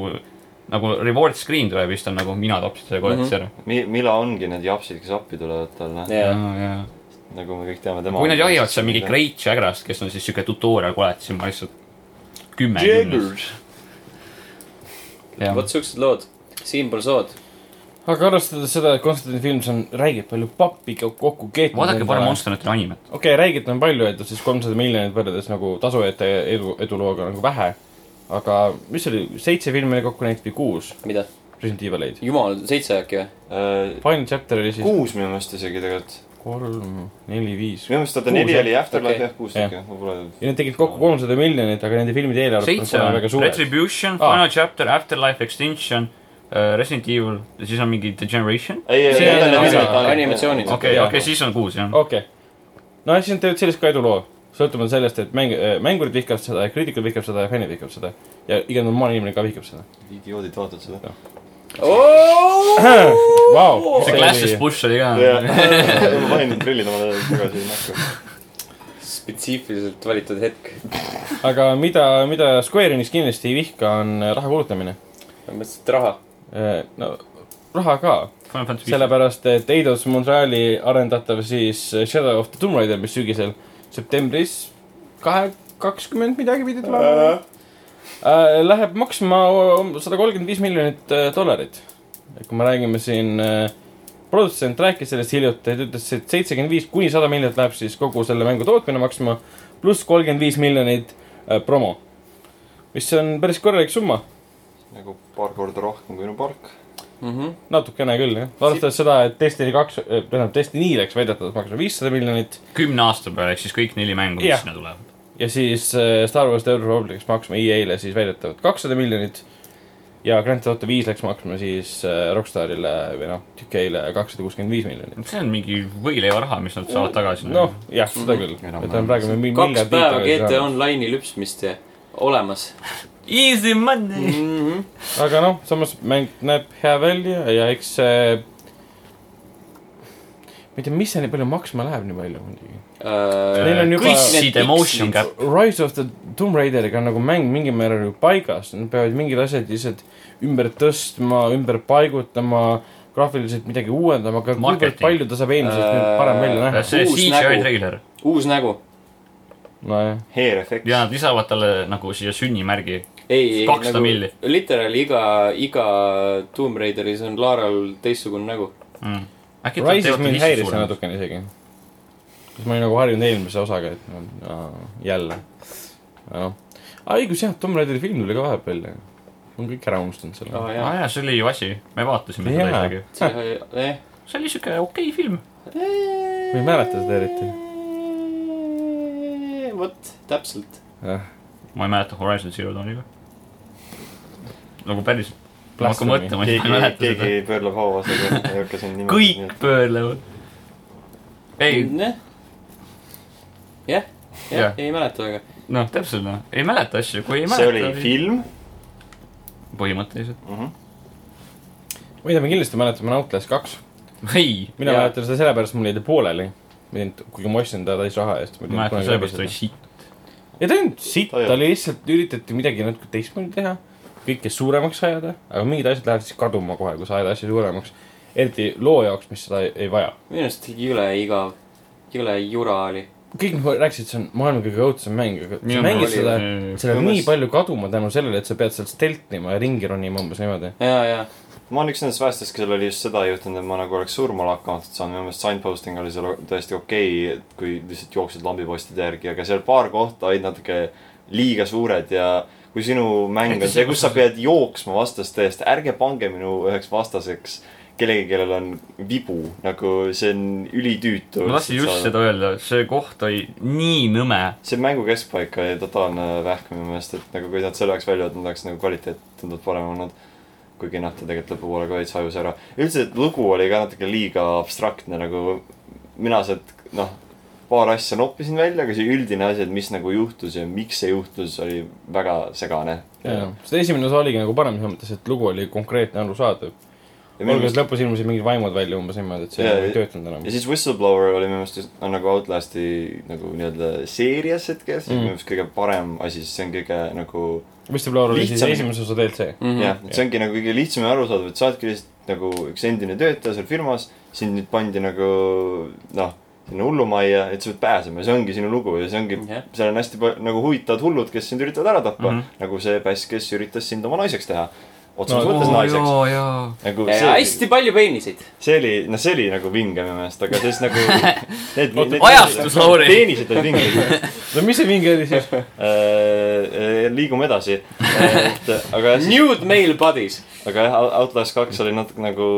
[SPEAKER 4] nagu reward screen tuleb ja siis ta on nagu mina tapsin selle koetise ära .
[SPEAKER 3] Mi- , Mila ongi need japsid , kes appi tulevad talle .
[SPEAKER 1] jah ,
[SPEAKER 3] nagu me kõik teame , tema .
[SPEAKER 4] kui nad jahivad seal mingit . Great Jagrast , kes on siis siuke tutorial koletis , siis ma lihtsalt kümme .
[SPEAKER 1] vot siuksed lood . siinpool sood .
[SPEAKER 2] aga arvestades seda , et Konstantin Films on , räägib palju pappi ko- kokku keetnud .
[SPEAKER 4] vaadake parem . Monster Hunteri animet .
[SPEAKER 2] okei okay, , räägiti on palju , et siis kolmsada miljonit võrreldes nagu tasu ette edu , edulooga nagu vähe . aga mis see oli , seitse filmi oli kokku näiteks või kuus
[SPEAKER 1] mida ?
[SPEAKER 2] Resident Evileid ?
[SPEAKER 1] jumal , seitse äkki või ?
[SPEAKER 2] Final chapter oli siis
[SPEAKER 3] Äh, kuus minu meelest isegi tegelikult .
[SPEAKER 2] kolm , neli , viis .
[SPEAKER 3] minu meelest oota
[SPEAKER 2] Kuus,
[SPEAKER 3] neli
[SPEAKER 2] jah?
[SPEAKER 3] oli Afterlife
[SPEAKER 1] Okei.
[SPEAKER 3] jah , kuus
[SPEAKER 2] Jah.
[SPEAKER 3] ikka , ma pole .
[SPEAKER 2] ja need tegid kokku kolmsada miljonit , aga nende filmide eelarved on
[SPEAKER 4] seitse
[SPEAKER 2] kohe
[SPEAKER 4] on
[SPEAKER 2] väga suured .
[SPEAKER 4] Retribution ,
[SPEAKER 2] Aa.
[SPEAKER 4] Final Chapter , Afterlife , Extinction , Resident Evil ja siis on mingi The Generation .
[SPEAKER 3] ei , ei ,
[SPEAKER 2] See
[SPEAKER 3] need
[SPEAKER 2] on
[SPEAKER 3] on
[SPEAKER 2] anima-
[SPEAKER 3] need animatsioonid .
[SPEAKER 1] animatsioonid.
[SPEAKER 4] okei ,
[SPEAKER 2] jaa. Oh,
[SPEAKER 4] okei , siis on kuus jah .
[SPEAKER 2] okei okay. . no ja siis nad teevad sellest ka eduloo . sõltumata sellest , et mäng , mängurid vihkavad seda ja kriitikud vihkavad seda ja fännid vihkavad seda . ja iga normaalne inimene ka vihkab seda .
[SPEAKER 3] idioodid vaatavad seda .
[SPEAKER 2] Vau .
[SPEAKER 4] see Glasses Bush oli ka .
[SPEAKER 3] ma panin need prillid omale tagasi näkku .
[SPEAKER 1] spetsiifiliselt valitud hetk .
[SPEAKER 2] aga mida , mida Square Enix kindlasti ei vihka , on raha kulutamine .
[SPEAKER 1] ma mõtlesin , et raha .
[SPEAKER 2] no raha ka ,
[SPEAKER 4] Final Fantasy viis .
[SPEAKER 2] sellepärast et Eidos Montreali arendatav siis Shadow of the Tomb Raider , mis sügisel septembris kahe , kakskümmend midagi pidi tulema . Läheb maksma sada kolmkümmend viis miljonit äh, dollarit . kui me räägime siin , produtsent rääkis sellest hiljuti , ta ütles , et seitsekümmend viis kuni sada miljonit läheb siis kogu selle mängu tootmine maksma , pluss kolmkümmend viis miljonit äh, promo . mis on päris korralik summa ,
[SPEAKER 3] nagu paar korda rohkem kui no park .
[SPEAKER 1] Mhm.
[SPEAKER 2] natukene küll jah , arvestades seda , et Destiny kaks , tähendab Destiny läks väidetavalt maksma viissada miljonit
[SPEAKER 4] kümne aasta peale , ehk siis kõik neli mängu , mis
[SPEAKER 2] Jah.
[SPEAKER 4] sinna tulevad .
[SPEAKER 2] ja siis äh, Star Wars The Old Republic läks maksma EA-le siis väidetavalt kakssada miljonit . ja Grand Theft Auto viis läks maksma siis äh, Rockstarile või noh , UK-le kakssada kuuskümmend viis miljonit .
[SPEAKER 4] see on mingi võileivaraha , mis nad saavad tagasi .
[SPEAKER 2] noh , jah , seda küll ,
[SPEAKER 3] Enam-vähem.
[SPEAKER 2] et on praegu meil mingi
[SPEAKER 1] kaks
[SPEAKER 2] miljard
[SPEAKER 1] päeva
[SPEAKER 2] liitrit
[SPEAKER 1] GTA
[SPEAKER 2] raha.
[SPEAKER 1] Online'i lüpsmist ja olemas .
[SPEAKER 4] Easy
[SPEAKER 1] Mm.
[SPEAKER 4] money .
[SPEAKER 2] aga noh , samas mäng näeb hea välja ja eks see ma ei tea , mis see nii palju maksma läheb nii palju muidugi .
[SPEAKER 1] Äh,
[SPEAKER 2] Neil on juba-
[SPEAKER 4] kõiksid emotion cap .
[SPEAKER 2] Rise of the Tomb Raideriga on nagu mäng mingil määral ju paigas , nad peavad mingid asjad lihtsalt ümber tõstma , ümber paigutama , graafiliselt midagi uuendama , aga kuivõrd
[SPEAKER 4] Marketing. Äh,
[SPEAKER 2] palju ta saab eelmisest nüüd parem välja näha .
[SPEAKER 4] see
[SPEAKER 1] Uus
[SPEAKER 4] CGI
[SPEAKER 1] nägu.
[SPEAKER 4] treiler
[SPEAKER 1] uus nägu .
[SPEAKER 2] nojah ,
[SPEAKER 3] Hair effect .
[SPEAKER 4] ja nad lisavad talle nagu siia sünnimärgi .
[SPEAKER 1] ei , ei ,
[SPEAKER 4] kakssada
[SPEAKER 1] nagu
[SPEAKER 4] milli.
[SPEAKER 1] literaal iga , iga Tomb Raideris on Laaral teistsugune nägu .
[SPEAKER 4] Mm. äkki ta
[SPEAKER 2] Rises
[SPEAKER 4] teeb
[SPEAKER 2] mind
[SPEAKER 4] lihtsalt
[SPEAKER 2] häiris see
[SPEAKER 4] suuremaks .
[SPEAKER 2] natukene isegi . sest ma olin nagu harjunud eelmise osaga , et no, no, jälle . noh , aa õigus jah , Tomb Raideri film tuli ka vahepeal ju . ma olen kõik ära unustanud selle .
[SPEAKER 1] aa
[SPEAKER 4] aa
[SPEAKER 1] jaa ,
[SPEAKER 4] Ah jaa , see oli ju asi , me vaatasime
[SPEAKER 2] Jaa.
[SPEAKER 4] seda isegi .
[SPEAKER 1] see oli , eh .
[SPEAKER 4] see oli siuke okei film .
[SPEAKER 1] ma
[SPEAKER 2] ei mäleta seda eriti. .
[SPEAKER 1] vot , täpselt .
[SPEAKER 4] ma ei mäleta Horizon Zero Dawniga . nagu päriselt . ma hakkan
[SPEAKER 2] Blasphemy.
[SPEAKER 4] mõtlema , ma ei
[SPEAKER 3] keegi ,
[SPEAKER 4] mäleta seda .
[SPEAKER 3] keegi pöörleb hauasega , ei hakka siin nime .
[SPEAKER 4] kõik pöörlevad . ei ,
[SPEAKER 1] jah , jah ,
[SPEAKER 4] Jah.
[SPEAKER 1] ei mäleta väga .
[SPEAKER 4] noh , täpselt noh , ei mäleta asju , kui ei
[SPEAKER 3] see oli
[SPEAKER 4] mäleta .
[SPEAKER 3] film
[SPEAKER 4] põhimõtteliselt .
[SPEAKER 3] mm . -hmm.
[SPEAKER 2] mida me kindlasti mäletame , on Outlast kaks .
[SPEAKER 4] ei ,
[SPEAKER 2] mina
[SPEAKER 1] Jaa.
[SPEAKER 2] mäletan seda sellepärast , mul jäi ta pooleli . kuigi ma ostsin ta täis raha eest .
[SPEAKER 4] ma mäletan sellepärast , et oli siit .
[SPEAKER 2] ja ta ei olnud sitt ,
[SPEAKER 3] Ta ei
[SPEAKER 2] ta oli lihtsalt , üritati midagi natuke teistmoodi teha , kõike suuremaks ajada , aga mingid asjad lähevad siis kaduma kohe , kui sa ajad asja suuremaks . eriti loo jaoks , mis seda ei, ei vaja .
[SPEAKER 1] minu arust jõle igav , jõle jura oli .
[SPEAKER 2] kõik nagu rääkisid , see on maailma kõige õudsem mäng , aga
[SPEAKER 4] Minu
[SPEAKER 2] sa mängid
[SPEAKER 1] meelest
[SPEAKER 2] seda ,
[SPEAKER 4] oli-
[SPEAKER 2] seal on
[SPEAKER 3] minu
[SPEAKER 2] nii
[SPEAKER 3] meelest-
[SPEAKER 2] palju kaduma tänu sellele , et sa pead seal steltima ja ringi ronima umbes niimoodi .
[SPEAKER 1] ja , ja ,
[SPEAKER 3] ma olen üks nendest vähestest , kellel oli just seda juhtunud , et ma nagu oleks surmale hakkamatult saanud , minu meelest signposting oli seal täiesti okei okay, , kui lihtsalt jooksed lambipostide järgi , aga seal paar kohta olid natuke liiga suured ja kui sinu mäng
[SPEAKER 4] Eriti
[SPEAKER 3] on see ,
[SPEAKER 4] see,
[SPEAKER 3] kus
[SPEAKER 4] kus
[SPEAKER 3] sa
[SPEAKER 4] sa-
[SPEAKER 3] pead jooksma vastaste eest , ärge pange minu üheks vastaseks kellegi , kellel on vibu , nagu see on ülitüütu .
[SPEAKER 4] ma tahtsin just seda öelda , see koht oli nii nõme .
[SPEAKER 3] see mängu keskpaik oli totaalne vähk minu meelest , et nagu kui nad selle oleks välja võtnud , oleks nagu kvaliteet tunduvalt parem olnud . kuigi noh , ta tegelikult lõpupoole ka veits hajus ära . üldse , et lugu oli ka natuke liiga abstraktne nagu , mina sealt noh , paar asja noppisin välja , aga see üldine asi , et mis nagu juhtus ja miks see juhtus , oli väga segane . ja
[SPEAKER 2] seda esimene osa oligi nagu parem selles mõttes , et lugu oli konkreetne , arusaadav .
[SPEAKER 3] minu
[SPEAKER 2] olgu , et
[SPEAKER 3] meelest ,
[SPEAKER 2] lõpus ilmusid mingid vaimud välja umbes niimoodi , et see
[SPEAKER 3] Jaa,
[SPEAKER 2] nagu ei
[SPEAKER 3] ja-
[SPEAKER 2] töötanud enam
[SPEAKER 3] ja . siis Whistleblower oli minu meelest just- on nagu Outlast'i nagu nii-öelda seerias
[SPEAKER 2] Mm.
[SPEAKER 3] hetkes mm. , minu meelest kõige parem asi , sest see on kõige nagu
[SPEAKER 2] Whistleblower oli siis
[SPEAKER 3] lihtsam-
[SPEAKER 2] esimese osa DLC .
[SPEAKER 4] Mhm.
[SPEAKER 3] jah , et see ongi nagu kõige lihtsam ja arusaadav , et sa oledki lihtsalt nagu üks endine töötaja seal firmas , sind nüüd pandi nagu noh , sinna hullumajja , et sa pead pääsema ja see ongi sinu lugu ja see ongi
[SPEAKER 1] Jah.
[SPEAKER 3] yeah. , seal on hästi palju nagu huvitavad hullud , kes sind üritavad ära tappa mm .
[SPEAKER 4] Mhm.
[SPEAKER 3] -hmm. nagu see päss , kes üritas sind oma naiseks teha .
[SPEAKER 2] No,
[SPEAKER 3] otseses no, mõttes naiseks .
[SPEAKER 4] jaa .
[SPEAKER 3] nagu see ,
[SPEAKER 1] hästi palju peeniseid .
[SPEAKER 3] see oli , noh , see oli nagu vinge minu meelest , aga siis nagu need,
[SPEAKER 4] Oota, ajastus, Lauri.
[SPEAKER 3] teenised olid vinged .
[SPEAKER 2] no mis see vinge oli siis ?
[SPEAKER 3] liigume edasi . et aga siis
[SPEAKER 1] Nude male bodies .
[SPEAKER 3] aga jah , Outlast kaks oli natuke nagu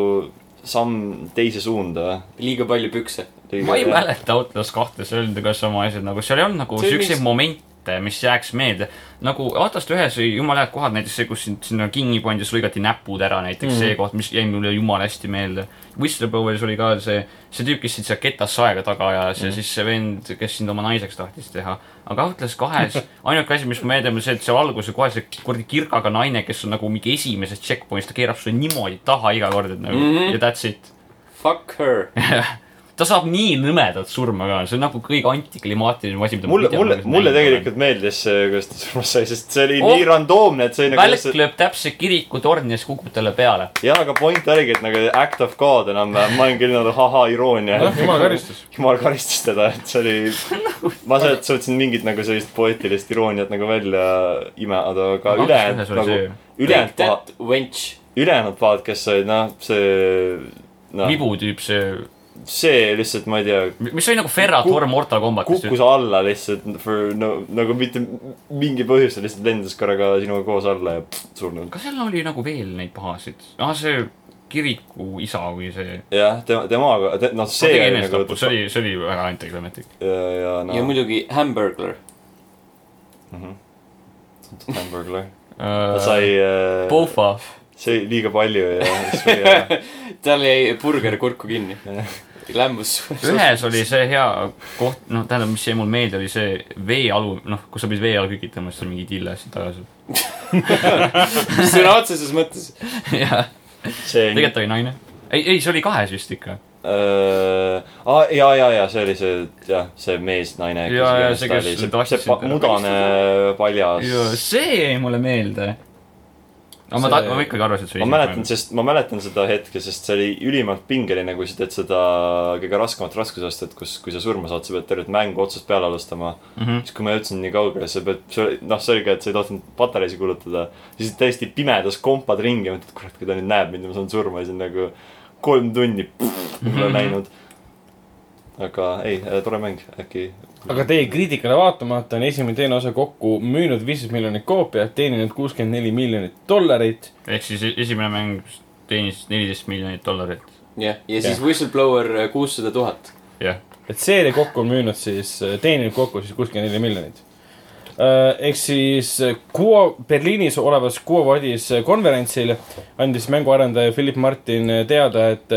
[SPEAKER 3] samm teise suunda .
[SPEAKER 1] liiga palju pükse .
[SPEAKER 4] ma ei . mäleta Outlast kahte , see oli ka sama asi , nagu seal ei olnud nagu
[SPEAKER 1] See oli
[SPEAKER 4] siukseid
[SPEAKER 1] vist-
[SPEAKER 4] momente , mis jääks meelde . nagu Outlast ühes oli jumala head kohad , näiteks see , kus sind sinna kinni pandi , sul lõigati näpud ära näiteks mm. , see koht , mis jäi mulle jumala hästi meelde . Whistlebloweris oli ka see , see tüüp , kes sind seal ketasse aega taga ajas mm. ja siis see vend , kes sind oma naiseks tahtis teha . aga Outlast kahes ainuke asi , mis ma meelde on see , et seal alguses kohe see kuradi kirgaga naine , kes on nagu mingi esimesest checkpoint'ist , ta keerab sulle niimoodi taha iga kord , et nagu mm
[SPEAKER 1] Mhm.
[SPEAKER 4] -hmm. ja that's it
[SPEAKER 1] Fuck her .
[SPEAKER 4] ta saab nii nõmedat surma ka , see on nagu kõige antiklimaatilisem asi , mida
[SPEAKER 3] mulle , mulle , mulle . tegelikult meeldis see , kuidas ta surmas sai , sest see oli oh. nii
[SPEAKER 4] Oh.
[SPEAKER 3] randoomne , et see oli
[SPEAKER 4] välk
[SPEAKER 3] nagu .
[SPEAKER 4] lööb täpselt kirikutorni ja siis kukub talle peale .
[SPEAKER 3] jah , aga point oligi , et nagu act of god enam-vähem , ma olin küll nagu ahhaa iroonia .
[SPEAKER 2] noh , jumal karistus .
[SPEAKER 3] jumal karistas teda , et see oli , ma sealt suutsin mingit nagu sellist poeetilist irooniat nagu välja imeda , aga
[SPEAKER 4] Outlast ühes
[SPEAKER 3] ülejäänud
[SPEAKER 4] oli
[SPEAKER 1] Take
[SPEAKER 3] nagu ülejäänud
[SPEAKER 4] see- ,
[SPEAKER 3] pahad ,
[SPEAKER 1] that wench .
[SPEAKER 3] ülejäänud pahad , kes olid noh , see , noh ,
[SPEAKER 4] vibu tüüp see ,
[SPEAKER 3] see lihtsalt , ma ei tea
[SPEAKER 4] mis oli nagu Ferrat
[SPEAKER 3] Kuk-
[SPEAKER 4] War Mortal Combatis .
[SPEAKER 3] kukkus alla lihtsalt for no nagu mitte mingi põhjusel lihtsalt lendas korraga sinuga koos alla ja pff, surnud .
[SPEAKER 4] kas seal oli nagu veel neid pahasid ? ah , see kirikuisa või see .
[SPEAKER 3] jah , tema , temaga te, , noh see oli nagu
[SPEAKER 4] see oli , see oli väga antiklimaatlik .
[SPEAKER 3] ja , ja
[SPEAKER 1] ja
[SPEAKER 3] noh ,
[SPEAKER 1] muidugi Hamburglar .
[SPEAKER 3] Hamburglar . ta sai äh, ,
[SPEAKER 4] Pofa ,
[SPEAKER 3] see oli liiga palju ja siis oli ära .
[SPEAKER 1] tal jäi burger kurku kinni . lämmus .
[SPEAKER 4] ühes oli see hea koht , noh , tähendab , mis jäi mul meelde , oli see vee alu , noh , kus sa pidid vee all kükitama , siis tuli mingi tille asjad tagasi .
[SPEAKER 1] sõna otseses mõttes .
[SPEAKER 4] jah .
[SPEAKER 3] see oli
[SPEAKER 4] tegelikult oli naine . ei , ei , see oli kahes vist ikka .
[SPEAKER 3] äh, . aa , ja , ja , ja see oli see , jah , see mees , naine .
[SPEAKER 4] Ja, ja, see, kes
[SPEAKER 3] see,
[SPEAKER 4] tahtis
[SPEAKER 3] see pa,
[SPEAKER 4] sind ära
[SPEAKER 3] mudane paljas .
[SPEAKER 4] see jäi mulle meelde . aga ma
[SPEAKER 2] See-
[SPEAKER 4] ta- , ma ikkagi arvasin , et see
[SPEAKER 3] ma
[SPEAKER 4] oli
[SPEAKER 3] mäletan , sest ma mäletan seda hetke , sest see oli ülimalt pingeline , kui sa teed seda kõige raskemat raskusastet , kus , kui sa surma saad , sa pead tervet mängu otsast peale alustama .
[SPEAKER 4] mm . -hmm.
[SPEAKER 3] siis kui ma jõudsin nii kaugele , sa pead , see oli , noh , selge , et sa ei tohtinud patareisid kulutada . siis täiesti pimedas kompad ringi ja mõtled , kurat , kui ta nüüd näeb mind ja ma saan surma ja siis on nagu kolm tundi pff, mulle läinud . aga ei , tore mäng , äkki .
[SPEAKER 2] aga teie kriitikale vaatamata on esimene ja teine osa kokku müünud viisteist miljonit koopiat , teeninud kuuskümmend neli miljonit dollarit .
[SPEAKER 4] ehk siis e-, esimene mäng teenis neliteist miljonit dollarit .
[SPEAKER 1] jah , ja siis Whistleblower äh, kuussada tuhat .
[SPEAKER 4] jah ,
[SPEAKER 2] et seeria kokku on müünud siis , teeninud kokku siis kuuskümmend neli miljonit . ehk siis äh, Kuo , Berliinis olevas Kuo Vadis äh, konverentsil andis mänguarendaja Philip Martin äh, teada , et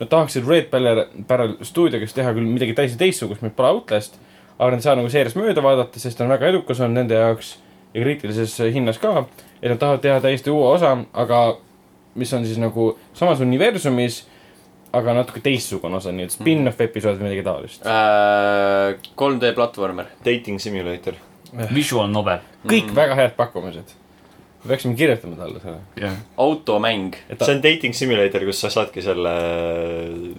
[SPEAKER 2] nad tahaksid Red Barrel , Barrel stuudiogas teha küll midagi täiesti teistsugust , meil pole Outlast , aga nad ei saa nagu seeriast mööda vaadata , sest ta on väga edukas olnud nende jaoks ja kriitilises äh, hinnas ka , et nad tahavad teha täiesti uue osa , aga mis on siis nagu samas universumis , aga natuke teistsugune osa , nii et spin-off episood või midagi taolist .
[SPEAKER 1] 3D Äh, platvormer .
[SPEAKER 3] Dating simulator .
[SPEAKER 4] visual novel ,
[SPEAKER 2] kõik mm. väga head pakkumised . me peaksime kirjutama talle selle .
[SPEAKER 4] jah .
[SPEAKER 1] automäng .
[SPEAKER 2] et ta
[SPEAKER 3] see , on dating simulator , kus sa saadki selle ,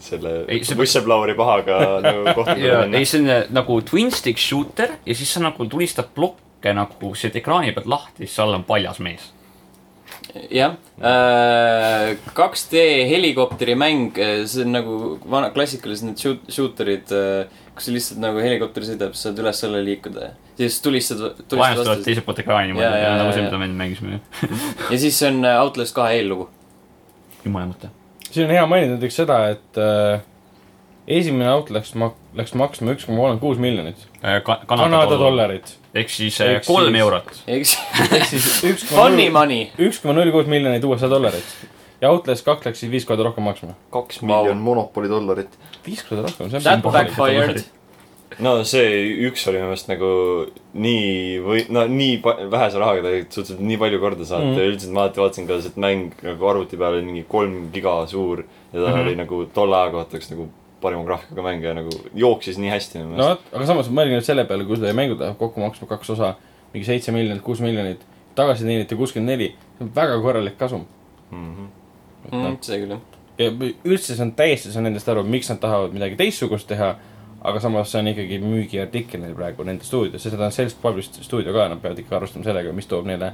[SPEAKER 3] selle
[SPEAKER 4] Ei, see-
[SPEAKER 3] whistleblower'i pahaga nagu kohtadele
[SPEAKER 4] ja
[SPEAKER 3] minna
[SPEAKER 4] ei ,. selline nagu twin stick shooter ja siis sa nagu tulistad plokke nagu siit ekraani pealt lahti , siis all on paljas mees .
[SPEAKER 1] jah , Äh, 2D helikopteri mäng , see on nagu vana , klassikalised need shoot- , shooterid , kus sa lihtsalt nagu helikopter sõidab , sa saad üles-alla liikuda ja siis tulistad , tulistad
[SPEAKER 4] vaenlastavad
[SPEAKER 1] vastu
[SPEAKER 4] teiselt poolt ekraani
[SPEAKER 1] Jaa, jaa,
[SPEAKER 4] niimoodi , nagu see ,
[SPEAKER 1] jaa,
[SPEAKER 4] mida me enne mängisime .
[SPEAKER 1] ja siis see on äh, Outlast kahe eellugu .
[SPEAKER 4] jumala mõte .
[SPEAKER 2] siin on hea mainida näiteks seda , et äh, esimene out läks mak- , läks maksma üks koma kolmkümmend kuus miljonit . Kanada
[SPEAKER 4] Äh, Kanada dollar .
[SPEAKER 2] dollarit .
[SPEAKER 4] ehk siis
[SPEAKER 2] Ehk
[SPEAKER 4] eh, kolm
[SPEAKER 2] siis-
[SPEAKER 4] eurot .
[SPEAKER 1] eks ,
[SPEAKER 2] ehk siis üks
[SPEAKER 1] funny
[SPEAKER 2] koma
[SPEAKER 1] money .
[SPEAKER 2] üks koma null kuus miljonit USA dollarit . ja Outlast kaks läks siis viis korda rohkem maksma .
[SPEAKER 3] kaks
[SPEAKER 1] Vau.
[SPEAKER 3] miljon monopoli dollarit .
[SPEAKER 2] viis korda rohkem , see
[SPEAKER 1] That
[SPEAKER 2] on
[SPEAKER 4] back-
[SPEAKER 1] backfired .
[SPEAKER 3] no see üks oli minu meelest nagu nii või no nii pa- vähese rahaga tegelikult suhteliselt nii palju korda saanud mm.
[SPEAKER 2] Mhm.
[SPEAKER 3] ja üldiselt ma alati vaatasin ka , et mäng nagu arvuti peal oli mingi kolm giga suur ja ta mm
[SPEAKER 4] Mhm.
[SPEAKER 3] -hmm. oli nagu tolle aja kohta üks nagu parima graafikaga mäng ja nagu jooksis nii hästi minu
[SPEAKER 2] no
[SPEAKER 3] meelest no. .
[SPEAKER 2] vot , aga samas mõelge nüüd selle peale , kui seda mängu tahab kokku maksma kaks osa , mingi seitse miljonit , kuus miljonit , tagasi teeniti kuuskümmend neli , see on väga korralik kasum .
[SPEAKER 3] Mm -hmm.
[SPEAKER 1] mm, . see küll jah .
[SPEAKER 2] ja üldse see on täiesti , saan nendest aru , miks nad tahavad midagi teistsugust teha , aga samas see on ikkagi müügiartikkel neil praegu nende stuudios , sest nad on self-published stuudio ka , nad peavad ikka arvestama sellega , mis toob neile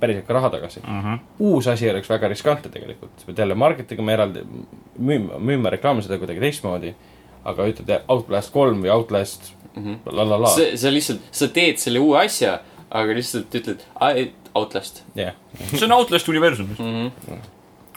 [SPEAKER 2] päriselt ka raha tagasi .
[SPEAKER 4] Mhm.
[SPEAKER 2] uus asi oleks väga riskantne tegelikult , sa pead jälle marketing ima eraldi , müüma , müüma reklaami seda kuidagi teistmoodi , aga ütled jah, Outlast kolm või Outlast la la la ,
[SPEAKER 1] see , sa lihtsalt , sa teed selle uue asja , aga lihtsalt ütled "I- Outlast . Mhm.
[SPEAKER 2] jah .
[SPEAKER 4] see on Outlast universumis .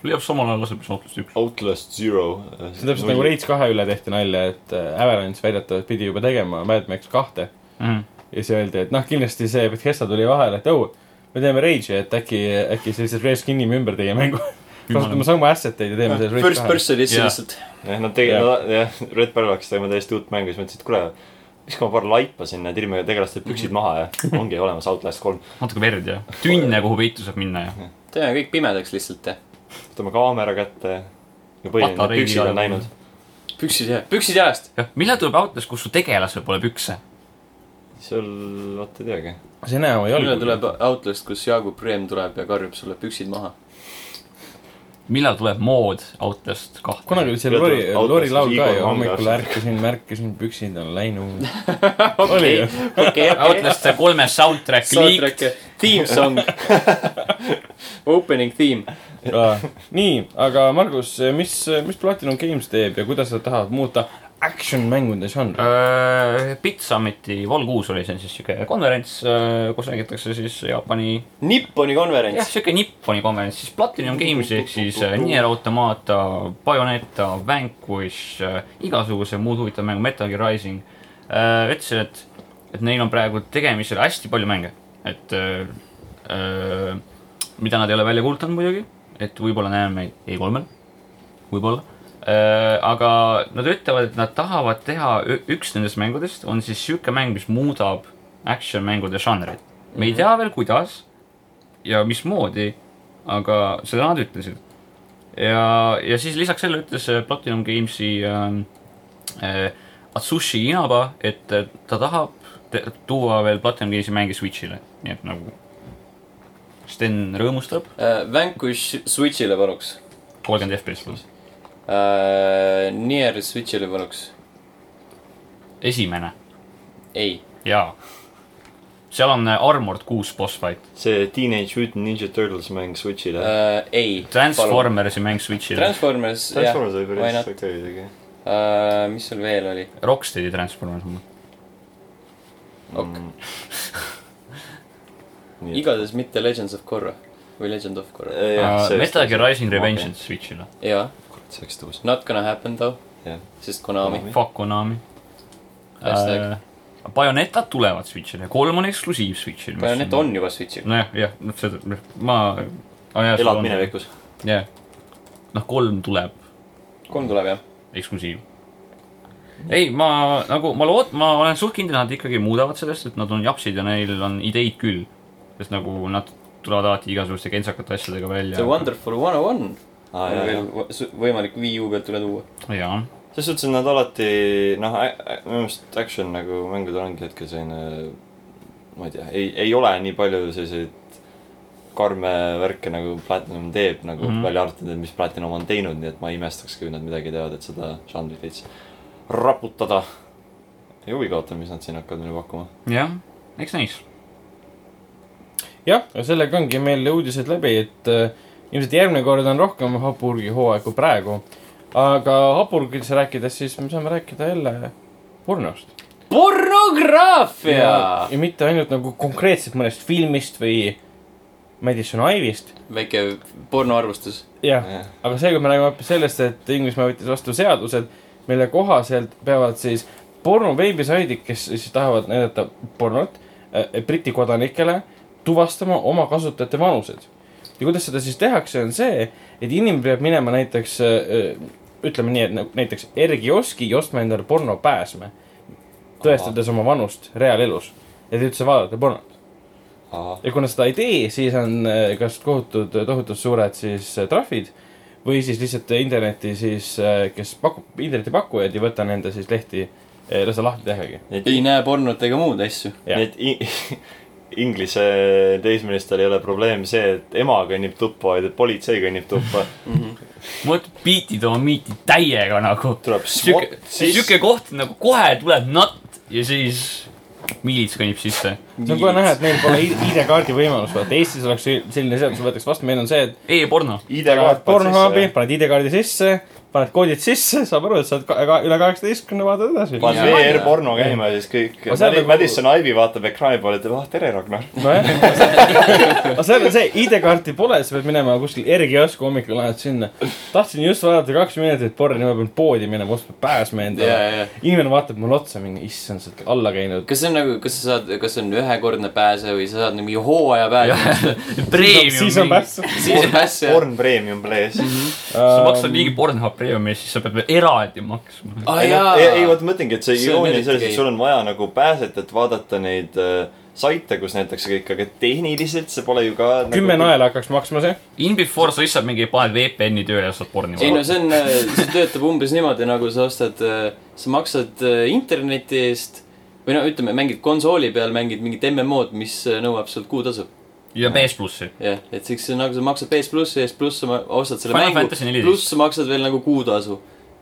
[SPEAKER 4] leiab samal ajal laseb , mis Outlast üks .
[SPEAKER 3] Outlast Zero .
[SPEAKER 2] see on täpselt nagu . Rage kahe üle tehti nalja , et äh, Avalanche väidetavalt pidi juba tegema Mad Max kahte ja siis öeldi , et noh , kindlasti see Bethesda tuli vahele , et oh , me teeme Rage'i , et äkki , äkki siis reskin'ime ümber teie mängu . kasutame samu asset eid ja teeme selle
[SPEAKER 1] First
[SPEAKER 2] Rage
[SPEAKER 1] person
[SPEAKER 4] Jah.
[SPEAKER 1] lihtsalt , lihtsalt .
[SPEAKER 3] jah , nad tegid , jah , Red Barrel hakkas tegema täiesti uut mängu , siis mõtlesid , et kuule , viskame paar laipa sinna , tirime tegelastele püksid maha ja
[SPEAKER 4] Mhm.
[SPEAKER 3] ongi olemas Outlast kolm .
[SPEAKER 4] natuke verd ja tünne , kuhu peitu saab minna ja .
[SPEAKER 1] teeme kõik pimedaks lihtsalt . võtame
[SPEAKER 3] kaamera kätte ja põhiline ,
[SPEAKER 4] Patareiga
[SPEAKER 3] püksid on
[SPEAKER 4] jalgu.
[SPEAKER 3] läinud .
[SPEAKER 1] püksid ja , püksid jalast .
[SPEAKER 4] jah , millal tuleb Outlast , kus su tegelasel pole pükse ?
[SPEAKER 3] seal , vot ei teagi .
[SPEAKER 2] see enam ei
[SPEAKER 1] millal
[SPEAKER 2] olnud .
[SPEAKER 1] tuleb Outlast , kus Jaagup Preem tuleb ja karjub sulle püksid maha ?
[SPEAKER 4] millal tuleb mood Outlast kahte ?
[SPEAKER 2] kunagi oli see
[SPEAKER 3] Millal
[SPEAKER 2] Lori ,
[SPEAKER 3] tuleb autos
[SPEAKER 2] Lori laul ka
[SPEAKER 3] Igor
[SPEAKER 2] ju ,
[SPEAKER 3] Vanglas?
[SPEAKER 2] hommikul ärkasin , märkasin , püksid on läinud . oli
[SPEAKER 1] okei
[SPEAKER 2] ju ,?
[SPEAKER 1] okei , okei .
[SPEAKER 4] Outlast kolme soundtrack liik ,
[SPEAKER 1] Soundtrack , theme song . Opening theme .
[SPEAKER 2] nii , aga Margus , mis , mis Platinum Games teeb ja kuidas nad tahavad muuta action mängude žanri ?
[SPEAKER 4] Bit Summiti Äh, Vol kuus oli see siis siuke konverents , kus räägitakse siis Jaapani ,
[SPEAKER 1] Nipponi
[SPEAKER 4] jah ,
[SPEAKER 1] konverents .
[SPEAKER 4] siuke nipponi konverents , siis Platinum Games ehk siis äh, Nier Automata , Bayoneta , Vanquish , igasuguse muud huvitav mängu , Metal Gear Rising . ütlesin , et , et neil on praegu tegemisel hästi palju mänge , et äh, äh, mida nad ei ole välja kuulutanud muidugi , et võib-olla näeme meid E3-l , võib-olla . aga nad ütlevad , et nad tahavad teha , üks nendest mängudest on siis sihuke mäng , mis muudab action mängude žanrit . me ei tea veel , kuidas ja mismoodi , aga seda nad ütlesid . ja , ja siis lisaks sellele ütles äh, Platinum Gamesi ähm, äh, Atsushi Inaba , et äh, ta tahab te- tuua veel Platinum Gamesi mänge Switch'ile , nii et nagu Sten rõõmustab ,
[SPEAKER 1] Äh, Vanquish Switch'ile paluks .
[SPEAKER 4] kolmkümmend FPS pluss .
[SPEAKER 1] Nier Switch'ile paluks .
[SPEAKER 4] esimene ,
[SPEAKER 1] ei ,
[SPEAKER 4] jaa . seal on äh, Armored kuus boss fight .
[SPEAKER 3] see Teenage Mutant Ninja Turtles mäng Switch'ile .
[SPEAKER 1] äh, . ei .
[SPEAKER 4] Transformersi mäng Switch'il ,
[SPEAKER 1] Transformers , jah .
[SPEAKER 3] Transformers oli
[SPEAKER 1] why
[SPEAKER 3] päris
[SPEAKER 1] not? Äh,
[SPEAKER 3] okei isegi .
[SPEAKER 1] mis sul veel oli ?
[SPEAKER 4] Rocksteadi Transformers .
[SPEAKER 1] Ok. .
[SPEAKER 3] nii .
[SPEAKER 1] igatahes mitte Legends of Korra või Legend of Korra .
[SPEAKER 3] Äh.
[SPEAKER 4] Äh, Metal Gear Rising Revenge on Switch'il .
[SPEAKER 1] jaa ,
[SPEAKER 3] kurat , see oleks tõus .
[SPEAKER 1] not gonna happen though ,
[SPEAKER 3] jah ,
[SPEAKER 1] sest Konami .
[SPEAKER 4] Fuck Konami .
[SPEAKER 1] Hashtag.
[SPEAKER 4] Bajonetad tulevad Switch'ile , kolm on eksklusiiv Switch'il .
[SPEAKER 1] Bayoneta . on juba Switch'il .
[SPEAKER 4] nojah , jah , noh seda , ma .
[SPEAKER 3] elad . minevikus .
[SPEAKER 4] jah , noh kolm tuleb
[SPEAKER 1] kolm tuleb jah ?
[SPEAKER 4] eksklusiiv . ei , ma nagu , ma lood- , ma olen suht kindel , nad ikkagi muudavad sellest , et nad on japsid ja neil on ideid küll . sest nagu nad tulevad alati igasuguste kentsakate asjadega
[SPEAKER 1] The
[SPEAKER 4] välja .
[SPEAKER 1] Wonderful One O One
[SPEAKER 3] aa ,
[SPEAKER 1] on
[SPEAKER 3] Ah, jaa , jaa
[SPEAKER 1] veel . võ- su- võimalik Wii U pealt üle tuua .
[SPEAKER 4] jaa ,
[SPEAKER 3] selles suhtes , et nad alati noh , minu meelest action nagu mängud ongi hetkel selline , ma ei tea , ei , ei ole nii palju selliseid karme värke nagu Platinum teeb nagu mm
[SPEAKER 4] Mhm.
[SPEAKER 3] -hmm. välja arvatud , et mis Platinum on teinud , nii et ma ei imestaks , kui nad midagi teevad , et seda žanrit veits raputada . ja huviga ootan , mis nad siin hakkavad meile pakkuma .
[SPEAKER 4] jah , eks näis .
[SPEAKER 2] jah , sellega ongi meil uudised läbi , et äh, ilmselt järgmine kord on rohkem Hapurgi hooaeg kui praegu . aga Hapurgisse rääkides , siis me saame rääkida jälle pornost .
[SPEAKER 1] pornograafia !
[SPEAKER 2] ja mitte ainult nagu konkreetselt mõnest filmist või Madison Ive'ist .
[SPEAKER 1] väike pornoarvustus .
[SPEAKER 2] jah , aga seekord me räägime hoopis sellest , et Inglismaa võttis vastu seadused , mille kohaselt peavad siis porno veebisaidid , kes siis tahavad näidata pornot äh, Briti kodanikele , tuvastama oma kasutajate vanused . ja kuidas seda siis tehakse , on see , et inimene peab minema näiteks , ütleme nii , et nagu näiteks Ergi Oski ja ostma endale pornopääsme , tõestades oma vanust reaalelus , et üldse vaadata pornot .
[SPEAKER 3] ahah ,
[SPEAKER 2] ja kui nad seda ei tee , siis on äh, kas kohutud , tohutult suured siis äh, trahvid või siis lihtsalt interneti siis , kes pakub , internetipakkujad ei võta nende siis lehti , ei lase lahti tehagi .
[SPEAKER 3] neid ,
[SPEAKER 1] ei näe pornot ega muud asju .
[SPEAKER 2] jah.
[SPEAKER 3] neid i- inglise teismelistel ei ole probleem see , et ema kõnnib tuppa , vaid et politsei kõnnib tuppa .
[SPEAKER 4] vot beat'id oma miiti täiega nagu .
[SPEAKER 3] tuleb
[SPEAKER 4] sihuke ,
[SPEAKER 3] SWAT , siis
[SPEAKER 4] sihuke koht nagu kohe tuleb nutt ja siis miilits kõnnib sisse .
[SPEAKER 2] see on kohe näha , et neil pole i- ID-kaardi võimalus , vaata Eestis oleks si- selline seadus , võetaks vastu , meil on see , et
[SPEAKER 4] E-porno .
[SPEAKER 2] paned
[SPEAKER 3] ID-kaart
[SPEAKER 2] Pornhubi , paned ID-kaardi sisse , paned koodid sisse , saab aru , et sa oled ka- ka- üle kaheksateistkümne , vaatad edasi .
[SPEAKER 3] paned
[SPEAKER 1] Jaa.
[SPEAKER 3] VR-porno E käima ja siis kõik
[SPEAKER 2] Aga seal
[SPEAKER 3] Madi-
[SPEAKER 2] nagu-
[SPEAKER 3] Madison Ive'i vaatab ekraani poole , ütleb ah tere , Ragnar .
[SPEAKER 2] nojah , aga seal on see , ID-kaarti pole , sa pead minema kuskil Erki Jasku hommikul lähed sinna . tahtsin just vaadata kaks minutit porni , ma pean poodi minema , ostma pääsme
[SPEAKER 1] ja ,
[SPEAKER 2] endale .
[SPEAKER 1] ja ,
[SPEAKER 2] inimene vaatab mulle otsa , mingi issand , sa oled alla käinud .
[SPEAKER 1] kas see on nagu , kas sa saad , kas see on ühekordne pääse või sa saad nagu mingi hooaja pääse ?
[SPEAKER 2] siis on
[SPEAKER 4] preemium .
[SPEAKER 2] pääs .
[SPEAKER 1] siis on pääs ja .
[SPEAKER 3] Porn premium plees .
[SPEAKER 4] sa maksad mingi Pornhub preemiumi , siis sa pead veel eraldi maksma .
[SPEAKER 1] aa
[SPEAKER 3] ei ,
[SPEAKER 1] jaa .
[SPEAKER 3] ei vaata , ma ütlengi , et see
[SPEAKER 1] See on
[SPEAKER 3] iroonia on
[SPEAKER 1] eriti
[SPEAKER 3] selles , et
[SPEAKER 1] gei.
[SPEAKER 3] sul on vaja nagu pääset , et vaadata neid äh, saite , kus näitakse kõik , aga tehniliselt see pole ju ka . nagu
[SPEAKER 2] kümme . naela hakkaks maksma see .
[SPEAKER 4] In before sa lihtsalt mingi paned VPN-i tööle ja saad porni
[SPEAKER 1] ei no
[SPEAKER 4] vaadata .
[SPEAKER 1] see on , see töötab umbes niimoodi , nagu sa ostad , sa maksad äh, interneti eest või no ütleme , mängid konsooli peal , mängid mingit MMO-d , mis äh, nõuab sult kuutasu .
[SPEAKER 4] ja PS plussi .
[SPEAKER 1] jah , et siis see on nagu sa maksad PS plussi eest , pluss sa ma- ostad selle
[SPEAKER 4] Final Fantasy
[SPEAKER 1] mängu ,
[SPEAKER 4] 14.
[SPEAKER 1] pluss sa maksad veel nagu kuutasu .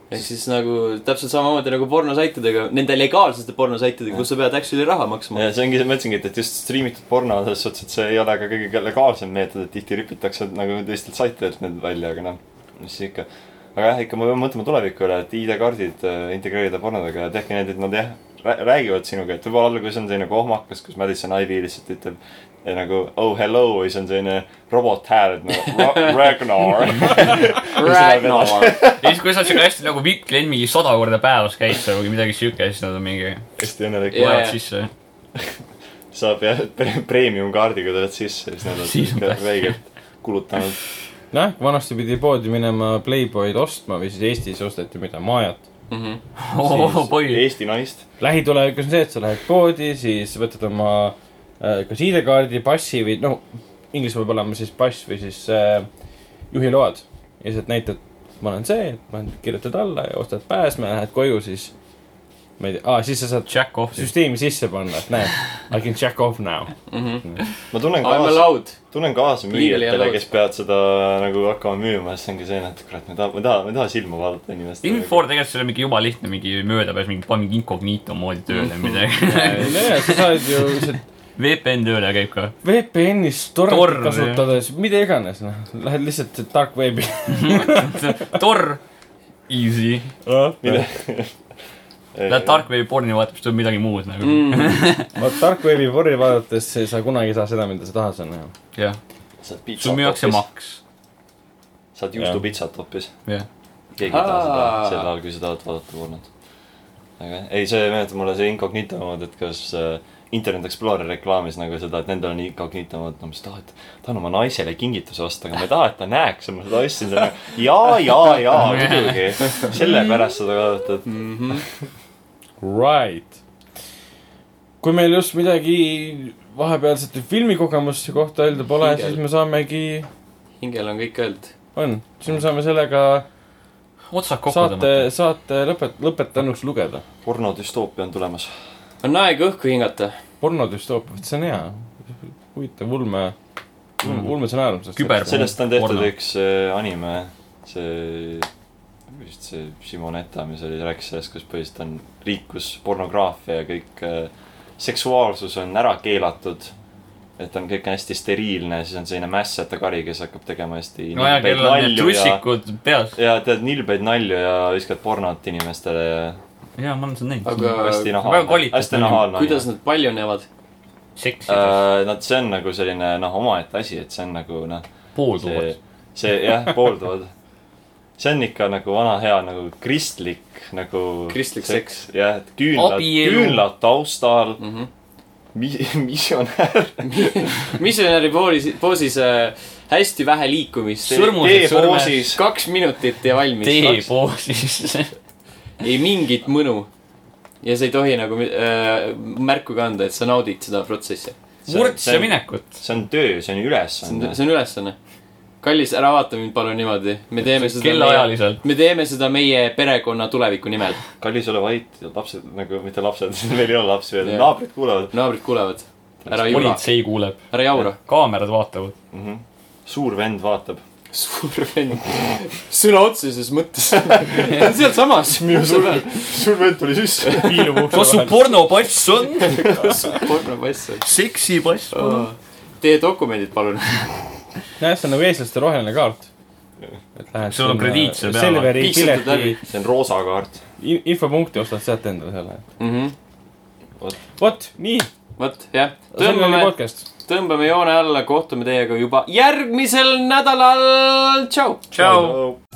[SPEAKER 1] ehk siis nagu täpselt samamoodi nagu pornosaitidega , nende legaalsete pornosaitidega , kus sa pead actually raha maksma .
[SPEAKER 3] ja see ongi , ma ütlesingi , et just striimitud porno on selles suhtes , et see ei ole ka kõige legaalsem meetod , et tihti ripitakse nagu teistelt saitidelt need välja , aga noh , mis siis ikka . aga jah , ikka me peame mõtlema tuleviku üle , et ID-kaardid äh, integreerida pornodega ja tehke need , et nad jah , räägivad sinuga , et võib-olla alguses on selline kohmakas , kus Madison Ivy lihtsalt ütleb eh, nagu oh hello ja siis on selline robot hääl , et nagu Ra- Ragnar .
[SPEAKER 1] noh, Ragnar .
[SPEAKER 4] ja siis , kui sa siuke hästi nagu vipp klient mingi sada korda päevas käid seal või midagi siuke , siis nad on mingi ,
[SPEAKER 3] hästi õnnelik
[SPEAKER 1] Jaa,
[SPEAKER 3] yeah. ,
[SPEAKER 4] loevad
[SPEAKER 1] jaa.
[SPEAKER 4] sisse .
[SPEAKER 3] saab jah pre- premium kaardiga tuled sisse ja siis nad
[SPEAKER 4] Siis on
[SPEAKER 3] on ikka
[SPEAKER 4] pääs-
[SPEAKER 3] väikelt kulutanud .
[SPEAKER 2] noh , vanasti pidi poodi minema Playboy'd ostma või siis Eestis osteti mida , majat .
[SPEAKER 1] Mhm,
[SPEAKER 4] oo , boi .
[SPEAKER 3] Eesti naist .
[SPEAKER 2] lähitulevikus on see , et sa lähed poodi , siis võtad oma äh, kas ID-kaardi , passi või noh , inglise peab olema siis pass või siis äh, juhiload . ja lihtsalt näitad , ma olen see , ma olen , kirjutad alla ja ostad pääsme , lähed koju , siis ma ei tea , aa , siis sa saad
[SPEAKER 4] Jack off .
[SPEAKER 2] süsteemi sisse panna , et näed , I can check off now .
[SPEAKER 3] ma
[SPEAKER 1] I
[SPEAKER 3] tunnen
[SPEAKER 1] m
[SPEAKER 3] kaasa ,
[SPEAKER 1] mhm. allowed .
[SPEAKER 3] tunnen kaasa
[SPEAKER 1] Legally
[SPEAKER 3] müüjatele
[SPEAKER 1] allowed. ,
[SPEAKER 3] kes peavad seda nagu hakkama müüma , sest see ongi see , et kurat , ma ei taha , ma ei taha , ma ei taha silma vaadata
[SPEAKER 4] In
[SPEAKER 3] inimestele .
[SPEAKER 4] before tegelikult see oli mingi jumala
[SPEAKER 1] Mm.
[SPEAKER 4] lihtne , mingi möödapääs , mingi pange incognito moodi tööle või midagi .
[SPEAKER 2] nojah , sa saad ju lihtsalt
[SPEAKER 4] VPN tööle käib ka .
[SPEAKER 2] VPN-is torrenti
[SPEAKER 4] Torre.
[SPEAKER 2] kasutades , mida iganes , noh , lähed lihtsalt dark web'i .
[SPEAKER 4] Tor , easy .
[SPEAKER 3] mine .
[SPEAKER 4] Lähed . tarkveebi porni vaatama , siis tuleb midagi muud nagu mm. .
[SPEAKER 2] vot dark web'i vorri vaadates ei- sa kunagi ei saa seda , mida sa tahad seal näha .
[SPEAKER 4] jah , sul müüakse . maks .
[SPEAKER 3] saad juustu pitsat hoopis .
[SPEAKER 4] jah ,
[SPEAKER 3] keegi ei taha seda
[SPEAKER 1] Aa.
[SPEAKER 3] sel ajal , kui sa tahad vaadata pornot . aga jah. ei , see meenutab mulle see incognito mood , et kas äh, Internet Explorer reklaamis nagu seda , et nendel on incognito mood , no mis sa tahad , tahan oma naisele kingituse osta , aga ma ei taha , et ta näeks , ma seda ostsin talle . jaa , jaa , jaa , muidugi . sellepärast seda vaadata ,
[SPEAKER 1] Mhm.
[SPEAKER 2] Right . kui meil just midagi vahepealsete filmikogemuste kohta öelda pole ,
[SPEAKER 1] Hingel.
[SPEAKER 2] siis me saamegi ,
[SPEAKER 1] hingel on kõik öeldud .
[SPEAKER 2] on , siis me saame sellega
[SPEAKER 4] otsad kokku
[SPEAKER 2] saate
[SPEAKER 4] tõmmata .,
[SPEAKER 2] saate lõpet- , lõpetanuks lugeda .
[SPEAKER 3] et pornodüstoopia on tulemas .
[SPEAKER 1] on aeg õhku hingata .
[SPEAKER 2] pornodüstoopia , vot see on hea . huvitav ulme ,
[SPEAKER 4] Mm.
[SPEAKER 2] ulmestsenaarium .
[SPEAKER 4] Küber-
[SPEAKER 3] sellest on tehtud
[SPEAKER 4] Porno.
[SPEAKER 3] üks äh, anime , see vist see Simoneta , mis oli , rääkis sellest , kus põhiliselt on riik , kus pornograafia ja kõik äh, seksuaalsus on ära keelatud . et on kõik on hästi steriilne , siis on selline mässata kari , kes hakkab tegema hästi
[SPEAKER 4] nojah ,
[SPEAKER 3] nilbeid
[SPEAKER 4] kellel on need
[SPEAKER 3] nalju ja ,
[SPEAKER 4] trussikud peas .
[SPEAKER 3] ja tead nilbeid nalju ja viskad pornot inimestele ja
[SPEAKER 4] jaa , ma olen seda näinud .
[SPEAKER 1] aga
[SPEAKER 3] hästi
[SPEAKER 4] väga
[SPEAKER 3] nahaalne ,
[SPEAKER 4] kvaliteetne
[SPEAKER 3] hästi nahaalne .
[SPEAKER 1] kuidas nad paljunevad ?
[SPEAKER 4] seksi äh, ,
[SPEAKER 3] Äh, Nad , see on nagu selline noh , omaette asi , et see on nagu noh ,
[SPEAKER 4] poolduvad
[SPEAKER 3] see ., see jah , poolduvad . see on ikka nagu vana hea nagu kristlik nagu .
[SPEAKER 1] Kristlik
[SPEAKER 3] seks . jah , et küünlad ,
[SPEAKER 4] Abielu.
[SPEAKER 3] küünlad taustal
[SPEAKER 1] mm . -hmm.
[SPEAKER 3] mi, , misjonär .
[SPEAKER 1] missionäri poolis , poosis äh, hästi vähe liikumist .
[SPEAKER 4] Sõrmused sõrmes.
[SPEAKER 3] teepoosis ,
[SPEAKER 1] kaks minutit ja valmis .
[SPEAKER 4] teepoosis .
[SPEAKER 1] ei mingit mõnu . ja sa ei tohi nagu äh, märku kanda , et sa naudid seda protsessi .
[SPEAKER 3] See-
[SPEAKER 4] murdse
[SPEAKER 3] see-
[SPEAKER 4] minekut .
[SPEAKER 3] see on töö , see on
[SPEAKER 1] see on ,
[SPEAKER 3] ülesanne .
[SPEAKER 1] see on ülesanne . kallis , ära vaata mind palun niimoodi , me teeme seda .
[SPEAKER 4] kellaajaliselt .
[SPEAKER 1] me teeme seda meie perekonna tuleviku nimel .
[SPEAKER 3] kallis ole vait , lapsed nagu , mitte lapsed , meil ei ole lapsi veel ,
[SPEAKER 1] Jah.
[SPEAKER 3] naabrid kuulevad
[SPEAKER 1] naabrid kuulevad , ära jura ,
[SPEAKER 4] politsei kuuleb ,
[SPEAKER 1] ära jaura .
[SPEAKER 4] kaamerad vaatavad .
[SPEAKER 3] mm . -hmm. suur vend vaatab .
[SPEAKER 1] suur vend , sõna otseses mõttes . ta on sealsamas . minu sõber .
[SPEAKER 3] suur vend tuli sisse .
[SPEAKER 4] kas sul pornopass on ?
[SPEAKER 1] pornopass on .
[SPEAKER 4] seksipass on .
[SPEAKER 1] Teie dokumendid , palun .
[SPEAKER 2] nojah , see on nagu eestlaste roheline kaart .
[SPEAKER 4] Sul on krediit seal peal.
[SPEAKER 2] Selveri
[SPEAKER 1] Piiksutud
[SPEAKER 2] pileti
[SPEAKER 1] läbi.
[SPEAKER 3] see on roosa kaart .
[SPEAKER 2] in- infopunkti ostad sealt endale selle .
[SPEAKER 1] Mhm.
[SPEAKER 3] vot ,
[SPEAKER 2] vot , nii ,
[SPEAKER 1] vot , jah .
[SPEAKER 2] selline oli
[SPEAKER 1] tõmbame ,
[SPEAKER 2] podcast .
[SPEAKER 1] tõmbame joone alla , kohtume teiega juba järgmisel nädalal . tšau .
[SPEAKER 4] tšau .
[SPEAKER 3] tšau .